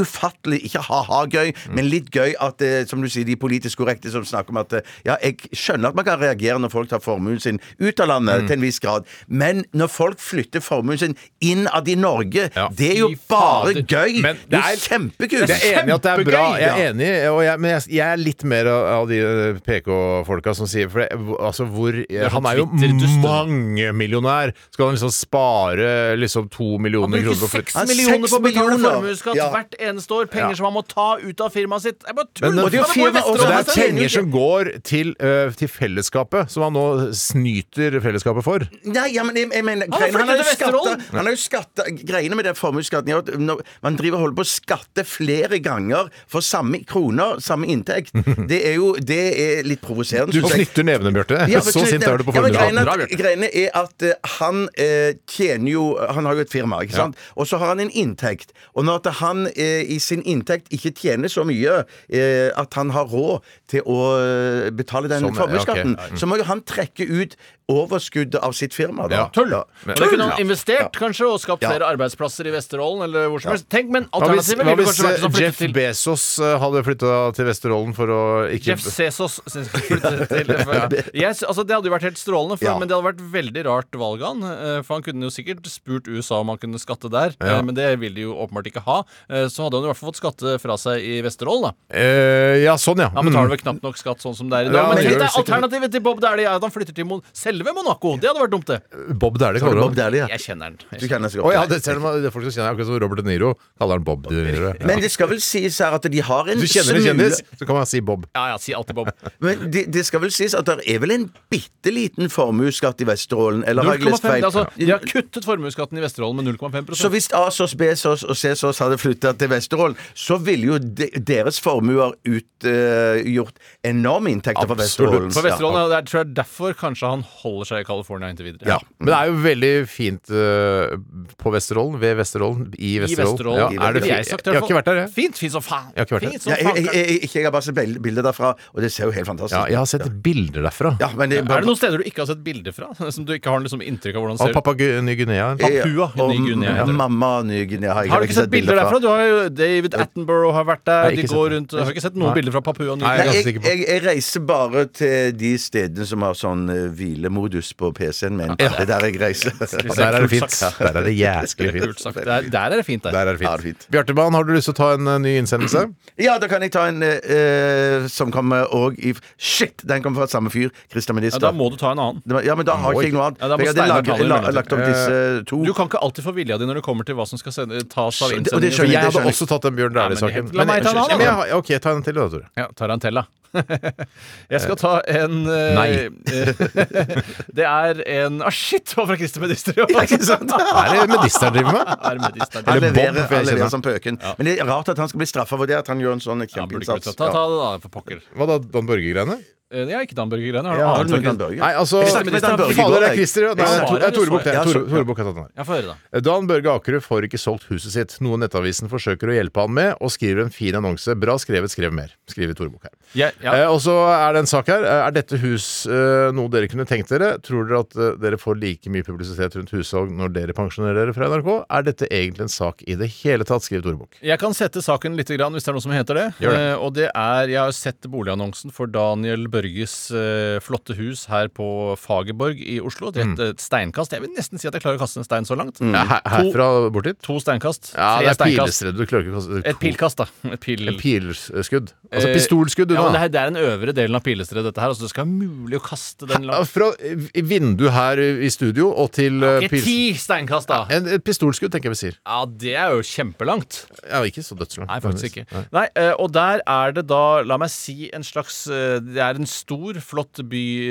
[SPEAKER 5] ufattelig ikke ha-ha gøy,
[SPEAKER 4] Mm.
[SPEAKER 5] men litt gøy at eh, som du sier, de politisk korrekte som snakker om at eh, ja, jeg skjønner at man kan reagere når folk tar formuen sin ut av
[SPEAKER 4] Mm.
[SPEAKER 5] landet til en viss grad, men når folk flytter formuen sin innad i Norge,
[SPEAKER 4] Ja.
[SPEAKER 5] det er jo
[SPEAKER 6] Fy
[SPEAKER 5] bare
[SPEAKER 6] fader.
[SPEAKER 5] gøy!
[SPEAKER 4] Men
[SPEAKER 5] det
[SPEAKER 4] det
[SPEAKER 5] er
[SPEAKER 4] er-
[SPEAKER 5] jo kjempekult!
[SPEAKER 4] Jeg er enig i at det er bra,
[SPEAKER 5] Kjempegøy,
[SPEAKER 4] jeg
[SPEAKER 5] ja.
[SPEAKER 4] er enig, og jeg, men jeg, jeg er litt mer av av de eh, PK-folka som sier For det, altså hvor eh,
[SPEAKER 6] er
[SPEAKER 4] Han
[SPEAKER 6] sånn
[SPEAKER 4] er jo
[SPEAKER 6] Twitter-dusten.
[SPEAKER 4] mangemillionær. Skal han liksom spare liksom to
[SPEAKER 6] Han
[SPEAKER 4] millioner
[SPEAKER 6] bruker
[SPEAKER 4] kroner på
[SPEAKER 6] seks
[SPEAKER 5] Ja,
[SPEAKER 6] millioner
[SPEAKER 5] seks
[SPEAKER 6] på å betale
[SPEAKER 5] millioner.
[SPEAKER 6] formuesskatt
[SPEAKER 5] Ja.
[SPEAKER 6] hvert eneste år. Penger
[SPEAKER 4] Ja.
[SPEAKER 6] som han må ta ut av firmaet sitt. Jeg bare
[SPEAKER 4] Men
[SPEAKER 6] tuller!
[SPEAKER 4] det er jo
[SPEAKER 6] Han bor i
[SPEAKER 5] firma- og
[SPEAKER 4] Så
[SPEAKER 6] Vesterålen,
[SPEAKER 4] det
[SPEAKER 5] Han
[SPEAKER 4] er
[SPEAKER 5] tjener
[SPEAKER 6] Steinar.
[SPEAKER 4] penger som går til, eh, til fellesskapet, som han nå snyter fellesskapet for.
[SPEAKER 5] Nei, ja, men jeg, jeg mener
[SPEAKER 6] har
[SPEAKER 5] greiene-
[SPEAKER 6] flyttet
[SPEAKER 5] Han har jo
[SPEAKER 6] til Vesterålen.
[SPEAKER 5] skatta- han har jo skatta Greiene med den formuesskatten er jo at når man driver og holder på å skatte flere ganger for samme kroner, samme inntekt. Det er jo Det er litt provoserende.
[SPEAKER 4] Du
[SPEAKER 5] synes jeg.
[SPEAKER 4] knytter nevene, Bjarte. <laughs>
[SPEAKER 5] Ja,
[SPEAKER 4] Så
[SPEAKER 5] men-
[SPEAKER 4] sint er du på
[SPEAKER 5] ja, men
[SPEAKER 4] formuesskatten.
[SPEAKER 5] greiene, greiene er at eh, han eh, tjener jo Han har jo et firma, ikke sant? Og så har han en inntekt. Og når at han eh, i sin inntekt ikke tjener så mye eh, at han har råd til å eh, betale den
[SPEAKER 4] Sånn, ja, ok.
[SPEAKER 5] formuesskatten, så må jo han trekke ut overskuddet av sitt firma. Da.
[SPEAKER 4] Ja. Tull.
[SPEAKER 5] Ja.
[SPEAKER 4] Men-
[SPEAKER 6] Og det kunne
[SPEAKER 4] Ja.
[SPEAKER 6] han investert kanskje og skapt
[SPEAKER 5] Ja.
[SPEAKER 6] flere arbeidsplasser i Vesterålen eller hvor som helst. Tenk, men
[SPEAKER 4] Hva hvis,
[SPEAKER 6] alternativet
[SPEAKER 4] hva
[SPEAKER 6] ville
[SPEAKER 4] hvis
[SPEAKER 6] kanskje vært å
[SPEAKER 4] eh, Jeff
[SPEAKER 6] flytte til
[SPEAKER 4] Bezos eh, hadde flytta til Vesterålen for å ikke
[SPEAKER 6] Jeff Bezos synes jeg skulle
[SPEAKER 4] <laughs>
[SPEAKER 6] flytte til Jeg sy- altså, Det hadde jo vært helt strålende, for,
[SPEAKER 5] Ja.
[SPEAKER 6] men det hadde vært veldig rart valg av han. eh, For han kunne jo sikkert spurt USA om han kunne skatte der, eh, men det ville de jo åpenbart ikke ha. Eh, Så hadde han i hvert fall fått skatte fra seg i Vesterålen, da.
[SPEAKER 4] Eh, Ja, sånn, ja.
[SPEAKER 6] Han betaler vel knapt nok skatt sånn som det er i dag.
[SPEAKER 4] Ja,
[SPEAKER 6] men
[SPEAKER 4] han
[SPEAKER 6] tenk
[SPEAKER 4] gjør
[SPEAKER 6] deg,
[SPEAKER 4] sikkert det.
[SPEAKER 6] alternativet til Bob Dæhlie er at han flytter til Mon selve Monaco. Det hadde vært dumt, det.
[SPEAKER 4] Mm. Bob Dæhlie kaller
[SPEAKER 5] Bob
[SPEAKER 4] han.
[SPEAKER 5] Derli, ja.
[SPEAKER 6] Jeg kjenner den.
[SPEAKER 5] Du
[SPEAKER 6] Jeg
[SPEAKER 5] kjenner så
[SPEAKER 4] Å
[SPEAKER 5] godt.
[SPEAKER 4] ja, det ser man, det er folk som kjenner akkurat som Robert De Niro kaller han Bob De Niro. Ja.
[SPEAKER 5] Men det skal vel sies her at de har en
[SPEAKER 4] Du kjenner en
[SPEAKER 5] smule-
[SPEAKER 4] kjendis, så kan man si Bob.
[SPEAKER 6] Ja, ja, si alltid Bob.
[SPEAKER 4] <laughs>
[SPEAKER 5] Men det, det skal vel sies at det er vel en bitte liten formuesskatt i Vesterålen? Eller har jeg
[SPEAKER 6] 0,5,
[SPEAKER 5] lest feil?
[SPEAKER 6] altså, De har kuttet formuesskatten i Vesterålen med 0,5
[SPEAKER 5] Så hvis Asos, Besos og Cesos hadde flytta til Vesterålen, så ville jo de, deres formuer utgjort enorme inntekter for Vesterålen.
[SPEAKER 6] For Vesterålen, ja. det er, tror jeg derfor kanskje han holder seg i California inntil videre.
[SPEAKER 4] Ja. Men det er jo veldig fint eh, på Vesterålen, ved Vesterålen, i
[SPEAKER 6] I
[SPEAKER 4] Vesterålen.
[SPEAKER 6] Vesterålen.
[SPEAKER 4] Ja,
[SPEAKER 6] ville
[SPEAKER 4] er det fi-
[SPEAKER 6] jeg, sagt, i
[SPEAKER 4] jeg har
[SPEAKER 6] hvert fall.
[SPEAKER 4] ikke vært der, jeg.
[SPEAKER 6] Fint, fint som faen.
[SPEAKER 4] Jeg har ikke vært der.
[SPEAKER 5] Ja.
[SPEAKER 6] fint som
[SPEAKER 5] Jeg,
[SPEAKER 6] faen.
[SPEAKER 5] jeg, jeg, ikke, jeg har bare sett bild- bilder derfra, og det ser jo helt fantastisk
[SPEAKER 4] Ja,
[SPEAKER 5] ut.
[SPEAKER 4] jeg har sett bilder derfra.
[SPEAKER 5] Ja, men det er
[SPEAKER 6] er det
[SPEAKER 5] bare
[SPEAKER 6] noen steder du ikke har sett bilder fra? Som du ikke har liksom inntrykk av hvordan det
[SPEAKER 4] Av
[SPEAKER 6] ser ut?
[SPEAKER 4] Papua Ny-Guinea.
[SPEAKER 6] Papua
[SPEAKER 5] og
[SPEAKER 6] Ny-Guinea
[SPEAKER 5] m-
[SPEAKER 6] heter det.
[SPEAKER 5] Mamma Ny-Guinea har jeg
[SPEAKER 6] Har du ikke sett bilder derfra? Du har jo David Attenborough har vært der,
[SPEAKER 4] Nei, ikke
[SPEAKER 6] de går
[SPEAKER 4] sett det.
[SPEAKER 6] rundt Har du ikke sett noen
[SPEAKER 4] Nei.
[SPEAKER 6] bilder fra
[SPEAKER 4] Nei,
[SPEAKER 6] Papua
[SPEAKER 5] Nei,
[SPEAKER 6] Ny-Guinea?
[SPEAKER 4] ganske
[SPEAKER 5] jeg,
[SPEAKER 4] sikker på.
[SPEAKER 5] jeg, jeg reiser bare til de stedene som har sånn eh, hvilemodus på PC-en min. Det er der jeg reiser.
[SPEAKER 4] Og der er det fint. Der er det jæsklig
[SPEAKER 6] Kult
[SPEAKER 4] fint.
[SPEAKER 6] sagt. Der, der er det fint, der.
[SPEAKER 4] Der er
[SPEAKER 5] Ja,
[SPEAKER 4] det
[SPEAKER 5] det er
[SPEAKER 4] fint.
[SPEAKER 5] fint.
[SPEAKER 4] Bjartemann, har du lyst til å ta en eh, ny <clears throat> innsendelse?
[SPEAKER 5] Ja, da kan jeg ta en eh, eh, som kommer òg i Shit! Den kommer fra samme fyr. Christer
[SPEAKER 6] Ja,
[SPEAKER 5] Minister.
[SPEAKER 6] da må du ta en annen.
[SPEAKER 5] Det var- Ja, men da har
[SPEAKER 4] Oi.
[SPEAKER 5] ikke jeg noe annet.
[SPEAKER 6] Ja, da
[SPEAKER 5] For
[SPEAKER 6] må
[SPEAKER 5] jeg hadde
[SPEAKER 6] Steinar
[SPEAKER 5] lag,
[SPEAKER 6] ta det i
[SPEAKER 5] la,
[SPEAKER 6] mellomtiden.
[SPEAKER 5] lagt opp disse eh, to.
[SPEAKER 6] Du kan ikke alltid få vilja di når det kommer til hva som skal sende, tas av
[SPEAKER 5] Skjønner- og
[SPEAKER 4] Jeg
[SPEAKER 5] det skjønner
[SPEAKER 6] innsendinger.
[SPEAKER 5] det
[SPEAKER 4] hadde
[SPEAKER 5] skjønner
[SPEAKER 4] også tatt den Bjørn
[SPEAKER 6] Ja,
[SPEAKER 4] Dæhlie-saken.
[SPEAKER 6] men la meg ta en annen,
[SPEAKER 4] Men
[SPEAKER 6] da.
[SPEAKER 4] jeg- OK, ta en til, da, Tore.
[SPEAKER 6] Ja, Tarantella. <laughs> Jeg skal ta en eh,
[SPEAKER 4] Nei.
[SPEAKER 6] <laughs> det er en ah, Shit, det var fra Christer Medister! <laughs> Ja, ikke sant?
[SPEAKER 4] Hva er det medister driver med?
[SPEAKER 6] Er Medister.
[SPEAKER 5] Han
[SPEAKER 4] Eller Bob,
[SPEAKER 5] leverer,
[SPEAKER 4] for jeg
[SPEAKER 5] han leverer
[SPEAKER 4] kjenner.
[SPEAKER 5] som pøken. Men det er rart at han skal bli straffa for det. At han gjør en sånn
[SPEAKER 6] sånn. Ja, burde ikke vært
[SPEAKER 5] kjempeinnsats.
[SPEAKER 6] tatt. Ta, ta det, da, for pokker.
[SPEAKER 4] Hva da, Dan Børge-greiene?
[SPEAKER 6] Eh, Jeg er ikke Dan Børge Grene. Har du
[SPEAKER 5] Ja,
[SPEAKER 6] annet?
[SPEAKER 5] men
[SPEAKER 6] fra
[SPEAKER 5] Dan
[SPEAKER 6] Christer?
[SPEAKER 5] Børge.
[SPEAKER 4] Nei, altså
[SPEAKER 5] Jeg snakket med Dan Børge i
[SPEAKER 4] Fader,
[SPEAKER 5] går,
[SPEAKER 4] det er
[SPEAKER 5] jeg.
[SPEAKER 4] Christer, ja. Nei,
[SPEAKER 6] Jeg
[SPEAKER 4] det er
[SPEAKER 6] svarer,
[SPEAKER 4] Tor- det er
[SPEAKER 6] jeg
[SPEAKER 4] Tore Bukk. det er
[SPEAKER 5] svarer.
[SPEAKER 4] Tore- Tore Bukk har tatt den her.
[SPEAKER 6] Ja, få høre, da.
[SPEAKER 4] Dan Børge Akerø får ikke solgt huset sitt, noe Nettavisen forsøker å hjelpe han med, og skriver en fin annonse. Bra skrevet, skrev mer. Skriver Tore Bukk her.
[SPEAKER 6] Jeg, ja.
[SPEAKER 4] Eh, og så er det en sak her. Eh, Er dette hus eh, noe dere kunne tenkt dere? Tror dere at eh, dere får like mye publisitet rundt hussalg når dere pensjonerer dere fra NRK? Er dette egentlig en sak i det hele tatt? Skriver Tore Bukk.
[SPEAKER 6] Jeg kan sette saken litt, grann, hvis det er noe som heter det.
[SPEAKER 4] Gjør det.
[SPEAKER 6] Eh, og det er, Jeg har jo sett boligannonsen for Daniel Børges eh, flotte hus her på Fagerborg i Oslo. Det er et, et steinkast. Jeg vil nesten si at jeg klarer å kaste en stein så langt.
[SPEAKER 4] Ja, Mm. her, herfra bort dit?
[SPEAKER 6] To steinkast.
[SPEAKER 4] Ja,
[SPEAKER 6] tre
[SPEAKER 4] det er
[SPEAKER 6] steinkast.
[SPEAKER 4] pilestre. Du klarer ikke å kaste-
[SPEAKER 6] Et pilkast, da. Et pil...
[SPEAKER 4] Et pilskudd. Altså
[SPEAKER 6] Eh,
[SPEAKER 4] pistolskudd
[SPEAKER 6] Ja, men
[SPEAKER 4] unna.
[SPEAKER 6] det, her, det er den øvre delen av pilestredet, dette her. Altså, det skal være mulig å kaste
[SPEAKER 4] <laughs>
[SPEAKER 6] den
[SPEAKER 4] Ja,
[SPEAKER 6] langt.
[SPEAKER 4] Fra eh, vindu her i studio og til eh,
[SPEAKER 6] Ikke
[SPEAKER 4] pils-
[SPEAKER 6] ti steinkast, da!
[SPEAKER 4] En, et pistolskudd, tenker jeg vi sier.
[SPEAKER 6] Ja, det er jo kjempelangt.
[SPEAKER 4] Ja, ikke så dødslangt.
[SPEAKER 6] Nei, faktisk ikke.
[SPEAKER 4] Nei.
[SPEAKER 6] Nei, eh, Og der er det da, la meg si, en slags eh, Det er en stor, flott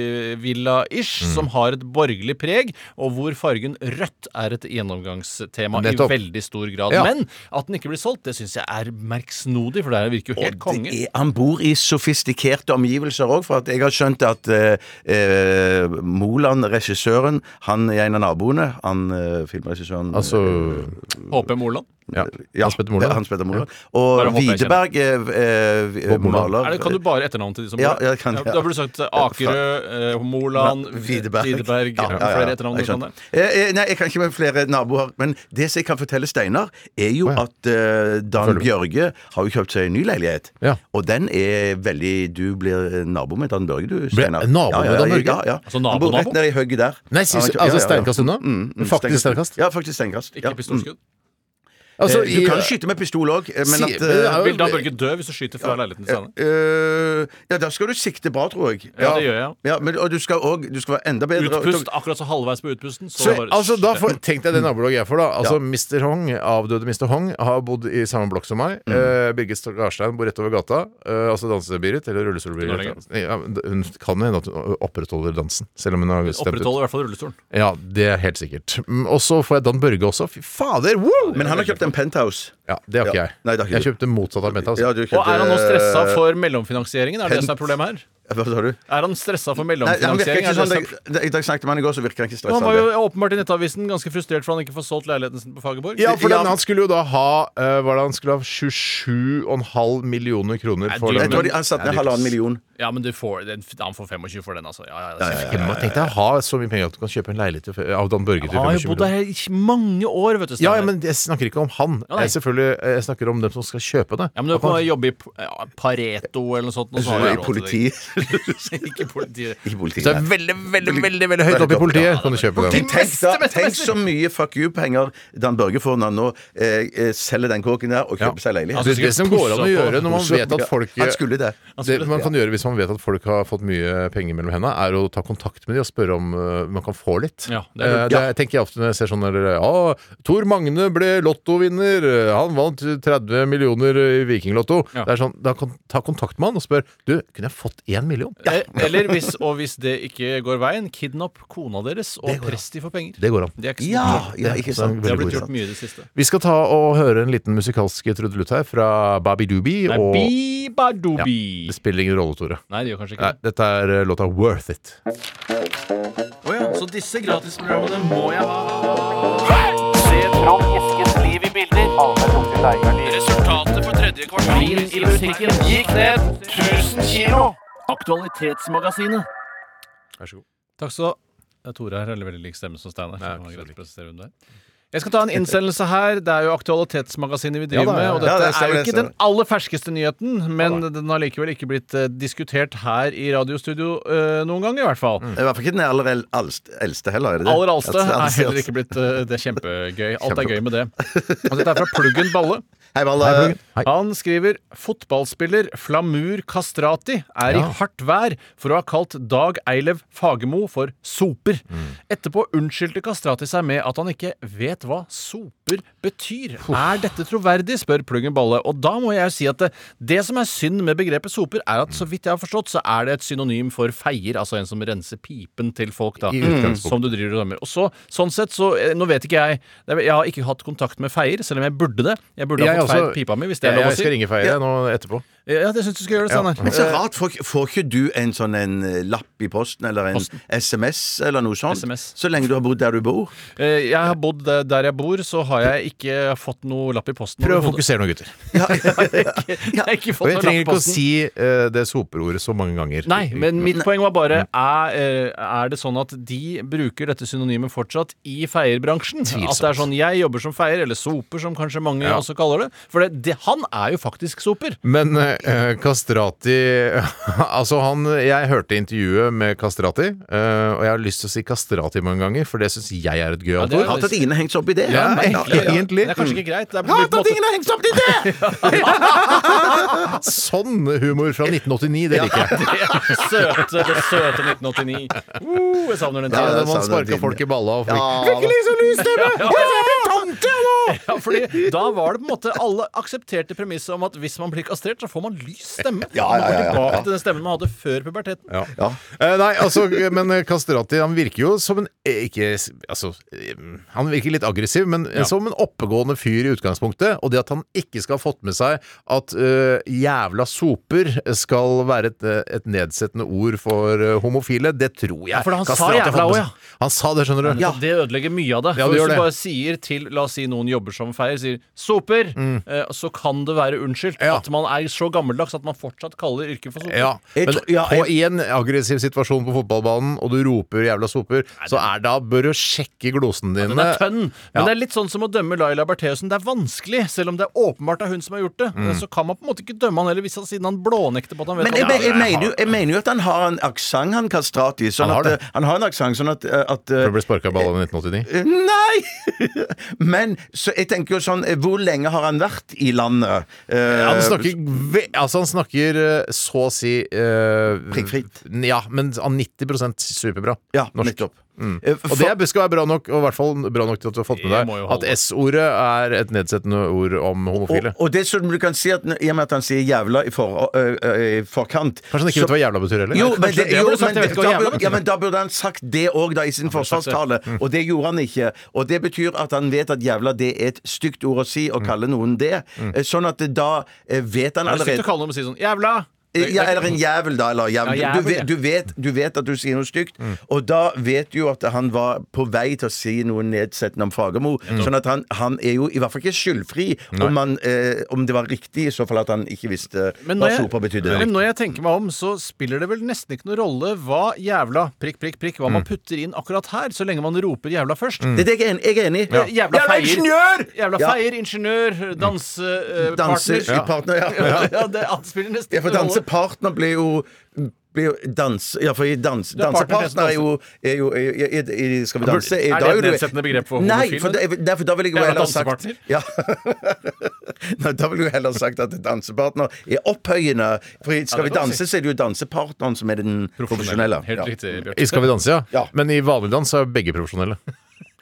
[SPEAKER 6] byvilla-ish
[SPEAKER 5] Mm.
[SPEAKER 6] som har et borgerlig preg, og hvor fargen rødt er et gjennomgangstema
[SPEAKER 4] Nettopp.
[SPEAKER 6] i veldig stor grad.
[SPEAKER 4] Ja.
[SPEAKER 6] Men at den ikke blir solgt, det syns jeg er merksnodig, for det her virker jo helt
[SPEAKER 5] Og
[SPEAKER 6] konge.
[SPEAKER 5] det er, han bor i sofistikerte omgivelser òg, for at jeg har skjønt at eh, eh, Moland, regissøren, han er en av naboene. Han eh, filmregissøren eh,
[SPEAKER 4] Altså
[SPEAKER 6] HP Moland.
[SPEAKER 4] ja.
[SPEAKER 5] ja,
[SPEAKER 4] Hans Petter Moland.
[SPEAKER 5] Hans Petter Moland.
[SPEAKER 6] Bare
[SPEAKER 5] Og
[SPEAKER 6] håper jeg
[SPEAKER 5] Widerberg, eh, eh,
[SPEAKER 4] Bob Moland.
[SPEAKER 5] maler
[SPEAKER 6] Er det, kan du bare etternavnet til de som bor
[SPEAKER 5] Ja,
[SPEAKER 6] der?
[SPEAKER 5] jeg kan det, ja.
[SPEAKER 6] Da burde du sagt eh, Akerø, eh, Moland,
[SPEAKER 5] Widerberg.
[SPEAKER 6] Widerberg,
[SPEAKER 5] Ja, ja, ja.
[SPEAKER 6] Flere etternavn
[SPEAKER 5] Jeg
[SPEAKER 6] og sånn
[SPEAKER 5] skjønner.
[SPEAKER 6] der.
[SPEAKER 5] Eh, eh, Nei, jeg kan ikke med flere naboer. Men det som jeg kan fortelle Steinar, er jo
[SPEAKER 4] Å, ja.
[SPEAKER 5] at eh, Dan
[SPEAKER 4] Følger med.
[SPEAKER 5] Bjørge har jo kjøpt seg en ny leilighet.
[SPEAKER 4] Ja.
[SPEAKER 5] Og den er veldig Du blir eh, nabo med Dan Børge, du, Steinar.
[SPEAKER 4] nabo med Dan Børge?
[SPEAKER 5] Ja, ja.
[SPEAKER 6] Altså
[SPEAKER 5] Han bor
[SPEAKER 6] nabo-nabo?
[SPEAKER 5] rett nede i hugget der.
[SPEAKER 4] Nei, sier du-
[SPEAKER 5] Han har
[SPEAKER 4] altså
[SPEAKER 5] kjøpt-
[SPEAKER 4] steinkast unna? Faktisk steinkast?
[SPEAKER 5] Mm, Ja, faktisk steinkast.
[SPEAKER 6] Ikke
[SPEAKER 5] Ja.
[SPEAKER 6] pistolskudd.
[SPEAKER 4] Altså,
[SPEAKER 5] Eh, Du
[SPEAKER 4] i-
[SPEAKER 5] kan jo skyte med pistol òg, men
[SPEAKER 4] Si-
[SPEAKER 5] at
[SPEAKER 4] men det er
[SPEAKER 5] eh,
[SPEAKER 4] jo-
[SPEAKER 6] Vil da Børge dø hvis du skyter fra leiligheten til Steinar?
[SPEAKER 5] eh, ja, da skal du sikte bra, tror jeg.
[SPEAKER 6] Ja, det gjør jeg.
[SPEAKER 5] Ja, men, og du skal òg Du skal være enda bedre.
[SPEAKER 6] Utpust akkurat så halvveis på utpusten. Så,
[SPEAKER 4] så,
[SPEAKER 6] bare
[SPEAKER 4] altså, da
[SPEAKER 6] skyter.
[SPEAKER 4] får, Tenk deg det nabolaget jeg får, da. Altså, Mr. Hong, avdøde Mr. Hong, har bodd i samme blokk som meg.
[SPEAKER 5] Mm.
[SPEAKER 4] Eh, Birgit Skarstein bor rett over gata. Eh, altså danse-Birgit, eller
[SPEAKER 6] Ikke
[SPEAKER 4] rullestol-Birgit.
[SPEAKER 6] nå
[SPEAKER 4] Ja, men det- hun kan jo hende at hun opprettholder dansen, selv om hun har stemt ut.
[SPEAKER 6] Opprettholder i hvert fall rullestolen.
[SPEAKER 4] Ja, det er helt sikkert. Mm, Og så får jeg Dan Børge også. Fy fader! Woo!
[SPEAKER 5] Men han har kjøpt en penthouse.
[SPEAKER 4] Ja, det har ikke
[SPEAKER 5] Ja.
[SPEAKER 4] jeg.
[SPEAKER 5] Nei, det har ikke
[SPEAKER 4] jeg kjøpte motsatt av Menta. Altså.
[SPEAKER 5] Ja, du
[SPEAKER 6] Og
[SPEAKER 5] kjøpte-
[SPEAKER 6] er han nå stressa for mellomfinansieringen? Er det det som er problemet her?
[SPEAKER 5] Hva sa du?
[SPEAKER 6] Er han stressa for
[SPEAKER 5] Nei, han virker
[SPEAKER 6] mellomfinansiering?
[SPEAKER 5] ikke
[SPEAKER 6] Er
[SPEAKER 5] sånn,
[SPEAKER 6] det-
[SPEAKER 5] I dag- i dag snakket man i går, så virker han ikke
[SPEAKER 6] Og han
[SPEAKER 5] stressa.
[SPEAKER 6] var jo åpenbart i Nettavisen ganske frustrert for han ikke får solgt leiligheten sin på Fagerborg.
[SPEAKER 4] Ja, for
[SPEAKER 5] Ja.
[SPEAKER 4] den, han skulle jo da ha eh, Var det han skulle ha 27,5 millioner kroner for
[SPEAKER 6] dyrt.
[SPEAKER 4] den?
[SPEAKER 5] Jeg
[SPEAKER 4] eh,
[SPEAKER 5] tror de han satte ned halvannen million.
[SPEAKER 6] Ja, men du får, den, han får 25 for den, altså. Ja, ja, ja,
[SPEAKER 4] Tenk deg- Tenk deg å ha så mye penger at du kan kjøpe en leilighet til f- av Dan Børge til
[SPEAKER 6] Han har
[SPEAKER 4] 25
[SPEAKER 6] jo bodd
[SPEAKER 4] millioner.
[SPEAKER 6] der i mange år, vet du.
[SPEAKER 4] Ja,
[SPEAKER 6] Steinar.
[SPEAKER 4] ja, men jeg snakker ikke om han.
[SPEAKER 6] Ja, nei.
[SPEAKER 4] Jeg, selvfølgelig, eh, jeg snakker om dem som skal kjøpe det.
[SPEAKER 6] Ja, men du
[SPEAKER 4] At man-
[SPEAKER 6] kan jobbe i p- ja, Pareto eller noe sånt. og så har
[SPEAKER 5] I
[SPEAKER 6] du råd til det.
[SPEAKER 5] politi.
[SPEAKER 6] <laughs> ikke politi.
[SPEAKER 5] <laughs> I politi.
[SPEAKER 4] Så det er veldig, veldig, veldig veldig høyt opp i politiet kan du kjøpe den.
[SPEAKER 5] Tenk, da, tenk så mye fuck you-penger Dan Børge får når han nå eh, eh, selger den kåken der og
[SPEAKER 4] Ja.
[SPEAKER 5] kjøper seg leilighet.
[SPEAKER 4] Altså, det er det som går an å gjøre når man vet at folk eh,
[SPEAKER 5] Han skulle det.
[SPEAKER 4] det man kan gjøre hvis man vet at folk har fått mye penger mellom hendene, er å ta kontakt med dem og spørre om øh, man kan få litt.
[SPEAKER 6] Ja, det er lurt.
[SPEAKER 4] Eh, det er- tenker jeg ofte når jeg ser sånn der, «Å, Tor Magne ble lottovinner. eh, Han vant 30 millioner i Vikinglotto.
[SPEAKER 6] Ja.
[SPEAKER 4] Det er sånn, da kan ta kontakt med han og spør Du, kunne jeg fått én million?
[SPEAKER 6] Eh, Eller hvis, og hvis det ikke går veien, kidnapp kona deres og press de for penger.
[SPEAKER 4] Det går an.
[SPEAKER 6] Det er ikke så
[SPEAKER 5] Ja,
[SPEAKER 6] mye.
[SPEAKER 5] ja, ikke sant.
[SPEAKER 4] Det
[SPEAKER 6] Det
[SPEAKER 4] er
[SPEAKER 6] har blitt
[SPEAKER 4] veldig
[SPEAKER 6] gjort mye i det siste.
[SPEAKER 4] Vi skal ta og høre en liten musikalsk trudelutt her fra Babi Doobie.
[SPEAKER 6] Nei,
[SPEAKER 4] Og det
[SPEAKER 6] bibadobi.
[SPEAKER 4] spiller ingen rolle, Tore.
[SPEAKER 6] Nei, det gjør kanskje ikke
[SPEAKER 4] Nei, dette er eh, låta 'Worth It'.
[SPEAKER 6] Så disse gratisprogrammene må jeg ha. Resultatet for tredje kvartal i musikken gikk ned 1000 kilo. Aktualitetsmagasinet.
[SPEAKER 4] Vær så god.
[SPEAKER 6] Takk skal du ha. Ja, Tore her eller veldig lik stemme som Steinar. så
[SPEAKER 4] Nei, ikke
[SPEAKER 6] det var
[SPEAKER 4] så
[SPEAKER 6] greit å presisere hvem det er. Jeg skal ta en innsendelse her. Det er jo Aktualitetsmagasinet vi driver
[SPEAKER 4] Ja da, ja, ja.
[SPEAKER 6] med. Og dette
[SPEAKER 5] Ja, det
[SPEAKER 6] er
[SPEAKER 5] stemmer,
[SPEAKER 6] jo
[SPEAKER 5] det
[SPEAKER 6] ikke den
[SPEAKER 5] stemmer.
[SPEAKER 6] aller ferskeste nyheten, men den har likevel ikke blitt eh, diskutert her i radiostudio eh, noen gang, i hvert fall.
[SPEAKER 5] I hvert fall ikke den aller el- alst- eldste heller. Er det det?
[SPEAKER 6] Aller Alste
[SPEAKER 5] Altså,
[SPEAKER 6] er
[SPEAKER 5] altså,
[SPEAKER 6] heller ikke blitt eh, Det er kjempegøy. Alt er gøy med det. Og dette er fra Pluggen Balle.
[SPEAKER 5] Hei, Valle.
[SPEAKER 4] Hei.
[SPEAKER 6] Han skriver fotballspiller Flamur Kastrati er i hardt vær for å ha kalt Dag Eilev Fagermo for soper. Etterpå unnskyldte Kastrati seg med at han ikke vet hva soper betyr. Er dette troverdig, spør Pluggen Balle. Og da må jeg jo si at det, det som er synd med begrepet soper, er at så vidt jeg har forstått, så er det et synonym for feier, altså en som renser pipen til folk, da. Som du driver og dømmer. Og så, sånn sett, så eh, Nå vet ikke jeg det er- Jeg har ikke hatt kontakt med feier, selv om jeg burde det. Jeg burde ha
[SPEAKER 4] Jeg
[SPEAKER 6] fått feiet
[SPEAKER 4] også-
[SPEAKER 6] pipa mi, hvis det er lov å
[SPEAKER 4] Jeg skal
[SPEAKER 6] si.
[SPEAKER 4] ringe Feire nå etterpå.
[SPEAKER 6] Ja, det syns du skal gjøre, Steinar. <laughs>
[SPEAKER 5] Men så
[SPEAKER 6] Eh,
[SPEAKER 5] rart. Får, får ikke du en sånn en eh, lapp i posten eller en SMS eller noe sånt?
[SPEAKER 6] SMS.
[SPEAKER 5] Så lenge du har bodd der du bor?
[SPEAKER 6] eh, Jeg har bodd eh, der jeg bor, så har jeg ikke fått noe lapp i posten.
[SPEAKER 4] Prøv å
[SPEAKER 6] overhodet.
[SPEAKER 4] fokusere nå, gutter.
[SPEAKER 5] <laughs>
[SPEAKER 6] <laughs> Jeg har ikke
[SPEAKER 4] Og
[SPEAKER 6] fått
[SPEAKER 4] jeg
[SPEAKER 6] noe lapp i
[SPEAKER 4] trenger ikke å
[SPEAKER 6] posten.
[SPEAKER 4] si eh, det soperordet så mange ganger.
[SPEAKER 6] Nei, men mitt poeng var bare er, eh, er det sånn at de bruker dette synonymet fortsatt i feierbransjen? At det er sånn jeg jobber som feier, eller soper som kanskje mange
[SPEAKER 4] Ja.
[SPEAKER 6] også kaller det. For det, det, han er jo faktisk soper.
[SPEAKER 4] Men eh, Kastrati <laughs> Altså, han Jeg hørte intervjuet med Kastrati, eh, og jeg har lyst til å si Kastrati mange ganger, for det syns jeg er et gøyalt
[SPEAKER 6] det er-
[SPEAKER 4] ord.
[SPEAKER 5] Har tatt Ine hengt seg opp i det?
[SPEAKER 4] Ja, men- egentlig.
[SPEAKER 6] Det er kanskje ikke greit. Det er på
[SPEAKER 5] Har
[SPEAKER 6] en
[SPEAKER 5] tatt
[SPEAKER 6] måte-
[SPEAKER 5] Ine hengt seg opp i det?!
[SPEAKER 4] Sånn humor fra 1989, det liker jeg.
[SPEAKER 6] Det søte, det <laughs> søte 1989. Uh, jeg savner den
[SPEAKER 4] Ja,
[SPEAKER 6] tiden.
[SPEAKER 4] da man
[SPEAKER 5] savner
[SPEAKER 4] sparka
[SPEAKER 5] tiden.
[SPEAKER 4] folk i balla og fikk
[SPEAKER 5] sånn Ja, da.
[SPEAKER 6] <laughs> Ja, fordi da var det på en måte Alle aksepterte premisset om at hvis man blir kastrert, så får man lys stemme.
[SPEAKER 5] Ja, ja, ja, ja.
[SPEAKER 6] Man går tilbake til den stemmen man hadde før puberteten.
[SPEAKER 4] ja.
[SPEAKER 5] Ja.
[SPEAKER 4] Eh, nei, altså, men eh, Kastrati han virker jo som en eh, ikke, altså, eh, Han virker litt aggressiv, men eh, som en oppegående fyr i utgangspunktet. Og det at han ikke skal ha fått med seg at eh, jævla soper skal være et, eh, et nedsettende ord for eh, homofile, det tror jeg.
[SPEAKER 6] Ja, for han sa
[SPEAKER 4] Kastrati har
[SPEAKER 6] jævla
[SPEAKER 4] fått med
[SPEAKER 6] også,
[SPEAKER 4] seg-
[SPEAKER 6] ja.
[SPEAKER 4] Han sa det, skjønner du.
[SPEAKER 6] Så Det ødelegger mye av
[SPEAKER 4] Ja,
[SPEAKER 6] det. For
[SPEAKER 4] det
[SPEAKER 6] hvis
[SPEAKER 4] gjør
[SPEAKER 6] du
[SPEAKER 4] det.
[SPEAKER 6] bare sier til La oss si noen jobber som feier, sier 'soper', eh, så kan det være unnskyldt.
[SPEAKER 4] Ja.
[SPEAKER 6] At man er så gammeldags at man fortsatt kaller yrket for soper.
[SPEAKER 4] Ja,
[SPEAKER 5] Jeg
[SPEAKER 4] men
[SPEAKER 5] tror- ja, jeg-
[SPEAKER 4] på i en aggressiv situasjon på fotballbanen, og du roper 'jævla soper', så er da bør du sjekke glosene dine.
[SPEAKER 6] Den er tønn. Men
[SPEAKER 4] Ja.
[SPEAKER 6] det er litt sånn som å dømme Laila Bertheussen. Det er vanskelig, selv om det er åpenbart er hun som har gjort det. Eh, Så kan man på en måte ikke dømme han heller, hvis han siden han blånekter på at han vet
[SPEAKER 5] <laughs> Men jeg,
[SPEAKER 6] hva
[SPEAKER 5] jeg,
[SPEAKER 6] det er.
[SPEAKER 5] mener jo, jeg mener jo at han har en aksent, han Kastrati. Sånn
[SPEAKER 4] Han har
[SPEAKER 5] at,
[SPEAKER 4] det.
[SPEAKER 5] eh, han har en aksent sånn at, eh, at eh,
[SPEAKER 4] For å bli sparka i balla i 1989.
[SPEAKER 5] eh, Nei! <laughs> Men så jeg tenker jo sånn eh, Hvor lenge har han vært i landet? Eh,
[SPEAKER 4] Han snakker, ve altså han snakker eh, så å si eh,
[SPEAKER 5] Prikkfritt.
[SPEAKER 4] Ja, men han 90 superbra.
[SPEAKER 5] ja,
[SPEAKER 4] norsk. Mm.
[SPEAKER 5] nettopp. Eh,
[SPEAKER 4] Og det er- skal være bra nok, og i hvert fall bra nok til at du har fått med
[SPEAKER 6] Det
[SPEAKER 4] deg
[SPEAKER 6] må jo
[SPEAKER 4] at
[SPEAKER 6] holde.
[SPEAKER 4] S-ordet er et nedsettende ord om homofile.
[SPEAKER 5] og, og det som du kan si at, I og med at han sier 'jævla' i, for, ø, ø, i forkant
[SPEAKER 4] Kanskje han ikke
[SPEAKER 5] så-
[SPEAKER 4] vet hva jævla betyr heller?
[SPEAKER 5] jo,
[SPEAKER 4] Nei,
[SPEAKER 5] men
[SPEAKER 4] kanskje
[SPEAKER 5] det,
[SPEAKER 6] det
[SPEAKER 5] jo,
[SPEAKER 6] burde du sagt,
[SPEAKER 5] men
[SPEAKER 6] jeg vet
[SPEAKER 5] det-
[SPEAKER 6] ikke hva
[SPEAKER 5] da
[SPEAKER 6] jævla
[SPEAKER 5] burde- ja, men da burde han sagt det òg, da, i sin forsvarstale. Og det gjorde han ikke. Og det betyr at han vet at 'jævla' det er et stygt ord å si, å kalle noen det. Eh, Sånn at det da eh, vet han
[SPEAKER 6] Det er
[SPEAKER 5] allerede
[SPEAKER 6] stygt å kalle noen og si sånn 'jævla'.
[SPEAKER 5] Ja, eller en jævel, da. Eller jævel.
[SPEAKER 6] Ja, jævel,
[SPEAKER 5] du, vet,
[SPEAKER 6] ja. Mm.
[SPEAKER 5] du, vet, du vet at du sier noe stygt, og da vet du jo at han var på vei til å si noe nedsettende om Fagermo.
[SPEAKER 6] Mm.
[SPEAKER 5] Sånn at han, han er jo i hvert fall ikke skyldfri om, han, eh, om det var riktig, i så fall at han ikke visste
[SPEAKER 6] Men
[SPEAKER 5] hva
[SPEAKER 6] når,
[SPEAKER 5] sopa
[SPEAKER 6] jeg,
[SPEAKER 5] betydde.
[SPEAKER 6] men når jeg tenker meg om, så spiller det vel nesten ikke noen rolle hva jævla prikk, prikk, prikk, hva
[SPEAKER 5] Mm.
[SPEAKER 6] man putter inn akkurat her, så lenge man roper jævla først.
[SPEAKER 5] Det er det jeg er enig- jeg er enig i.
[SPEAKER 6] Eh, Jævla feier.
[SPEAKER 5] Mm. ingeniør!
[SPEAKER 6] Jævla
[SPEAKER 5] Ja.
[SPEAKER 6] feier, ingeniør, dansepartner
[SPEAKER 5] Danser
[SPEAKER 6] ja.
[SPEAKER 5] partner, ja.
[SPEAKER 6] ja, det alt spiller nesten
[SPEAKER 5] Ja, for
[SPEAKER 6] ingen rolle.
[SPEAKER 5] dansepartner blir jo blir jo dans, ja, for i dans,
[SPEAKER 6] er partner til
[SPEAKER 5] dansepartner er jo, er jo er, er, er, er- Skal vi danse? da
[SPEAKER 6] Er det
[SPEAKER 5] jo
[SPEAKER 6] et
[SPEAKER 5] du-
[SPEAKER 6] nedsettende begrep for
[SPEAKER 5] Nei,
[SPEAKER 6] homofil,
[SPEAKER 5] for, da- nei, for da ville jeg jo
[SPEAKER 6] Jævla
[SPEAKER 5] heller sagt
[SPEAKER 6] dansepartner.
[SPEAKER 5] ja. <laughs> Nei, Da ville jeg jo heller sagt at dansepartner er opphøyende. For i skal
[SPEAKER 6] det
[SPEAKER 5] vi
[SPEAKER 6] kan man
[SPEAKER 5] danse, så er det jo dansepartneren som er den profesjonelle.
[SPEAKER 6] Helt
[SPEAKER 5] Ja.
[SPEAKER 6] riktig, Bjarte.
[SPEAKER 4] I Skal vi danse, ja.
[SPEAKER 5] Ja.
[SPEAKER 4] Men i vanlig dans er begge profesjonelle.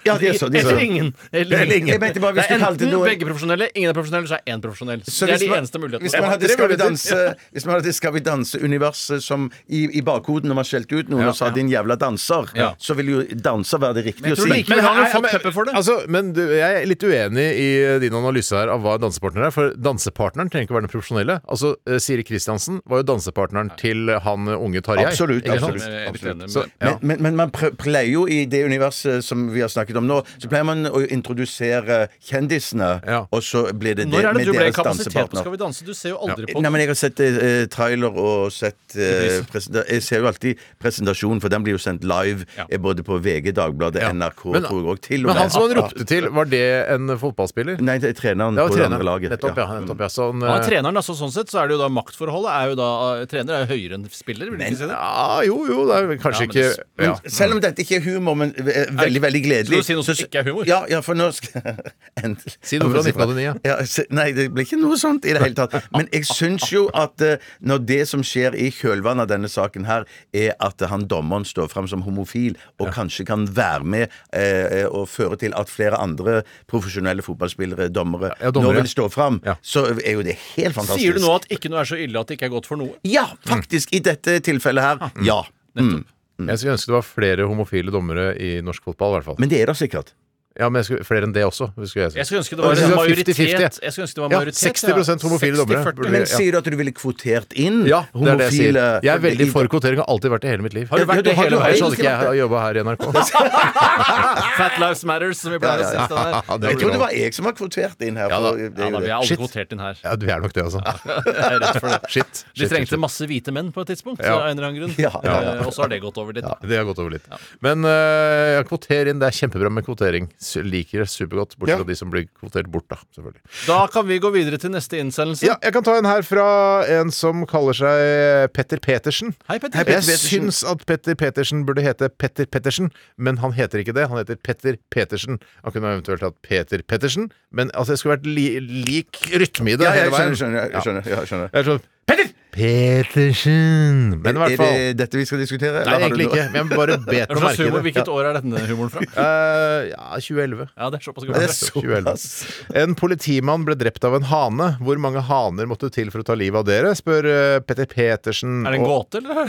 [SPEAKER 5] Ja, det er så, det er så.
[SPEAKER 6] Eller ingen.
[SPEAKER 5] Eller ingen. Jeg mente bare hvis
[SPEAKER 6] det er
[SPEAKER 5] du kalte
[SPEAKER 6] enten
[SPEAKER 5] noe-
[SPEAKER 6] begge profesjonelle, ingen er profesjonelle, så er én profesjonell.
[SPEAKER 5] Så
[SPEAKER 6] det
[SPEAKER 5] hvis
[SPEAKER 6] er de
[SPEAKER 5] man-
[SPEAKER 6] eneste mulighetene.
[SPEAKER 5] Hvis man hadde
[SPEAKER 6] Tre
[SPEAKER 5] Skal vi
[SPEAKER 6] muligheter.
[SPEAKER 5] danse, hvis man hadde skal vi danse universet som i, i bakhoden når man skjelte ut noen og sa 'din jævla danser',
[SPEAKER 6] Ja.
[SPEAKER 5] så ville jo danser være det riktige. å
[SPEAKER 6] tror
[SPEAKER 5] si.
[SPEAKER 6] likevel- Men han har jo fått
[SPEAKER 4] men-
[SPEAKER 6] pepper for det.
[SPEAKER 4] Altså, men du, jeg er litt uenig i din analyse her av hva en dansepartner er. For dansepartneren trenger ikke å være den profesjonelle. Altså, eh, Siri Kristiansen var jo dansepartneren til han eh, unge Tarjei.
[SPEAKER 5] Absolutt,
[SPEAKER 4] Ikke sant?
[SPEAKER 5] absolutt.
[SPEAKER 6] Jeg er litt enig, men-
[SPEAKER 4] Så,
[SPEAKER 5] Men,
[SPEAKER 4] ja.
[SPEAKER 5] men, men man pre- pleier jo i det universet som vi har snakket om nå, så pleier man å introdusere kjendisene,
[SPEAKER 4] Ja.
[SPEAKER 5] og så blir det det
[SPEAKER 6] Når er det
[SPEAKER 5] med
[SPEAKER 6] du ble
[SPEAKER 5] deres
[SPEAKER 6] kapasitet på Skal
[SPEAKER 5] dansepartner.
[SPEAKER 6] vi danse? Du ser jo aldri på
[SPEAKER 5] Nei, men Jeg har sett eh, trailer og sett eh,
[SPEAKER 6] Reprise.
[SPEAKER 5] presenta- Jeg ser jo alltid presentasjonen, for den blir jo sendt live
[SPEAKER 6] Ja.
[SPEAKER 5] eh, både på VG, Dagbladet,
[SPEAKER 4] Ja.
[SPEAKER 5] NRK
[SPEAKER 4] Men-
[SPEAKER 5] tror jeg, og til
[SPEAKER 4] Men
[SPEAKER 5] og med.
[SPEAKER 4] han som han ropte til, var det en eh, fotballspiller?
[SPEAKER 5] Nei, det er treneren
[SPEAKER 4] Det
[SPEAKER 5] på
[SPEAKER 4] var
[SPEAKER 5] det
[SPEAKER 4] treneren.
[SPEAKER 5] andre laget.
[SPEAKER 4] Nettopp, ja. Nettopp, ja. Så han,
[SPEAKER 6] Ja,
[SPEAKER 4] eh,
[SPEAKER 6] treneren, altså, sånn sett, så er det jo da maktforholdet er jo da eh, Trener er jo høyere enn spiller, vil du ikke si det?
[SPEAKER 4] ja, jo, jo, det er vel kanskje
[SPEAKER 6] Ja, men det-
[SPEAKER 4] ikke ja.
[SPEAKER 5] Selv om dette ikke er humor, men eh, veldig, veldig
[SPEAKER 6] Skal
[SPEAKER 5] gledelig
[SPEAKER 6] du si noe som ikke er humor?
[SPEAKER 5] Ja, ja for nå skal <laughs> Endelig.
[SPEAKER 4] Si noe fra 1989, ja.
[SPEAKER 5] Ja, se- nei, det blir ikke noe sånt i det hele tatt. Men jeg syns jo at eh, når det som skjer i kjølvannet av denne saken her, er at han dommeren står fram som homofil, og kanskje kan være med eh, og føre til at flere andre profesjonelle fotballspillere, dommere,
[SPEAKER 4] Ja, dommere,
[SPEAKER 5] nå
[SPEAKER 4] ja.
[SPEAKER 5] vil stå fram,
[SPEAKER 4] Ja.
[SPEAKER 5] så er jo det helt fantastisk.
[SPEAKER 6] Sier du nå at ikke noe er så ille at Ah. det ikke er godt for noe?
[SPEAKER 5] Ja, faktisk. I dette tilfellet her, ja. Mm.
[SPEAKER 4] Jeg skulle ønske det var flere homofile dommere i norsk fotball, i hvert fall.
[SPEAKER 5] Men det er det sikkert.
[SPEAKER 4] Ja, men jeg skulle, flere enn det også. Skulle jeg si.
[SPEAKER 6] Jeg skulle ønske det var
[SPEAKER 4] Jeg synes
[SPEAKER 6] en
[SPEAKER 4] det var
[SPEAKER 6] majoritet.
[SPEAKER 4] 50-50.
[SPEAKER 6] Jeg skulle ønske det var
[SPEAKER 4] Ja,
[SPEAKER 6] majoritet
[SPEAKER 4] 60% homofile dommere.
[SPEAKER 6] 60-40.
[SPEAKER 5] Men
[SPEAKER 4] Ja.
[SPEAKER 5] sier du at du ville kvotert inn
[SPEAKER 4] Ja, det er det jeg sier.
[SPEAKER 5] homofile
[SPEAKER 4] Jeg er veldig
[SPEAKER 5] i-
[SPEAKER 4] for kvotering, har alltid vært det hele mitt liv.
[SPEAKER 6] Har du vært
[SPEAKER 5] Ja, du
[SPEAKER 6] det
[SPEAKER 5] har-
[SPEAKER 6] hele
[SPEAKER 5] du har
[SPEAKER 6] veien?
[SPEAKER 4] Ellers
[SPEAKER 6] så
[SPEAKER 4] hadde
[SPEAKER 6] hadde
[SPEAKER 4] ikke jeg jobba her i
[SPEAKER 6] <laughs>
[SPEAKER 4] NRK.
[SPEAKER 6] ikke- <laughs> Fat Lives Matters, som vi pleier å si. det der.
[SPEAKER 4] Ja,
[SPEAKER 5] Jeg tror det var jeg som var kvotert inn her.
[SPEAKER 4] Ja da.
[SPEAKER 5] for det er
[SPEAKER 6] Ja,
[SPEAKER 5] jo
[SPEAKER 6] da, vi
[SPEAKER 5] det.
[SPEAKER 6] er alle
[SPEAKER 4] Shit.
[SPEAKER 6] kvotert inn her.
[SPEAKER 4] Ja, du er nok det, altså.
[SPEAKER 6] Jeg er redd
[SPEAKER 4] <laughs>
[SPEAKER 6] for det.
[SPEAKER 4] Shit.
[SPEAKER 6] De
[SPEAKER 4] Shit,
[SPEAKER 6] trengte
[SPEAKER 4] shit, shit.
[SPEAKER 6] masse hvite menn på et tidspunkt,
[SPEAKER 4] Ja.
[SPEAKER 6] av en eller annen grunn.
[SPEAKER 5] Ja, ja, ja.
[SPEAKER 6] Eh, Og så har det gått over litt. da.
[SPEAKER 4] Det har gått over litt. Men øh, ja, kvoter inn. Det er kjempebra med kvotering. S- Liker det supergodt. Bortsett
[SPEAKER 5] Ja.
[SPEAKER 4] fra de som blir kvotert bort, da. Selvfølgelig.
[SPEAKER 6] Da kan vi gå videre til neste innsendelse.
[SPEAKER 4] Ja, jeg kan ta en her fra en som kaller seg Petter Petersen.
[SPEAKER 6] Hei, Petter.
[SPEAKER 4] Jeg
[SPEAKER 5] Petersen.
[SPEAKER 4] syns at Petter Petersen burde hete Petter Pettersen, men han heter ikke det. Han heter Petter Petersen. Han kunne eventuelt hatt Peter Pettersen, men altså, det skulle vært li lik rytme i det
[SPEAKER 5] Ja, jeg
[SPEAKER 4] hele veien.
[SPEAKER 5] skjønner, skjønner, jeg skjønner, ja, jeg skjønner.
[SPEAKER 4] Jeg er sånn Petter! Petersen! Men i
[SPEAKER 5] Er
[SPEAKER 4] hvert fall
[SPEAKER 5] det dette vi skal diskutere?
[SPEAKER 4] Nei,
[SPEAKER 5] eller har du
[SPEAKER 4] egentlig
[SPEAKER 5] noe?
[SPEAKER 4] ikke. Men jeg bare bet meg
[SPEAKER 6] Hva slags
[SPEAKER 4] merke i
[SPEAKER 6] humor,
[SPEAKER 4] det.
[SPEAKER 6] hvilket år er denne humoren fra?
[SPEAKER 4] Eh, ja, 2011.
[SPEAKER 6] Ja, det er såpass
[SPEAKER 5] Det
[SPEAKER 6] gammelt.
[SPEAKER 5] er
[SPEAKER 4] <laughs>
[SPEAKER 5] såpass.
[SPEAKER 4] En politimann ble drept av en hane. Hvor mange haner måtte til for å ta livet av dere? spør eh, Petter Petersen.
[SPEAKER 6] Er det en
[SPEAKER 4] Og-
[SPEAKER 6] gåte, eller?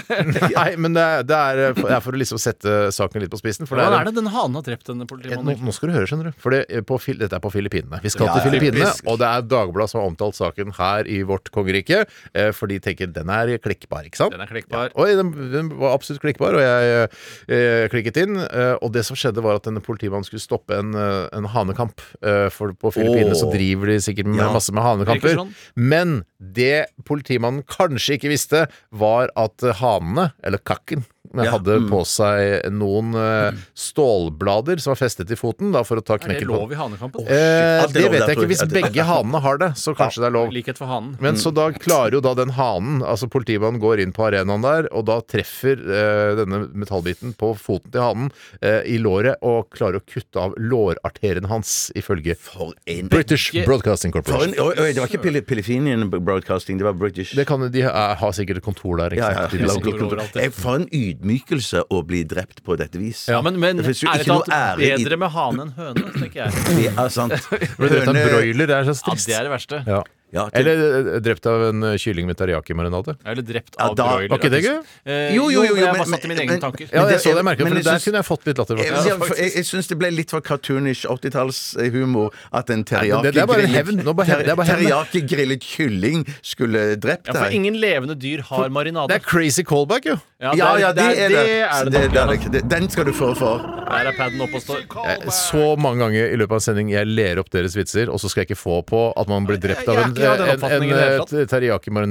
[SPEAKER 4] Nei, men det er, det er, eh, for- det er for å liksom sette saken litt på spissen. For det
[SPEAKER 6] Hvordan
[SPEAKER 4] er,
[SPEAKER 6] er det den hanen har drept
[SPEAKER 4] Eh,
[SPEAKER 6] denne
[SPEAKER 4] nå,
[SPEAKER 6] politimannen?
[SPEAKER 4] nå skal du høre, skjønner du. For det, eh, på, Fil- dette er på Filippinene. Vi skal
[SPEAKER 5] Ja,
[SPEAKER 4] til
[SPEAKER 5] ja,
[SPEAKER 4] Filippinene,
[SPEAKER 5] typisk.
[SPEAKER 4] og det er Dagbladet som har omtalt saken her i vårt kongerike. eh, For de tenker den er klikkbar, ikke sant?
[SPEAKER 6] Den er klikkbar.
[SPEAKER 4] Oi, den, den var absolutt klikkbar, og jeg eh, klikket inn. Eh, og det som skjedde, var at denne politimannen skulle stoppe en, eh, en hanekamp. Eh, for på Filippinene så driver de sikkert med
[SPEAKER 5] Ja.
[SPEAKER 4] masse med hanekamper.
[SPEAKER 6] Virker sånn.
[SPEAKER 4] Men det politimannen kanskje ikke visste, var at eh, hanene, eller kakken, eh,
[SPEAKER 5] Ja,
[SPEAKER 4] hadde på seg noen eh, stålblader som var festet i foten da, for å ta
[SPEAKER 6] Er det
[SPEAKER 4] knekken på
[SPEAKER 6] lov i hanekampen?
[SPEAKER 4] Eh,
[SPEAKER 5] Alt er
[SPEAKER 4] det vet jeg
[SPEAKER 5] lov der, tror
[SPEAKER 4] ikke.
[SPEAKER 5] jeg.
[SPEAKER 4] Hvis begge hanene har det, så kanskje det er lov.
[SPEAKER 6] Likhet for hanen.
[SPEAKER 4] Men så da klarer jo da den hanen, altså politimannen går inn på arenaen der, og da treffer eh, denne metallbiten på foten til hanen eh, i låret, og klarer å kutte av lårarteren hans, ifølge
[SPEAKER 5] For en
[SPEAKER 4] British
[SPEAKER 6] Ikke-
[SPEAKER 4] Broadcasting
[SPEAKER 5] for
[SPEAKER 4] Corporation.
[SPEAKER 5] en, oi, oi, det var ikke Pili- Pilifinian Broadcasting, det var British.
[SPEAKER 4] Det kan, jo- de er, har sikkert et kontor der, ikke
[SPEAKER 5] Ja, ja,
[SPEAKER 4] sant?
[SPEAKER 5] ja.
[SPEAKER 4] typisk.
[SPEAKER 6] overalt, det.
[SPEAKER 5] Jeg- For en ydmykelse å bli drept på dette vis.
[SPEAKER 6] Ja, men, men
[SPEAKER 5] det finnes jo
[SPEAKER 6] ærlig
[SPEAKER 5] ikke noe
[SPEAKER 6] talt,
[SPEAKER 5] ære i
[SPEAKER 6] bedre med hane enn høne, tenker jeg.
[SPEAKER 5] det. Er sant.
[SPEAKER 4] Ble drept av en
[SPEAKER 5] Høne-
[SPEAKER 4] broiler, det er så
[SPEAKER 6] Ja,
[SPEAKER 4] trist.
[SPEAKER 6] det er det verste.
[SPEAKER 4] Ja.
[SPEAKER 5] Ja, til-
[SPEAKER 4] Eller eh, drept av en eh, kylling med teriyaki-marinade.
[SPEAKER 6] Eller drept
[SPEAKER 5] Ja,
[SPEAKER 6] av
[SPEAKER 5] da-
[SPEAKER 6] broiler.
[SPEAKER 4] Var ikke det gøy?
[SPEAKER 6] Eh,
[SPEAKER 5] Jo,
[SPEAKER 6] jo,
[SPEAKER 5] jo, jo,
[SPEAKER 6] men jeg
[SPEAKER 5] men-
[SPEAKER 6] bare satt i mine
[SPEAKER 5] men-
[SPEAKER 6] egne tanker.
[SPEAKER 4] Ja,
[SPEAKER 5] Men
[SPEAKER 4] det,
[SPEAKER 5] det-
[SPEAKER 4] så det merket,
[SPEAKER 5] men
[SPEAKER 4] for
[SPEAKER 5] jeg
[SPEAKER 4] der
[SPEAKER 5] syns-
[SPEAKER 4] kunne jeg fått litt latter.
[SPEAKER 5] Jeg,
[SPEAKER 4] faktisk.
[SPEAKER 5] jeg, jeg, jeg syns det ble litt for cartoonish 80-tallshumor at en
[SPEAKER 4] men det- det er bare
[SPEAKER 5] teriyaki-grillet-
[SPEAKER 4] hevn. Nå bare hev- det er bare hevn.
[SPEAKER 5] teriyaki-grillet kylling skulle drept
[SPEAKER 6] Ja, for
[SPEAKER 5] deg.
[SPEAKER 6] ingen levende dyr har marinade.
[SPEAKER 4] Det er crazy callback, jo.
[SPEAKER 6] Ja,
[SPEAKER 5] Ja, ja, det er det.
[SPEAKER 6] er
[SPEAKER 5] Så
[SPEAKER 6] det.
[SPEAKER 5] det det
[SPEAKER 6] nok,
[SPEAKER 5] er
[SPEAKER 6] ja.
[SPEAKER 5] det ikke. Det- Den skal du få for.
[SPEAKER 6] Her er paden oppe og står.
[SPEAKER 4] Eh, Så mange ganger i løpet av en sending jeg ler opp deres vitser, og så skal jeg ikke få på at man blir drept av
[SPEAKER 6] Jeg er
[SPEAKER 4] en,
[SPEAKER 6] ikke av
[SPEAKER 4] en,
[SPEAKER 6] den
[SPEAKER 4] en,
[SPEAKER 6] oppfatningen i det hele tatt.
[SPEAKER 4] eh,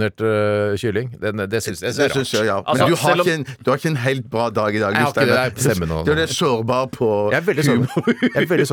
[SPEAKER 4] teriyaki-marinert eh, kylling. Den, det syns jeg
[SPEAKER 5] Det
[SPEAKER 4] er
[SPEAKER 5] syns
[SPEAKER 4] rart.
[SPEAKER 5] jeg, ja.
[SPEAKER 6] Altså,
[SPEAKER 5] Men du har,
[SPEAKER 6] selv om-
[SPEAKER 5] ikke en, du har ikke en helt bra dag i dag.
[SPEAKER 4] Jeg har ikke det,
[SPEAKER 5] Steinar.
[SPEAKER 4] det er stemmen og-
[SPEAKER 5] Du er sårbar på
[SPEAKER 4] Jeg er veldig sårbar. Jeg er veldig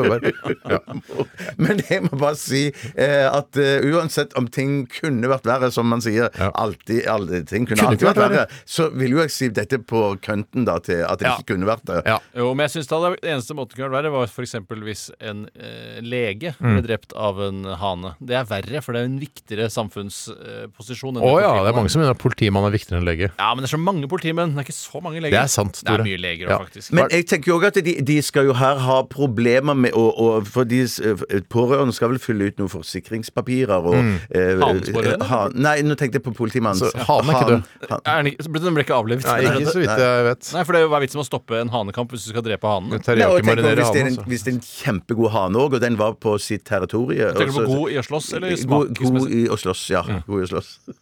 [SPEAKER 4] sårbar.
[SPEAKER 5] <laughs>
[SPEAKER 4] Ja.
[SPEAKER 5] Men jeg må bare si eh, at eh, uansett om ting kunne vært verre, som man sier
[SPEAKER 4] Ja.
[SPEAKER 5] alltid, alle ting kunne,
[SPEAKER 4] Kunne
[SPEAKER 5] alltid
[SPEAKER 4] ikke
[SPEAKER 5] vært
[SPEAKER 4] vært
[SPEAKER 5] verre, så vil jo jeg si dette på kønten da, til at det
[SPEAKER 4] Ja.
[SPEAKER 5] ikke kunne vært det.
[SPEAKER 4] Ja.
[SPEAKER 6] Jo, men jeg synes det hadde- eneste måten kunne vært verre, var f.eks. hvis en eh, lege ble
[SPEAKER 4] Mm.
[SPEAKER 6] drept av en hane. Det er verre, for det er en viktigere eh, samfunnsposisjon.
[SPEAKER 4] Å ja, det er mange som mener at politimann er viktigere enn lege.
[SPEAKER 6] Ja, men det er så mange politimenn. Det er ikke så mange leger.
[SPEAKER 4] Det er sant,
[SPEAKER 6] Det
[SPEAKER 4] Tore.
[SPEAKER 6] er mye leger
[SPEAKER 4] Ja.
[SPEAKER 6] òg, faktisk.
[SPEAKER 5] Men jeg tenker jo også at de, de skal jo her ha problemer med å, å For de s- eh, pårørende skal vel fylle ut noen forsikringspapirer og eh,
[SPEAKER 6] Hanens pårørende?
[SPEAKER 5] eh, han- nei, nå tenkte jeg på politimannen.
[SPEAKER 4] Mm. Så hanen er ikke
[SPEAKER 5] Han- han-
[SPEAKER 6] Er den ikke- så ble den ble ikke avlevet.
[SPEAKER 4] Nei, ikke så vidt jeg vet.
[SPEAKER 6] <laughs> Nei, for det er jo hva er vitsen med å stoppe en hanekamp hvis du skal drepe hanen?
[SPEAKER 5] Nei, og tenk om hvis, det er
[SPEAKER 4] Teriyaki-marinere altså.
[SPEAKER 5] en,
[SPEAKER 6] altså.
[SPEAKER 4] hane.
[SPEAKER 5] hvis det er en kjempegod hane òg, og den var på sitt territorium
[SPEAKER 6] Tenker du
[SPEAKER 5] og
[SPEAKER 6] på
[SPEAKER 5] så-
[SPEAKER 6] god i å slåss, eller
[SPEAKER 5] God, god
[SPEAKER 6] smaksmessig?
[SPEAKER 5] i å slåss, ja. God i å slåss. <laughs>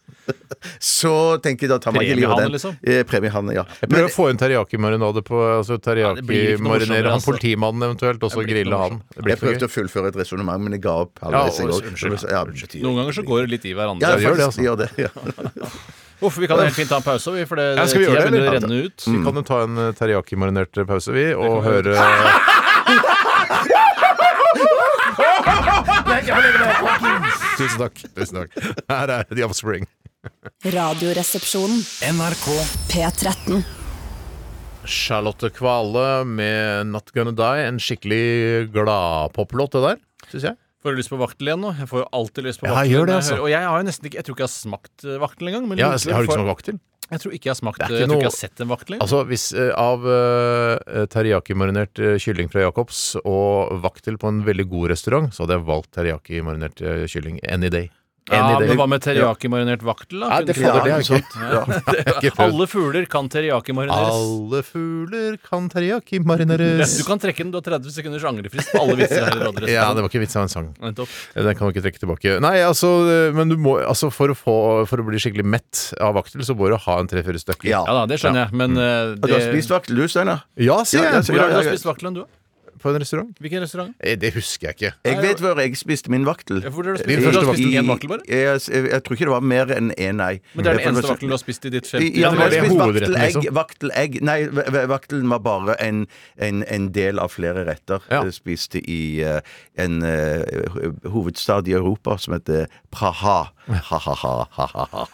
[SPEAKER 5] Så tenker jeg da tar man ikke livet av
[SPEAKER 6] Premiehane,
[SPEAKER 5] den.
[SPEAKER 6] liksom?
[SPEAKER 5] Eh, Premiehane, ja.
[SPEAKER 4] Jeg prøver å få inn teriyaki-marinade på altså
[SPEAKER 6] det blir ikke noe
[SPEAKER 4] teriyaki-marinere
[SPEAKER 6] morsommere,
[SPEAKER 4] han
[SPEAKER 6] altså.
[SPEAKER 4] politimannen eventuelt, og så
[SPEAKER 6] Det blir ikke
[SPEAKER 4] grille
[SPEAKER 6] noe
[SPEAKER 4] han.
[SPEAKER 6] morsomt.
[SPEAKER 4] Det
[SPEAKER 5] jeg
[SPEAKER 4] blir ikke
[SPEAKER 5] prøvde
[SPEAKER 4] noe gøy.
[SPEAKER 5] å fullføre et resonnement, men jeg ga opp halvveis.
[SPEAKER 4] Ja,
[SPEAKER 5] i går.
[SPEAKER 4] unnskyld.
[SPEAKER 5] Ja, betyr-
[SPEAKER 6] Noen ganger så går det litt i hverandre.
[SPEAKER 5] ja,
[SPEAKER 4] det gjør det,
[SPEAKER 5] faktisk, gjør det,
[SPEAKER 6] <laughs>
[SPEAKER 5] ja.
[SPEAKER 6] Uff, vi kan helt fint ta en pause, vi, for det,
[SPEAKER 4] Ja, skal vi gjøre
[SPEAKER 6] tida
[SPEAKER 4] det,
[SPEAKER 6] begynner å
[SPEAKER 4] eller?
[SPEAKER 6] renne ut.
[SPEAKER 4] Vi kan jo ta en eh, teriyaki-marinert pause, vi, og høre <laughs> Tusen takk. Tusen takk. Her er The Offspring.
[SPEAKER 1] Radioresepsjonen.
[SPEAKER 3] NRK
[SPEAKER 1] P13.
[SPEAKER 4] Charlotte Kvale med 'Not Gonna Die'. En skikkelig gladpoplåt, det der, syns jeg.
[SPEAKER 6] Får du lyst på vaktel igjen nå? Jeg får jo alltid lyst på
[SPEAKER 4] Ja,
[SPEAKER 6] vaktel.
[SPEAKER 4] jeg gjør det,
[SPEAKER 6] når jeg
[SPEAKER 4] altså.
[SPEAKER 6] hører- Og jeg har jo nesten ikke Jeg tror ikke jeg har smakt eh, vaktel engang. men
[SPEAKER 4] Ja, altså,
[SPEAKER 6] likevel
[SPEAKER 4] jeg har du ikke
[SPEAKER 6] får-
[SPEAKER 4] smakt vaktel?
[SPEAKER 6] Jeg tror ikke jeg har smakt
[SPEAKER 4] Det er
[SPEAKER 6] eh,
[SPEAKER 4] ikke
[SPEAKER 6] Jeg tror ikke jeg
[SPEAKER 4] noe-
[SPEAKER 6] har sett en vaktel engang.
[SPEAKER 4] Altså, hvis eh, av uh, teriyaki-marinert eh, kylling fra Jacobs og vaktel på en veldig god restaurant, så hadde jeg valgt teriyaki-marinert eh, kylling any <laughs> day. Any
[SPEAKER 6] Ja,
[SPEAKER 4] day.
[SPEAKER 6] men hva med teriyaki-marinert vaktel, da?
[SPEAKER 4] Nei,
[SPEAKER 6] Kunne
[SPEAKER 4] det
[SPEAKER 6] ikke-
[SPEAKER 4] fader, det har jeg ikke Det har jeg ikke prøvd.
[SPEAKER 6] Alle fugler kan teriyaki-marineres.
[SPEAKER 4] Alle fugler kan
[SPEAKER 6] Du
[SPEAKER 4] teriyaki-marineres.
[SPEAKER 6] kan trekke den. Du har 30 sekunders angrefrist på alle vitser her i Radioresepsjonen.
[SPEAKER 4] Ja, det var ikke vits av en sang.
[SPEAKER 6] Nettopp.
[SPEAKER 4] Den kan vi ikke trekke tilbake. Nei, altså, eh, men du må altså For å, få, for å bli skikkelig mett av vaktel, så må du ha en tre-fire stykker.
[SPEAKER 5] ja.
[SPEAKER 6] Ja da, det skjønner jeg,
[SPEAKER 4] Mm.
[SPEAKER 6] men eh,
[SPEAKER 5] Og
[SPEAKER 6] det,
[SPEAKER 5] du har spist vaktel, du, Steinar?
[SPEAKER 4] Ja, sier
[SPEAKER 5] Ja,
[SPEAKER 4] jeg.
[SPEAKER 5] ja, så-
[SPEAKER 6] Hvor har du
[SPEAKER 5] ja,
[SPEAKER 6] har
[SPEAKER 5] ja.
[SPEAKER 6] spist vaktelen, du? da?
[SPEAKER 4] På en restaurant?
[SPEAKER 6] Hvilken restaurant?
[SPEAKER 4] Eh, Det husker jeg ikke.
[SPEAKER 5] Jeg vet hvor jeg spiste min vaktel.
[SPEAKER 6] Ja, Hvor har du
[SPEAKER 4] Din
[SPEAKER 6] spist, du har
[SPEAKER 4] første
[SPEAKER 6] spist
[SPEAKER 5] I-
[SPEAKER 6] én vaktel, bare?
[SPEAKER 5] Jeg, jeg, jeg tror ikke det var mer enn én, nei.
[SPEAKER 6] Men det er den
[SPEAKER 5] Jeg tror
[SPEAKER 6] eneste
[SPEAKER 5] var-
[SPEAKER 6] vaktelen du har spist i ditt
[SPEAKER 5] I-
[SPEAKER 6] femte
[SPEAKER 5] Ja,
[SPEAKER 4] det
[SPEAKER 5] men
[SPEAKER 4] var
[SPEAKER 5] jeg
[SPEAKER 4] det
[SPEAKER 5] spiste
[SPEAKER 4] hovedretten,
[SPEAKER 5] vaktelegg.
[SPEAKER 4] liksom.
[SPEAKER 5] Vaktelegg Nei, v- v- vaktelen var bare en, en, en del av flere retter.
[SPEAKER 4] Ja.
[SPEAKER 5] Jeg spiste i eh, en eh, ho- hovedstad i Europa som heter Praha. Ha-ha-ha.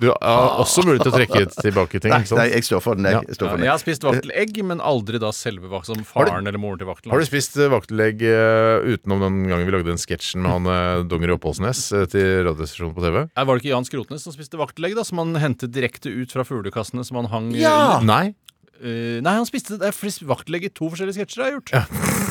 [SPEAKER 4] Du har også mulighet til å trekke <laughs> tilbake ting.
[SPEAKER 5] Nei,
[SPEAKER 4] ikke sant?
[SPEAKER 5] nei, jeg står for den. Jeg,
[SPEAKER 4] Ja.
[SPEAKER 5] jeg står
[SPEAKER 6] Ja,
[SPEAKER 5] for
[SPEAKER 6] jeg
[SPEAKER 5] den.
[SPEAKER 6] har spist vaktelegg, men aldri da selve vakt, som
[SPEAKER 4] Har du-
[SPEAKER 6] faren eller moren til vaktelen.
[SPEAKER 4] Har du spist eh, vaktelegg eh, utenom den gangen vi lagde den sketsjen med han eh, Dongeri Oppholdsnes eh, til Radiostasjonen på TV?
[SPEAKER 6] Nei, Eh, Var det ikke Jan Skrotnes som spiste vaktelegg, da, som han hentet direkte ut fra fuglekassene som han hang
[SPEAKER 5] Ja!
[SPEAKER 6] under?
[SPEAKER 4] Nei.
[SPEAKER 6] Eh, nei, han spiste det er flest vaktelegg i to forskjellige sketsjer jeg har gjort.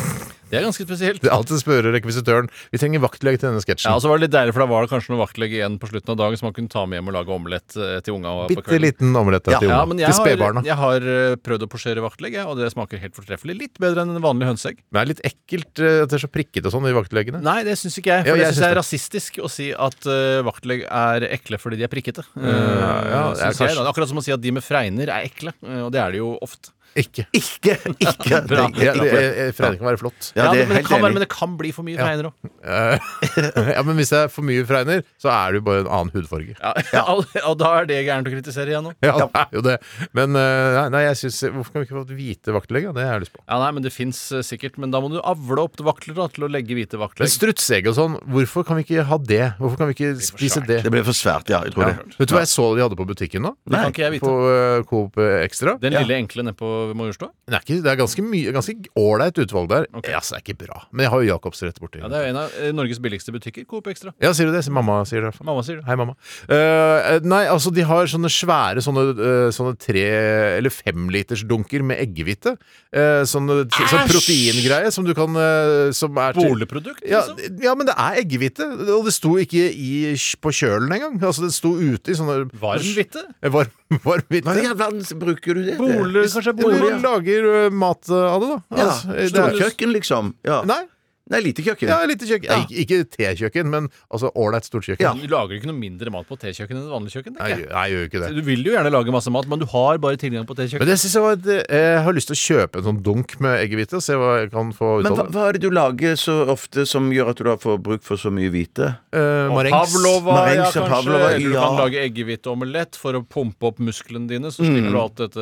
[SPEAKER 6] <laughs> Det er ganske spesielt.
[SPEAKER 4] Det er alltid spørre rekvisitøren. Vi trenger vaktelegg til denne sketsjen.
[SPEAKER 6] Ja, og så var det litt deilig, for Da var det kanskje noe vaktelegg igjen på slutten av dagen som han kunne ta med hjem og lage omelett eh, til unga. på
[SPEAKER 4] Bitte
[SPEAKER 6] kvelden.
[SPEAKER 4] liten omelett der
[SPEAKER 5] Ja,
[SPEAKER 4] til,
[SPEAKER 6] Ja,
[SPEAKER 4] ja,
[SPEAKER 6] men
[SPEAKER 4] til
[SPEAKER 6] jeg har,
[SPEAKER 4] spedbarna.
[SPEAKER 6] jeg har eh, prøvd å posjere vaktelegg, jeg, og det smaker helt fortreffelig. Litt bedre enn en vanlig hønseegg.
[SPEAKER 4] Men Det er litt ekkelt eh, at det er så prikkete og sånn i vakteleggene.
[SPEAKER 6] Nei, det syns ikke jeg.
[SPEAKER 4] Ja,
[SPEAKER 6] For
[SPEAKER 4] jeg
[SPEAKER 6] jeg syns
[SPEAKER 4] syns
[SPEAKER 6] det er rasistisk å si at eh, vaktelegg er ekle fordi de er prikkete. Eh,
[SPEAKER 4] ja, det er
[SPEAKER 6] synes jeg,
[SPEAKER 4] kanskje-
[SPEAKER 6] da. Akkurat som å si at de med fregner er ekle, eh, og det er de jo ofte.
[SPEAKER 4] Ikke.
[SPEAKER 5] Ikke! ikke
[SPEAKER 4] <laughs>
[SPEAKER 6] Bra.
[SPEAKER 5] det-
[SPEAKER 4] Ja, det,
[SPEAKER 5] ikke.
[SPEAKER 4] eh, Fregning kan være flott.
[SPEAKER 5] Ja,
[SPEAKER 6] Ja,
[SPEAKER 5] det er
[SPEAKER 6] men, det
[SPEAKER 5] helt
[SPEAKER 6] kan være,
[SPEAKER 5] enig.
[SPEAKER 6] men det kan bli for mye fregner òg.
[SPEAKER 4] Eh, <laughs> Ja, Men hvis det er for mye fregner, så er det jo bare en annen hudfarge.
[SPEAKER 6] <laughs> Ja. og, og da er det gærent å kritisere igjen nå.
[SPEAKER 4] Ja, det er jo det. Men eh, nei, nei, jeg synes, hvorfor kan vi ikke få et hvite vaktelegg? da? Det har jeg lyst på.
[SPEAKER 6] Ja, nei, men Det fins sikkert, men da må du avle opp vakler da, til å legge hvite
[SPEAKER 4] Men
[SPEAKER 6] vakler.
[SPEAKER 4] strutseegg og sånn, hvorfor kan vi ikke ha det? Hvorfor kan vi ikke spise det?
[SPEAKER 5] Det ble for svært, ja. Jeg tror
[SPEAKER 4] Ja.
[SPEAKER 5] det.
[SPEAKER 4] Vet du hva jeg så de hadde på butikken nå?
[SPEAKER 6] Det kan ikke jeg vite.
[SPEAKER 4] På eh, Coop eh, Extra?
[SPEAKER 6] Den lille enkle nede på Majorstua?
[SPEAKER 4] Det er, ikke, det er ganske mye ganske ålreit utvalg der. Ja, så det er ikke bra. Men jeg har jo Jacobs rett borti.
[SPEAKER 6] Ja, det er jo en av eh, Norges billigste butikker. Coop Extra.
[SPEAKER 4] Ja, sier du det? Så Mamma sier det i hvert fall.
[SPEAKER 6] Mamma sier det.
[SPEAKER 4] Hei, mamma. Eh, nei, altså, de har sånne svære sånne, eh, sånne tre- eller femlitersdunker med eggehvite. Eh, sånne sånn proteingreie som du kan eh, Som er til-
[SPEAKER 6] Boligprodukt,
[SPEAKER 4] ja,
[SPEAKER 6] liksom?
[SPEAKER 4] ja, men det er eggehvite. Og det sto ikke i, på kjølen engang. Altså, det sto ute i sånne
[SPEAKER 6] Varmhvite?
[SPEAKER 4] Eh, Varm, varmhvite.
[SPEAKER 5] Hva i all verden bruker du det til?
[SPEAKER 6] Bolig, kanskje
[SPEAKER 4] Du
[SPEAKER 6] bolig? ja.
[SPEAKER 4] lager eh, mat eh, av det, da.
[SPEAKER 5] Ja,
[SPEAKER 4] Altså, eh, det er-
[SPEAKER 5] Storkjøkken, liksom. Ja.
[SPEAKER 4] Nei.
[SPEAKER 5] Nei, lite kjøkken.
[SPEAKER 4] Ja, lite kjøkken.
[SPEAKER 5] Ja.
[SPEAKER 4] Nei, ikke- ikke tekjøkken, men altså ålreit stort kjøkken.
[SPEAKER 5] Ja.
[SPEAKER 6] Du lager ikke noe mindre mat på tekjøkken enn et vanlig kjøkken?
[SPEAKER 4] Nei, jeg
[SPEAKER 6] tenker
[SPEAKER 4] gjør- jeg gjør jo ikke
[SPEAKER 6] jeg.
[SPEAKER 4] det.
[SPEAKER 6] Du vil jo gjerne lage masse mat, men du har bare tilgang på
[SPEAKER 4] Men
[SPEAKER 6] tekjøkken.
[SPEAKER 4] det synes jeg var et, eh, Jeg har lyst til å kjøpe en sånn dunk med eggehvite og se hva jeg kan få ut
[SPEAKER 5] Men
[SPEAKER 4] av
[SPEAKER 5] hva,
[SPEAKER 4] det.
[SPEAKER 5] hva er det du lager så ofte som gjør at du da får bruk for så mye hvite?
[SPEAKER 4] Eh,
[SPEAKER 6] Og
[SPEAKER 4] marengs.
[SPEAKER 6] Pavlova, ja,
[SPEAKER 5] Marengs og
[SPEAKER 6] kanskje.
[SPEAKER 5] Pavlova,
[SPEAKER 6] Eller du
[SPEAKER 5] ja.
[SPEAKER 6] kan lage eggehviteomelett for å pumpe opp musklene dine. Så slipper du alt dette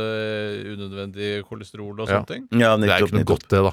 [SPEAKER 6] unødvendige kolesterol og
[SPEAKER 4] Ja.
[SPEAKER 6] sånne ting.
[SPEAKER 5] Ja,
[SPEAKER 4] Det er
[SPEAKER 5] nettopp,
[SPEAKER 4] ikke noe
[SPEAKER 5] nettopp.
[SPEAKER 4] godt, det, da.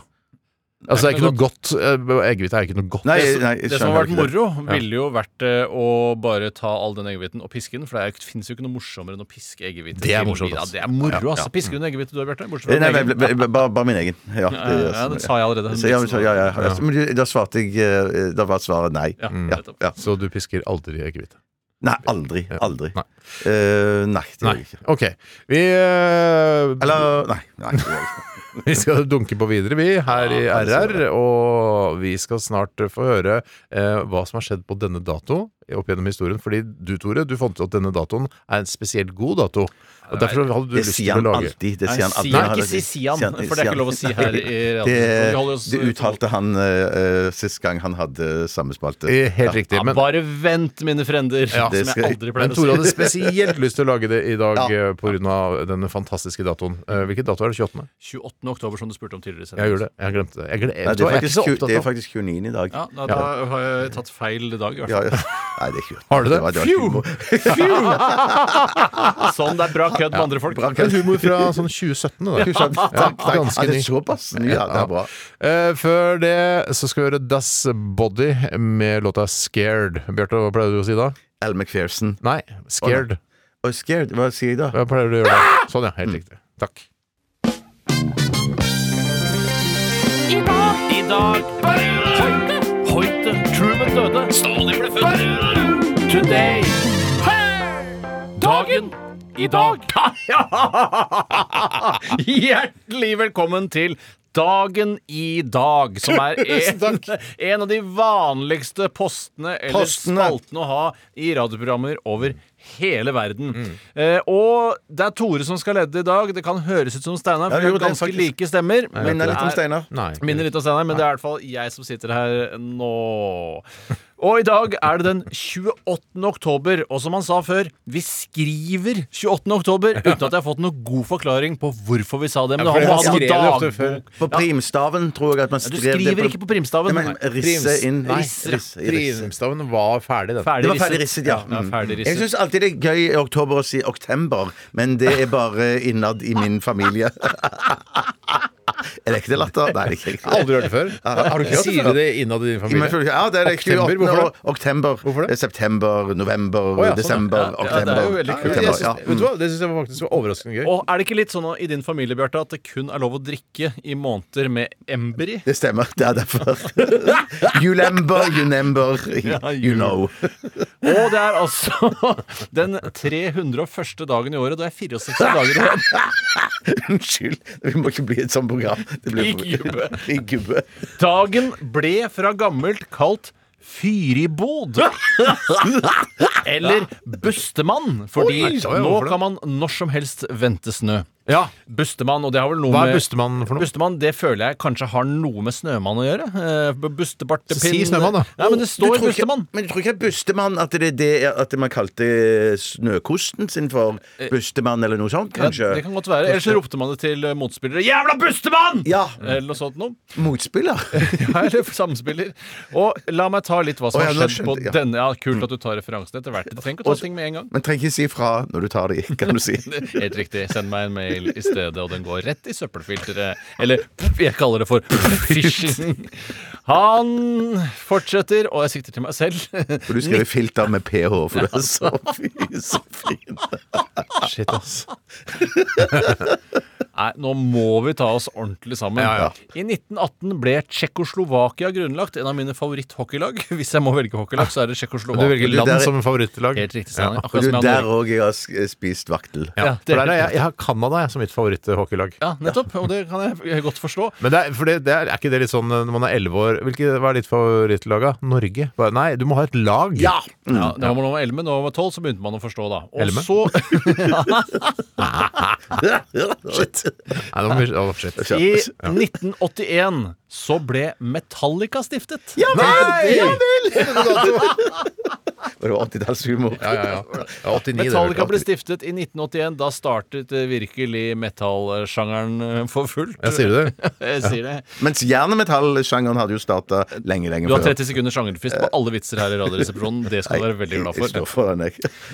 [SPEAKER 4] Altså, det er ikke noe godt eh, Eggehvite er ikke noe godt.
[SPEAKER 5] Nei, nei, jeg
[SPEAKER 6] Det som har
[SPEAKER 5] skjønner ikke
[SPEAKER 6] vært
[SPEAKER 5] det.
[SPEAKER 6] moro, ville jo vært eh, å bare ta all den eggehviten og piske den. For det fins jo ikke noe morsommere enn å piske eggehvite.
[SPEAKER 4] Det er
[SPEAKER 6] til
[SPEAKER 4] morsomt,
[SPEAKER 6] middag.
[SPEAKER 4] ass.
[SPEAKER 6] Det er moro, altså. Pisker du en eggehvite du har, Bjarte? Bortsett
[SPEAKER 5] Eh, Nei,
[SPEAKER 6] fra
[SPEAKER 5] nei,
[SPEAKER 6] egen-
[SPEAKER 5] ble- ble- bare, bare min egen. Ja, det,
[SPEAKER 6] Ja, ja, det sa jeg allerede.
[SPEAKER 5] Så, ja, men så, ja, ja, ja. Men du, da svarte jeg eh, Da var svaret nei.
[SPEAKER 6] Ja,
[SPEAKER 5] Ja,
[SPEAKER 6] nettopp.
[SPEAKER 5] ja.
[SPEAKER 4] Så du pisker aldri eggehvite.
[SPEAKER 5] Nei, aldri. Aldri.
[SPEAKER 4] Nei.
[SPEAKER 5] Eh, nei, det gjør jeg ikke.
[SPEAKER 4] OK. Vi, eh,
[SPEAKER 5] Eller Nei. nei det gjør jeg ikke.
[SPEAKER 4] <laughs> vi skal dunke på videre, vi, her i RR. Og vi skal snart eh, få høre eh, hva som har skjedd på denne dato opp gjennom historien. Fordi du, Tore, du fant ut at denne datoen er en spesielt god dato. Og derfor hadde du
[SPEAKER 5] det
[SPEAKER 4] lyst til
[SPEAKER 5] sier
[SPEAKER 4] å
[SPEAKER 5] han
[SPEAKER 4] lage
[SPEAKER 5] alltid. Det
[SPEAKER 6] Nei,
[SPEAKER 5] sier han alltid.
[SPEAKER 6] Sian.
[SPEAKER 5] Han har
[SPEAKER 6] Ikke si Sian, for det er ikke lov å si
[SPEAKER 5] <laughs>
[SPEAKER 6] her i radioen. Vi
[SPEAKER 5] Det,
[SPEAKER 6] holder oss-
[SPEAKER 5] det uttalte han eh, eh, sist gang han hadde samme spalte.
[SPEAKER 4] Eh, Helt riktig.
[SPEAKER 6] Ja,
[SPEAKER 4] Men
[SPEAKER 6] bare vent, mine frender,
[SPEAKER 5] det
[SPEAKER 6] som jeg
[SPEAKER 5] skal-
[SPEAKER 4] Men
[SPEAKER 6] aldri pleier å
[SPEAKER 4] Tore hadde
[SPEAKER 6] si.
[SPEAKER 4] spesielt lyst til å lage det i dag
[SPEAKER 5] <laughs> Ja.
[SPEAKER 4] eh, På grunn av denne fantastiske datoen. Eh, Hvilken dato er det? 28.?
[SPEAKER 6] <laughs> 28. oktober, som du spurte om tidligere. i sendingen.
[SPEAKER 4] Jeg gjorde det. Jeg glemte det. Jeg, glem,
[SPEAKER 5] Nei,
[SPEAKER 4] vet du
[SPEAKER 5] det,
[SPEAKER 4] hva, jeg
[SPEAKER 5] er
[SPEAKER 4] er ikke så
[SPEAKER 5] faktisk, Q-
[SPEAKER 4] opptatt
[SPEAKER 5] det
[SPEAKER 4] av
[SPEAKER 5] er faktisk Q9 i dag.
[SPEAKER 6] Ja, da, da har jeg tatt feil dag, i hvert
[SPEAKER 5] Ja,
[SPEAKER 6] fall.
[SPEAKER 5] ja. Nei, det er ikke
[SPEAKER 4] Har du det?
[SPEAKER 5] var- var
[SPEAKER 4] Phew!
[SPEAKER 5] humor.
[SPEAKER 6] <laughs> Sånn, det er bra kødd med andre folk.
[SPEAKER 4] En humor fra sånn 2017. Da.
[SPEAKER 5] <laughs> Takk, takk.
[SPEAKER 4] Ja, ganske
[SPEAKER 5] Ja, det er
[SPEAKER 4] ny.
[SPEAKER 5] såpass ny, ja. Det er bra.
[SPEAKER 4] Eh, før det så skal vi høre Das Body med låta 'Scared'. Bjarte, hva pleier du å si da?
[SPEAKER 5] Al McPherson.
[SPEAKER 4] Nei, 'Scared'.
[SPEAKER 5] Og scared, hva sier jeg da?
[SPEAKER 4] Hva pleier du å gjøre da? Sånn, ja.
[SPEAKER 5] Mm.
[SPEAKER 4] Helt riktig. Takk.
[SPEAKER 3] I dag Hoite Hoite Truman døde Stalin ble født Today Dagen I dag
[SPEAKER 6] <laughs> Hjertelig velkommen til Dagen i dag, som
[SPEAKER 3] <laughs>
[SPEAKER 6] er en, en av de vanligste postene eller
[SPEAKER 5] Postene.
[SPEAKER 6] spaltene å ha i radioprogrammer over hele verden.
[SPEAKER 3] Mm.
[SPEAKER 6] Eh, og det er Tore som skal lede i dag. Det kan høres ut som Steinar,
[SPEAKER 5] Ja, det
[SPEAKER 6] for vi har
[SPEAKER 5] gjorde det,
[SPEAKER 6] ganske
[SPEAKER 5] faktisk.
[SPEAKER 6] like stemmer.
[SPEAKER 5] Minner
[SPEAKER 6] det
[SPEAKER 5] litt om
[SPEAKER 6] er-
[SPEAKER 5] Steinar.
[SPEAKER 4] Nei.
[SPEAKER 6] Minner litt om Steinar, men det er i hvert fall jeg som sitter her nå. Og i dag er det den 28. oktober, og som han sa før, vi skriver 28. oktober uten at jeg har fått noen god forklaring på hvorfor vi sa det. Men
[SPEAKER 4] Ja,
[SPEAKER 6] det
[SPEAKER 4] for
[SPEAKER 6] har
[SPEAKER 4] han skrev
[SPEAKER 6] med
[SPEAKER 4] det
[SPEAKER 6] noe
[SPEAKER 4] ofte før.
[SPEAKER 6] dagbok
[SPEAKER 5] På primstaven tror jeg at man
[SPEAKER 6] Du
[SPEAKER 5] skrev det
[SPEAKER 6] skriver ikke på primstaven.
[SPEAKER 5] Nei, men risse
[SPEAKER 4] Prims-
[SPEAKER 5] inn
[SPEAKER 4] Nei,
[SPEAKER 5] risse, risse, risse.
[SPEAKER 4] Primstaven var ferdig, den.
[SPEAKER 5] Det var ferdig risset, ja. Mm.
[SPEAKER 6] ja ferdig
[SPEAKER 5] Jeg
[SPEAKER 6] risset.
[SPEAKER 5] syns alltid det er gøy i oktober å si oktember, men det er bare innad i min familie. Er det ekte latter? Nei, det er ikke ekte.
[SPEAKER 4] Aldri hørt det før. Har du ikke hørt det før? Sier du det innad i din
[SPEAKER 5] Men jeg
[SPEAKER 4] familie?
[SPEAKER 5] føler ikke- Ja, det er riktig.
[SPEAKER 4] Oktember, hvorfor det?
[SPEAKER 5] Oktember,
[SPEAKER 4] Hvorfor det?
[SPEAKER 5] september, november,
[SPEAKER 4] Å, ja, sånn, ja.
[SPEAKER 5] desember,
[SPEAKER 6] Ja, ja, det er
[SPEAKER 5] oktember.
[SPEAKER 6] jo veldig kult.
[SPEAKER 5] oktember,
[SPEAKER 4] Jeg synes-
[SPEAKER 5] ja.
[SPEAKER 4] Vet du hva? Det syns jeg faktisk var overraskende gøy.
[SPEAKER 6] Og er det ikke litt sånn i din familie, Bjarte, at det kun er lov å drikke i måneder med
[SPEAKER 5] <laughs>
[SPEAKER 6] ember i?
[SPEAKER 5] Det stemmer. Det er derfor. <laughs> Julember, junember, you know. <laughs>
[SPEAKER 6] Og det er altså <laughs> den 301. dagen i året, og det er 64 dager igjen.
[SPEAKER 5] Unnskyld. Vi må ikke bli et sånt program. Det blir
[SPEAKER 6] I gubbe.
[SPEAKER 5] <laughs> I gubbe.
[SPEAKER 6] Dagen ble fra gammelt kalt Fyribod. Eller Bustemann, fordi
[SPEAKER 4] Oi, ja, ja,
[SPEAKER 6] nå
[SPEAKER 4] hvorfor det?
[SPEAKER 6] kan man når som helst vente snø. Ja, Bustemann, og det har vel noe
[SPEAKER 4] Hva
[SPEAKER 6] med
[SPEAKER 4] er Bustemann for noe?
[SPEAKER 6] Bustemann, det føler jeg kanskje har noe med Snømann å gjøre. Eh, b- Bustebartepinn
[SPEAKER 4] Si Snømann, da.
[SPEAKER 6] Nei, men det
[SPEAKER 5] Du
[SPEAKER 6] <laughs> står
[SPEAKER 5] tror ikke-
[SPEAKER 6] Bustemann.
[SPEAKER 5] Men du tror ikke at Bustemann at det er det at man kalte snøkosten sin for Bustemann eller noe sånt,
[SPEAKER 6] Eh, Ja,
[SPEAKER 5] kanskje?
[SPEAKER 6] det kan godt være. Ellers så ropte man det til eh, motspillere. 'Jævla Bustemann!'
[SPEAKER 5] Ja.
[SPEAKER 6] Eller noe sånt noe. <laughs>
[SPEAKER 5] Motspiller?
[SPEAKER 6] Ja, eller samspiller. Og la meg ta litt hva som
[SPEAKER 5] Å, ja, nå
[SPEAKER 6] har skjedd på
[SPEAKER 5] skjønte jeg, ja.
[SPEAKER 6] denne. Ja, kult at du tar referansen etter hvert. Du trenger ikke å ta ting med en gang.
[SPEAKER 5] Men trenger ikke si fra når du tar de, kan du si.
[SPEAKER 6] <laughs> Helt riktig. Send meg en mail i
[SPEAKER 4] <laughs>
[SPEAKER 6] stedet, og den går rett i søppelfilteret. Eller pff, jeg kaller det for phishing. Han fortsetter, og jeg sikter til meg selv. <laughs>
[SPEAKER 5] For du skriver filter med ph, for du er så fin. Så fin.
[SPEAKER 4] Shit, ass.
[SPEAKER 6] Nei, nå må vi ta oss ordentlig sammen.
[SPEAKER 4] Ja, ja.
[SPEAKER 6] I 1918 ble Tsjekkoslovakia grunnlagt, en av mine favoritthockeylag. <laughs> Hvis jeg må velge hockeylag, så er det
[SPEAKER 4] Ah. Du velger
[SPEAKER 6] Tsjekkoslovakia.
[SPEAKER 5] land
[SPEAKER 4] land
[SPEAKER 5] som
[SPEAKER 4] som favorittlag?
[SPEAKER 6] Helt riktig, Steinar.
[SPEAKER 5] Og
[SPEAKER 6] Akkurat
[SPEAKER 5] du,
[SPEAKER 6] som jeg
[SPEAKER 5] der
[SPEAKER 6] hadde.
[SPEAKER 5] òg jeg har s- spist vaktel.
[SPEAKER 6] Ja,
[SPEAKER 4] Ja,
[SPEAKER 6] det er
[SPEAKER 4] for der er
[SPEAKER 6] helt
[SPEAKER 4] jeg, jeg har Canada jeg, som mitt favoritthockeylag.
[SPEAKER 6] Ja, nettopp. Og det kan jeg godt forstå.
[SPEAKER 4] Men det er, for det, det er, er ikke det litt sånn eh, når man er elleve år hvilke, Hva er ditt favorittlag, da? Norge? Hva- Nei, du må ha et lag! Ja! Mm.
[SPEAKER 6] Ja, da man var 11, når man var 12, så begynte man å forstå, da. Og
[SPEAKER 4] Elleve?
[SPEAKER 6] så
[SPEAKER 5] <laughs> Shit.
[SPEAKER 4] Nei, det var mye, oh, shit.
[SPEAKER 6] I 1981 så ble Metallica stiftet.
[SPEAKER 4] Nei! Ja, <laughs>
[SPEAKER 5] <laughs> Det var 80-tallshumor.
[SPEAKER 4] ja,
[SPEAKER 6] <laughs>
[SPEAKER 4] ja. Ja, 89, det
[SPEAKER 6] Metallica
[SPEAKER 4] ble
[SPEAKER 6] ble stiftet i 1981. Da startet eh, virkelig metallsjangeren eh, for fullt. Eh,
[SPEAKER 4] Ja, sier du
[SPEAKER 6] <laughs>
[SPEAKER 4] det?
[SPEAKER 6] Jeg sier det.
[SPEAKER 5] Mens jernemetallsjangeren hadde jo starta lenge, lenge
[SPEAKER 6] Du har
[SPEAKER 5] før.
[SPEAKER 6] 30 sekunder sjangerfrist på alle vitser her i Radioresepsjonen. Det skal du være veldig glad
[SPEAKER 5] Jeg står
[SPEAKER 6] for.
[SPEAKER 5] foran deg.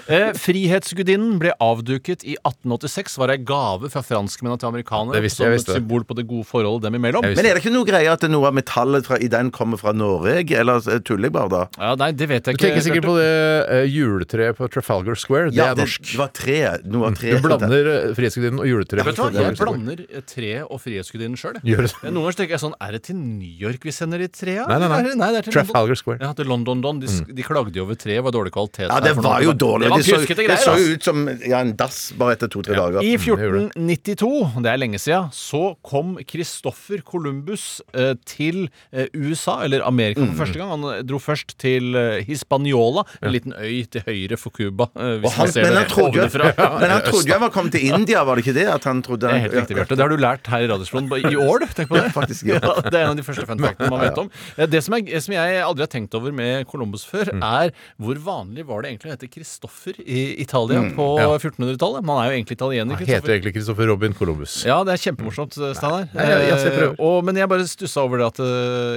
[SPEAKER 6] Eh, Frihetsgudinnen ble avduket i 1886. Var ei gave fra franskmennene til amerikanere
[SPEAKER 4] Det visste-
[SPEAKER 6] som
[SPEAKER 4] jeg
[SPEAKER 6] et
[SPEAKER 4] visste det.
[SPEAKER 6] symbol på det gode forholdet dem imellom.
[SPEAKER 4] Jeg visste
[SPEAKER 5] Men er det ikke noe greie at noe av metallet fra, i den kommer fra Norge? Eller eh, tuller jeg bare da?
[SPEAKER 6] Ja, nei, det vet jeg
[SPEAKER 4] Du
[SPEAKER 6] ikke.
[SPEAKER 4] tenker sikkert på det eh, juletreet på Trafalgar Square. Det er norsk.
[SPEAKER 5] Det var tre. Noe av tre.
[SPEAKER 4] Du blander eh, Frihetsgudinnen og juletreet.
[SPEAKER 6] Vet du
[SPEAKER 4] på
[SPEAKER 6] hva, Jeg
[SPEAKER 4] Trafalgar Square.
[SPEAKER 6] blander eh, treet og Frihetsgudinnen sjøl.
[SPEAKER 4] Gjør
[SPEAKER 6] Noen
[SPEAKER 4] du det?
[SPEAKER 6] ganger så tenker jeg sånn Er det til New York vi sender i trea?
[SPEAKER 4] Nei, nei, nei.
[SPEAKER 6] Eller er det- det er til London.
[SPEAKER 4] Trafalgar Square.
[SPEAKER 6] Ja, til London, Don. De, sk- de klagde jo over treet. Var dårlig kvalitet.
[SPEAKER 5] Mm. Ja,
[SPEAKER 6] der
[SPEAKER 5] det
[SPEAKER 6] for
[SPEAKER 5] var
[SPEAKER 6] noen-
[SPEAKER 5] jo dårlig.
[SPEAKER 6] Det var
[SPEAKER 5] Det så,
[SPEAKER 6] tyskete
[SPEAKER 5] det så
[SPEAKER 6] greier. ass.
[SPEAKER 5] jo ut som ja, en dass bare etter to-tre dager.
[SPEAKER 6] I
[SPEAKER 4] gjorde
[SPEAKER 6] 1492, det er lenge siden, så kom Christoffer Columbus eh, til eh, USA, eller Amerika
[SPEAKER 5] Mm.
[SPEAKER 6] for første gang. Han eh, dro først til eh, Hispaniola, en liten øy til høyre for Cuba. eh, hvis man
[SPEAKER 5] Han,
[SPEAKER 6] ser
[SPEAKER 5] men,
[SPEAKER 6] det
[SPEAKER 5] han trodde, jo- <laughs>
[SPEAKER 6] ovenfra.
[SPEAKER 5] men han trodde jo han var kommet til India, var det ikke det? At han trodde
[SPEAKER 6] Det er helt riktig, Bjarte. Det har du lært her i Radiosplan i år, du. Tenk på det.
[SPEAKER 5] faktisk, ja.
[SPEAKER 6] <laughs> Ja, det er en av de første fun factene man vet om. Eh, Det som, er, som jeg aldri har tenkt over med Columbus før,
[SPEAKER 5] Mm.
[SPEAKER 6] er hvor vanlig var det egentlig å hete Kristoffer i Italia
[SPEAKER 5] Mm,
[SPEAKER 6] på 1400-tallet? Man er jo egentlig italiener.
[SPEAKER 4] Han
[SPEAKER 6] Christoffer.
[SPEAKER 4] heter egentlig Christopher Robin Columbus.
[SPEAKER 6] Ja, det er kjempemorsomt,
[SPEAKER 5] Mm.
[SPEAKER 6] Steinar.
[SPEAKER 4] Nei, jeg- jeg ser prøver.
[SPEAKER 6] Eh, og- Men jeg bare stussa over det at eh,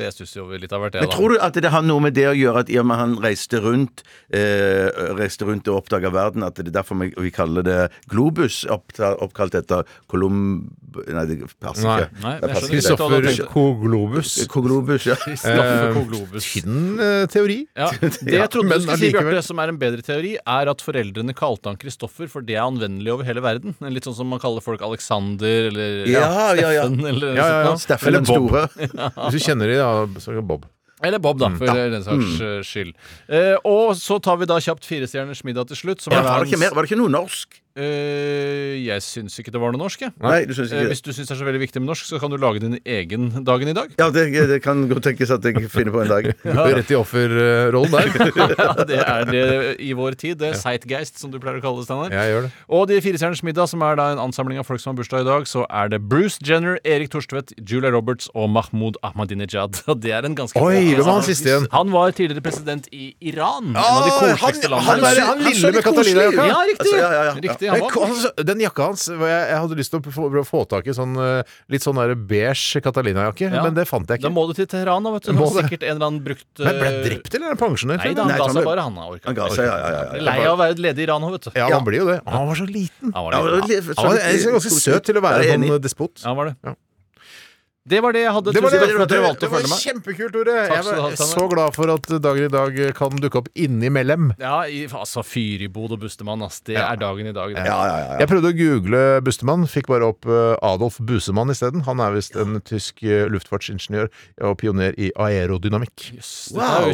[SPEAKER 6] Jeg stusser jo over litt av hvert, jeg,
[SPEAKER 5] Men tror du at det har noe med det å gjøre at i og med han reiste rundt eh, Reiste rundt og oppdaga verden, at det er derfor vi, vi kaller det Globus, oppta, oppkalt etter Colum... Nei, det passer
[SPEAKER 4] Nei.
[SPEAKER 5] ikke.
[SPEAKER 6] Nei,
[SPEAKER 5] Det
[SPEAKER 6] jeg
[SPEAKER 5] passer
[SPEAKER 6] skjønner
[SPEAKER 5] ikke.
[SPEAKER 6] det.
[SPEAKER 4] Christopher Koglobus.
[SPEAKER 5] Koglobus, ja.
[SPEAKER 4] Eh,
[SPEAKER 6] Kristoffer Koglobus.
[SPEAKER 4] Fin eh, teori.
[SPEAKER 6] Ja, Det jeg trodde
[SPEAKER 4] men
[SPEAKER 6] du skulle si,
[SPEAKER 4] allikevel.
[SPEAKER 6] Bjarte, som er en bedre teori, er at foreldrene kalte han Kristoffer, for det er anvendelig over hele verden. Litt sånn som man kaller folk Alexander eller
[SPEAKER 5] Ja, ja, ja.
[SPEAKER 6] Steffen eller,
[SPEAKER 4] Ja, ja, ja.
[SPEAKER 6] sånt
[SPEAKER 5] Steffen
[SPEAKER 4] Eller
[SPEAKER 5] den
[SPEAKER 4] Bob.
[SPEAKER 5] store.
[SPEAKER 4] Hvis du kjenner de, da, så er det Bob.
[SPEAKER 6] noe. eller Bob, da, for den saks eh, skyld. Eh, og så tar vi da kjapt Firestjerners middag til slutt, som
[SPEAKER 5] Ja,
[SPEAKER 6] er
[SPEAKER 5] var, det ikke
[SPEAKER 6] verdens
[SPEAKER 5] mer, var det ikke noe norsk?
[SPEAKER 6] Eh, Jeg syns ikke det var noe norsk, jeg.
[SPEAKER 5] Nei, du syns
[SPEAKER 6] Eh,
[SPEAKER 5] ikke
[SPEAKER 6] hvis du syns det er så veldig viktig med norsk, så kan du lage din egen Dagen i dag. <laughs>
[SPEAKER 5] Ja, det, det kan godt tenkes at jeg finner på en
[SPEAKER 4] <laughs>
[SPEAKER 5] dag.
[SPEAKER 4] Rett i offerrollen der.
[SPEAKER 6] Ja, det er det i vår tid. Det er Zeitgeist, som du pleier å kalle det, Steinar.
[SPEAKER 4] Jeg gjør det.
[SPEAKER 6] Og de Firestjerners middag, som er da en ansamling av folk som har bursdag i dag, så er det Bruce Jenner, Erik Torstvedt, Julia Roberts og Mahmoud Ahmadinejad. <laughs> Og det er en ganske
[SPEAKER 4] Oi, hvem var han
[SPEAKER 6] samling.
[SPEAKER 4] siste igjen?
[SPEAKER 6] Han var tidligere president i Iran. en av de koseligste
[SPEAKER 4] han,
[SPEAKER 6] landene.
[SPEAKER 4] er- han
[SPEAKER 5] Han
[SPEAKER 4] lille
[SPEAKER 5] så
[SPEAKER 4] med
[SPEAKER 5] litt
[SPEAKER 4] Catalina-jakka.
[SPEAKER 5] koselig ut.
[SPEAKER 6] ja, riktig!
[SPEAKER 5] Altså, ja, ja, ja.
[SPEAKER 6] riktig han
[SPEAKER 4] Men ko-
[SPEAKER 6] var.
[SPEAKER 4] altså, Den jakka hans var jeg, jeg hadde lyst til å få, prøve å få tak i sånn, eh, litt sånn der beige Catalina-jakke,
[SPEAKER 6] Ja.
[SPEAKER 4] men det fant jeg
[SPEAKER 6] Da
[SPEAKER 4] ikke.
[SPEAKER 6] må du til Teheran, da, vet du. Det
[SPEAKER 4] Må
[SPEAKER 6] var
[SPEAKER 4] det.
[SPEAKER 6] sikkert en eller annen brukt
[SPEAKER 4] Men ble han
[SPEAKER 6] eh,
[SPEAKER 4] drept, eller er han pensjonert?
[SPEAKER 6] Nei da,
[SPEAKER 4] eller?
[SPEAKER 5] Nei,
[SPEAKER 6] han ga
[SPEAKER 5] han
[SPEAKER 6] seg
[SPEAKER 5] ble-
[SPEAKER 6] bare, han. Han orka
[SPEAKER 5] Han
[SPEAKER 6] ikke.
[SPEAKER 5] ga seg, ja, ja, ja,
[SPEAKER 6] Ble
[SPEAKER 5] ja.
[SPEAKER 6] Lei av å være ledig i Iran nå, vet du.
[SPEAKER 4] Ja, han blir jo det. Å, Han var så liten.
[SPEAKER 6] Han var
[SPEAKER 5] Ja, det
[SPEAKER 6] litt-
[SPEAKER 5] var litt-
[SPEAKER 4] Han var egentlig ganske søt til å være
[SPEAKER 5] Jeg er
[SPEAKER 4] en
[SPEAKER 5] enig.
[SPEAKER 4] sånn despot.
[SPEAKER 6] Ja, han var det.
[SPEAKER 4] Ja.
[SPEAKER 6] Det var det jeg hadde.
[SPEAKER 4] Det var,
[SPEAKER 6] Tusen
[SPEAKER 4] det,
[SPEAKER 6] takk for at dere valgte
[SPEAKER 4] det
[SPEAKER 6] å
[SPEAKER 4] var
[SPEAKER 6] følge meg.
[SPEAKER 4] kjempekult, Tore. Jeg
[SPEAKER 6] skal du ha,
[SPEAKER 4] var
[SPEAKER 6] Steinar.
[SPEAKER 4] så glad for at dagen i dag eh, kan dukke opp innimellom.
[SPEAKER 6] Ja, i, altså Fyribod og Bustemann, ass. Det er dagen i dag. det.
[SPEAKER 5] Ja, ja, ja.
[SPEAKER 4] Jeg prøvde å google Bustemann, fikk bare opp eh, Adolf Busemann isteden. Han er visst en tysk eh, luftfartsingeniør og pioner i aerodynamikk.
[SPEAKER 6] Jøss, Dette er
[SPEAKER 5] Wow.
[SPEAKER 6] jo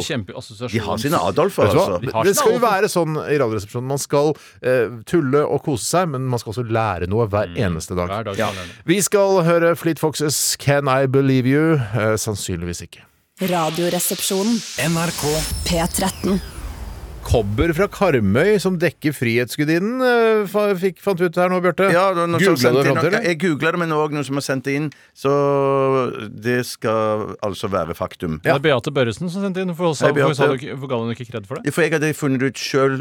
[SPEAKER 5] De
[SPEAKER 6] kjempeassosiasjon.
[SPEAKER 5] har sine Adolfer,
[SPEAKER 4] Vet du hva?
[SPEAKER 5] altså.
[SPEAKER 6] har
[SPEAKER 4] Det
[SPEAKER 6] ikke
[SPEAKER 4] skal jo
[SPEAKER 6] noe
[SPEAKER 4] være sånn i Radioresepsjonen. Man skal eh, tulle og kose seg, men man skal også lære noe hver eneste dag.
[SPEAKER 6] Mm, Hver dag.
[SPEAKER 5] Ja.
[SPEAKER 4] Vi skal høre Fleet Foxes Can I Believe You? Eh, sannsynligvis ikke.
[SPEAKER 1] Radioresepsjonen. NRK P13.
[SPEAKER 4] Kobber fra Karmøy som dekker Frihetsgudinnen, eh, fa- fikk- fant vi ut her nå, Bjarte.
[SPEAKER 5] Ja, det var noen som
[SPEAKER 4] Googlet
[SPEAKER 5] sendte
[SPEAKER 4] det
[SPEAKER 5] inn,
[SPEAKER 4] fram til?
[SPEAKER 5] Ja, jeg googla det, men det var også noen som har sendt det inn. Så det skal altså være faktum.
[SPEAKER 6] Det er Beate Børresen som sendte inn. For oss,
[SPEAKER 5] Hei,
[SPEAKER 6] for
[SPEAKER 5] Beate.
[SPEAKER 6] oss hadde du ikke, for ga hun ikke kred for det?
[SPEAKER 5] For jeg hadde funnet det ut sjøl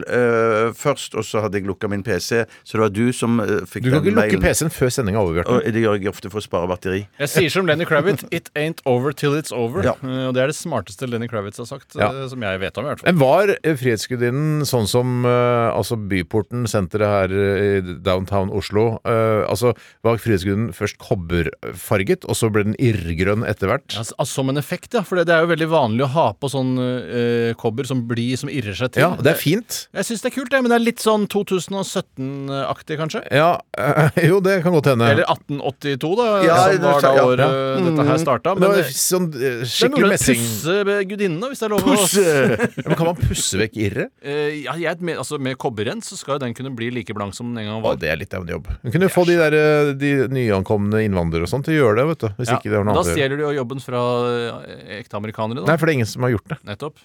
[SPEAKER 5] først, og så hadde jeg lukka min PC. Så det var du som eh, fikk
[SPEAKER 4] Du kan
[SPEAKER 5] den
[SPEAKER 4] ikke lukke
[SPEAKER 5] mailen.
[SPEAKER 4] PC-en før sendinga er over, Bjarte.
[SPEAKER 5] Og det gjør jeg ofte for å spare batteri.
[SPEAKER 6] Jeg sier som Lenny Kravitz It ain't over till it's over.
[SPEAKER 5] Ja.
[SPEAKER 6] Eh, Og Det er det smarteste Lenny Kravitz har sagt,
[SPEAKER 4] Ja.
[SPEAKER 6] eh, som jeg vet om. i hvert fall
[SPEAKER 4] Men var eh, frihetsgudinnen Norgesgudinnen, sånn som eh, altså Byporten senteret her eh, i downtown Oslo eh, Altså var Frihetsgudinnen først kobberfarget, og så ble den irrgrønn etter hvert.
[SPEAKER 6] Ja, s- altså, som en effekt, ja. For det, det er jo veldig vanlig å ha på sånn eh, kobber som blir, som irrer seg til.
[SPEAKER 4] Ja, det er fint.
[SPEAKER 6] Jeg syns det er kult, det, men det er litt sånn 2017-aktig, kanskje.
[SPEAKER 4] Ja, eh, <laughs> jo, det kan godt hende.
[SPEAKER 6] Eller 1882, da,
[SPEAKER 5] Ja,
[SPEAKER 6] som var da
[SPEAKER 5] ja.
[SPEAKER 6] året dette
[SPEAKER 5] Mm.
[SPEAKER 6] her starta.
[SPEAKER 4] det
[SPEAKER 6] Men
[SPEAKER 4] var
[SPEAKER 6] det,
[SPEAKER 4] sånn eh,
[SPEAKER 6] det er
[SPEAKER 4] skikkelig
[SPEAKER 6] mulig å
[SPEAKER 4] messing.
[SPEAKER 6] pusse gudinnene, hvis det er lov å
[SPEAKER 4] <laughs> Ja, Men kan man pusse vekk irret?
[SPEAKER 6] Eh, ja, jeg, men- altså, Med kobberrens så skal jo den kunne bli like blank som den en gang
[SPEAKER 4] Å,
[SPEAKER 6] var.
[SPEAKER 4] det er litt av en jobb. Hun kunne få de, der, eh, de nyankomne innvandrere og sånn til å gjøre det, vet du. Hvis
[SPEAKER 6] Ja,
[SPEAKER 4] ikke det var noe annet.
[SPEAKER 6] da
[SPEAKER 4] å gjøre.
[SPEAKER 6] stjeler du jo jobben fra eh, ekte amerikanere, da.
[SPEAKER 4] Nei, for det er ingen som har gjort det.
[SPEAKER 6] Nettopp.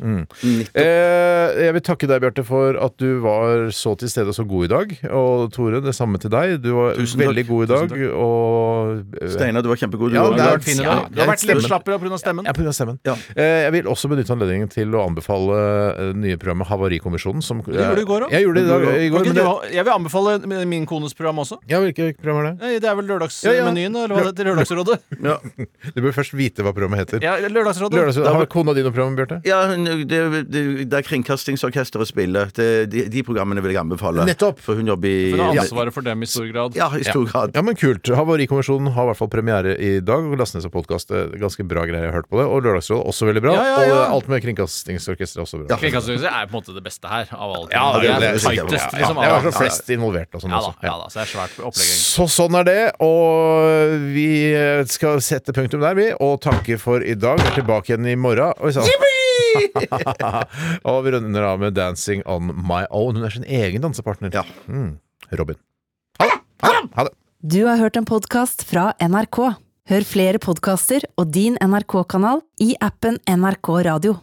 [SPEAKER 4] Eh, jeg vil takke deg, Bjarte, for at du var så til stede og så god i dag. Og Tore, det samme til deg. Du var
[SPEAKER 6] Tusen takk.
[SPEAKER 4] veldig god i dag. Og eh,
[SPEAKER 5] Steinar, du var kjempegod. Du
[SPEAKER 4] Ja,
[SPEAKER 5] også.
[SPEAKER 6] Du
[SPEAKER 4] det er-
[SPEAKER 6] har vært fin i dag.
[SPEAKER 4] ja,
[SPEAKER 6] Du har vært litt
[SPEAKER 4] stemmen.
[SPEAKER 6] slappere pga. stemmen.
[SPEAKER 4] Ja, på grunn av stemmen.
[SPEAKER 5] Ja.
[SPEAKER 4] Eh, jeg vil også benytte anledningen til å anbefale eh, det nye programmet Havarikommisjonen. Som, det
[SPEAKER 6] gjorde du i går også.
[SPEAKER 4] Jeg gjorde det i, dag, i
[SPEAKER 6] Kan
[SPEAKER 4] går.
[SPEAKER 6] ikke
[SPEAKER 4] Men
[SPEAKER 6] du
[SPEAKER 4] det,
[SPEAKER 6] ha- Jeg vil anbefale min kones program også.
[SPEAKER 4] ja, hvilket program er det?
[SPEAKER 6] Nei, Det er vel
[SPEAKER 4] Ja, ja.
[SPEAKER 6] lørdagsmenyen, eller hva det heter? Lørdagsrådet?
[SPEAKER 4] <laughs> Du bør først vite hva programmet heter.
[SPEAKER 6] Ja, lørdagsrådet.
[SPEAKER 4] Lørdags, har kona di noe program, Bjarte?
[SPEAKER 5] Ja, hun- det, det, det er Kringkastingsorkesteret spiller. Det, de, de programmene vil jeg anbefale.
[SPEAKER 4] Nettopp.
[SPEAKER 5] For hun jobber i
[SPEAKER 6] Hun har
[SPEAKER 5] ja,
[SPEAKER 6] ansvaret for dem i stor grad.
[SPEAKER 5] ja, i stor grad.
[SPEAKER 4] Ja, men kult. Havarikommisjonen har i hvert fall premiere i dag. Og Lastnes og podkast, ganske bra greier. Jeg har hørt på det. Og Lørdagsrådet også veldig bra.
[SPEAKER 6] Ja, ja,
[SPEAKER 4] Og
[SPEAKER 6] ja.
[SPEAKER 4] eh, alt med Kringkastingsorkesteret også bra.
[SPEAKER 6] Kringkastingshuset er på en måte det beste her av alle.
[SPEAKER 5] Ja, det er
[SPEAKER 6] det er
[SPEAKER 5] det sikkert.
[SPEAKER 4] Ja,
[SPEAKER 6] tightest, liksom.
[SPEAKER 4] det
[SPEAKER 6] av
[SPEAKER 4] var så
[SPEAKER 6] alle.
[SPEAKER 4] flest involvert og sånn
[SPEAKER 6] Ja da,
[SPEAKER 4] også.
[SPEAKER 6] ja da, så det er svært opplegg.
[SPEAKER 4] Så
[SPEAKER 6] egentlig.
[SPEAKER 4] sånn er det, og vi eh, skal sette punktum der, vi, og takke for i dag. Vi er tilbake igjen i morgen. Oi sann! <laughs> og vi runder av med 'Dancing on my own'. Hun er sin egen dansepartner.
[SPEAKER 5] Ja.
[SPEAKER 4] Mm. Robin. Ha det! Ha det! Ha det.
[SPEAKER 1] Du har hørt en podkast fra NRK. Hør flere podkaster og din NRK-kanal i appen NRK Radio.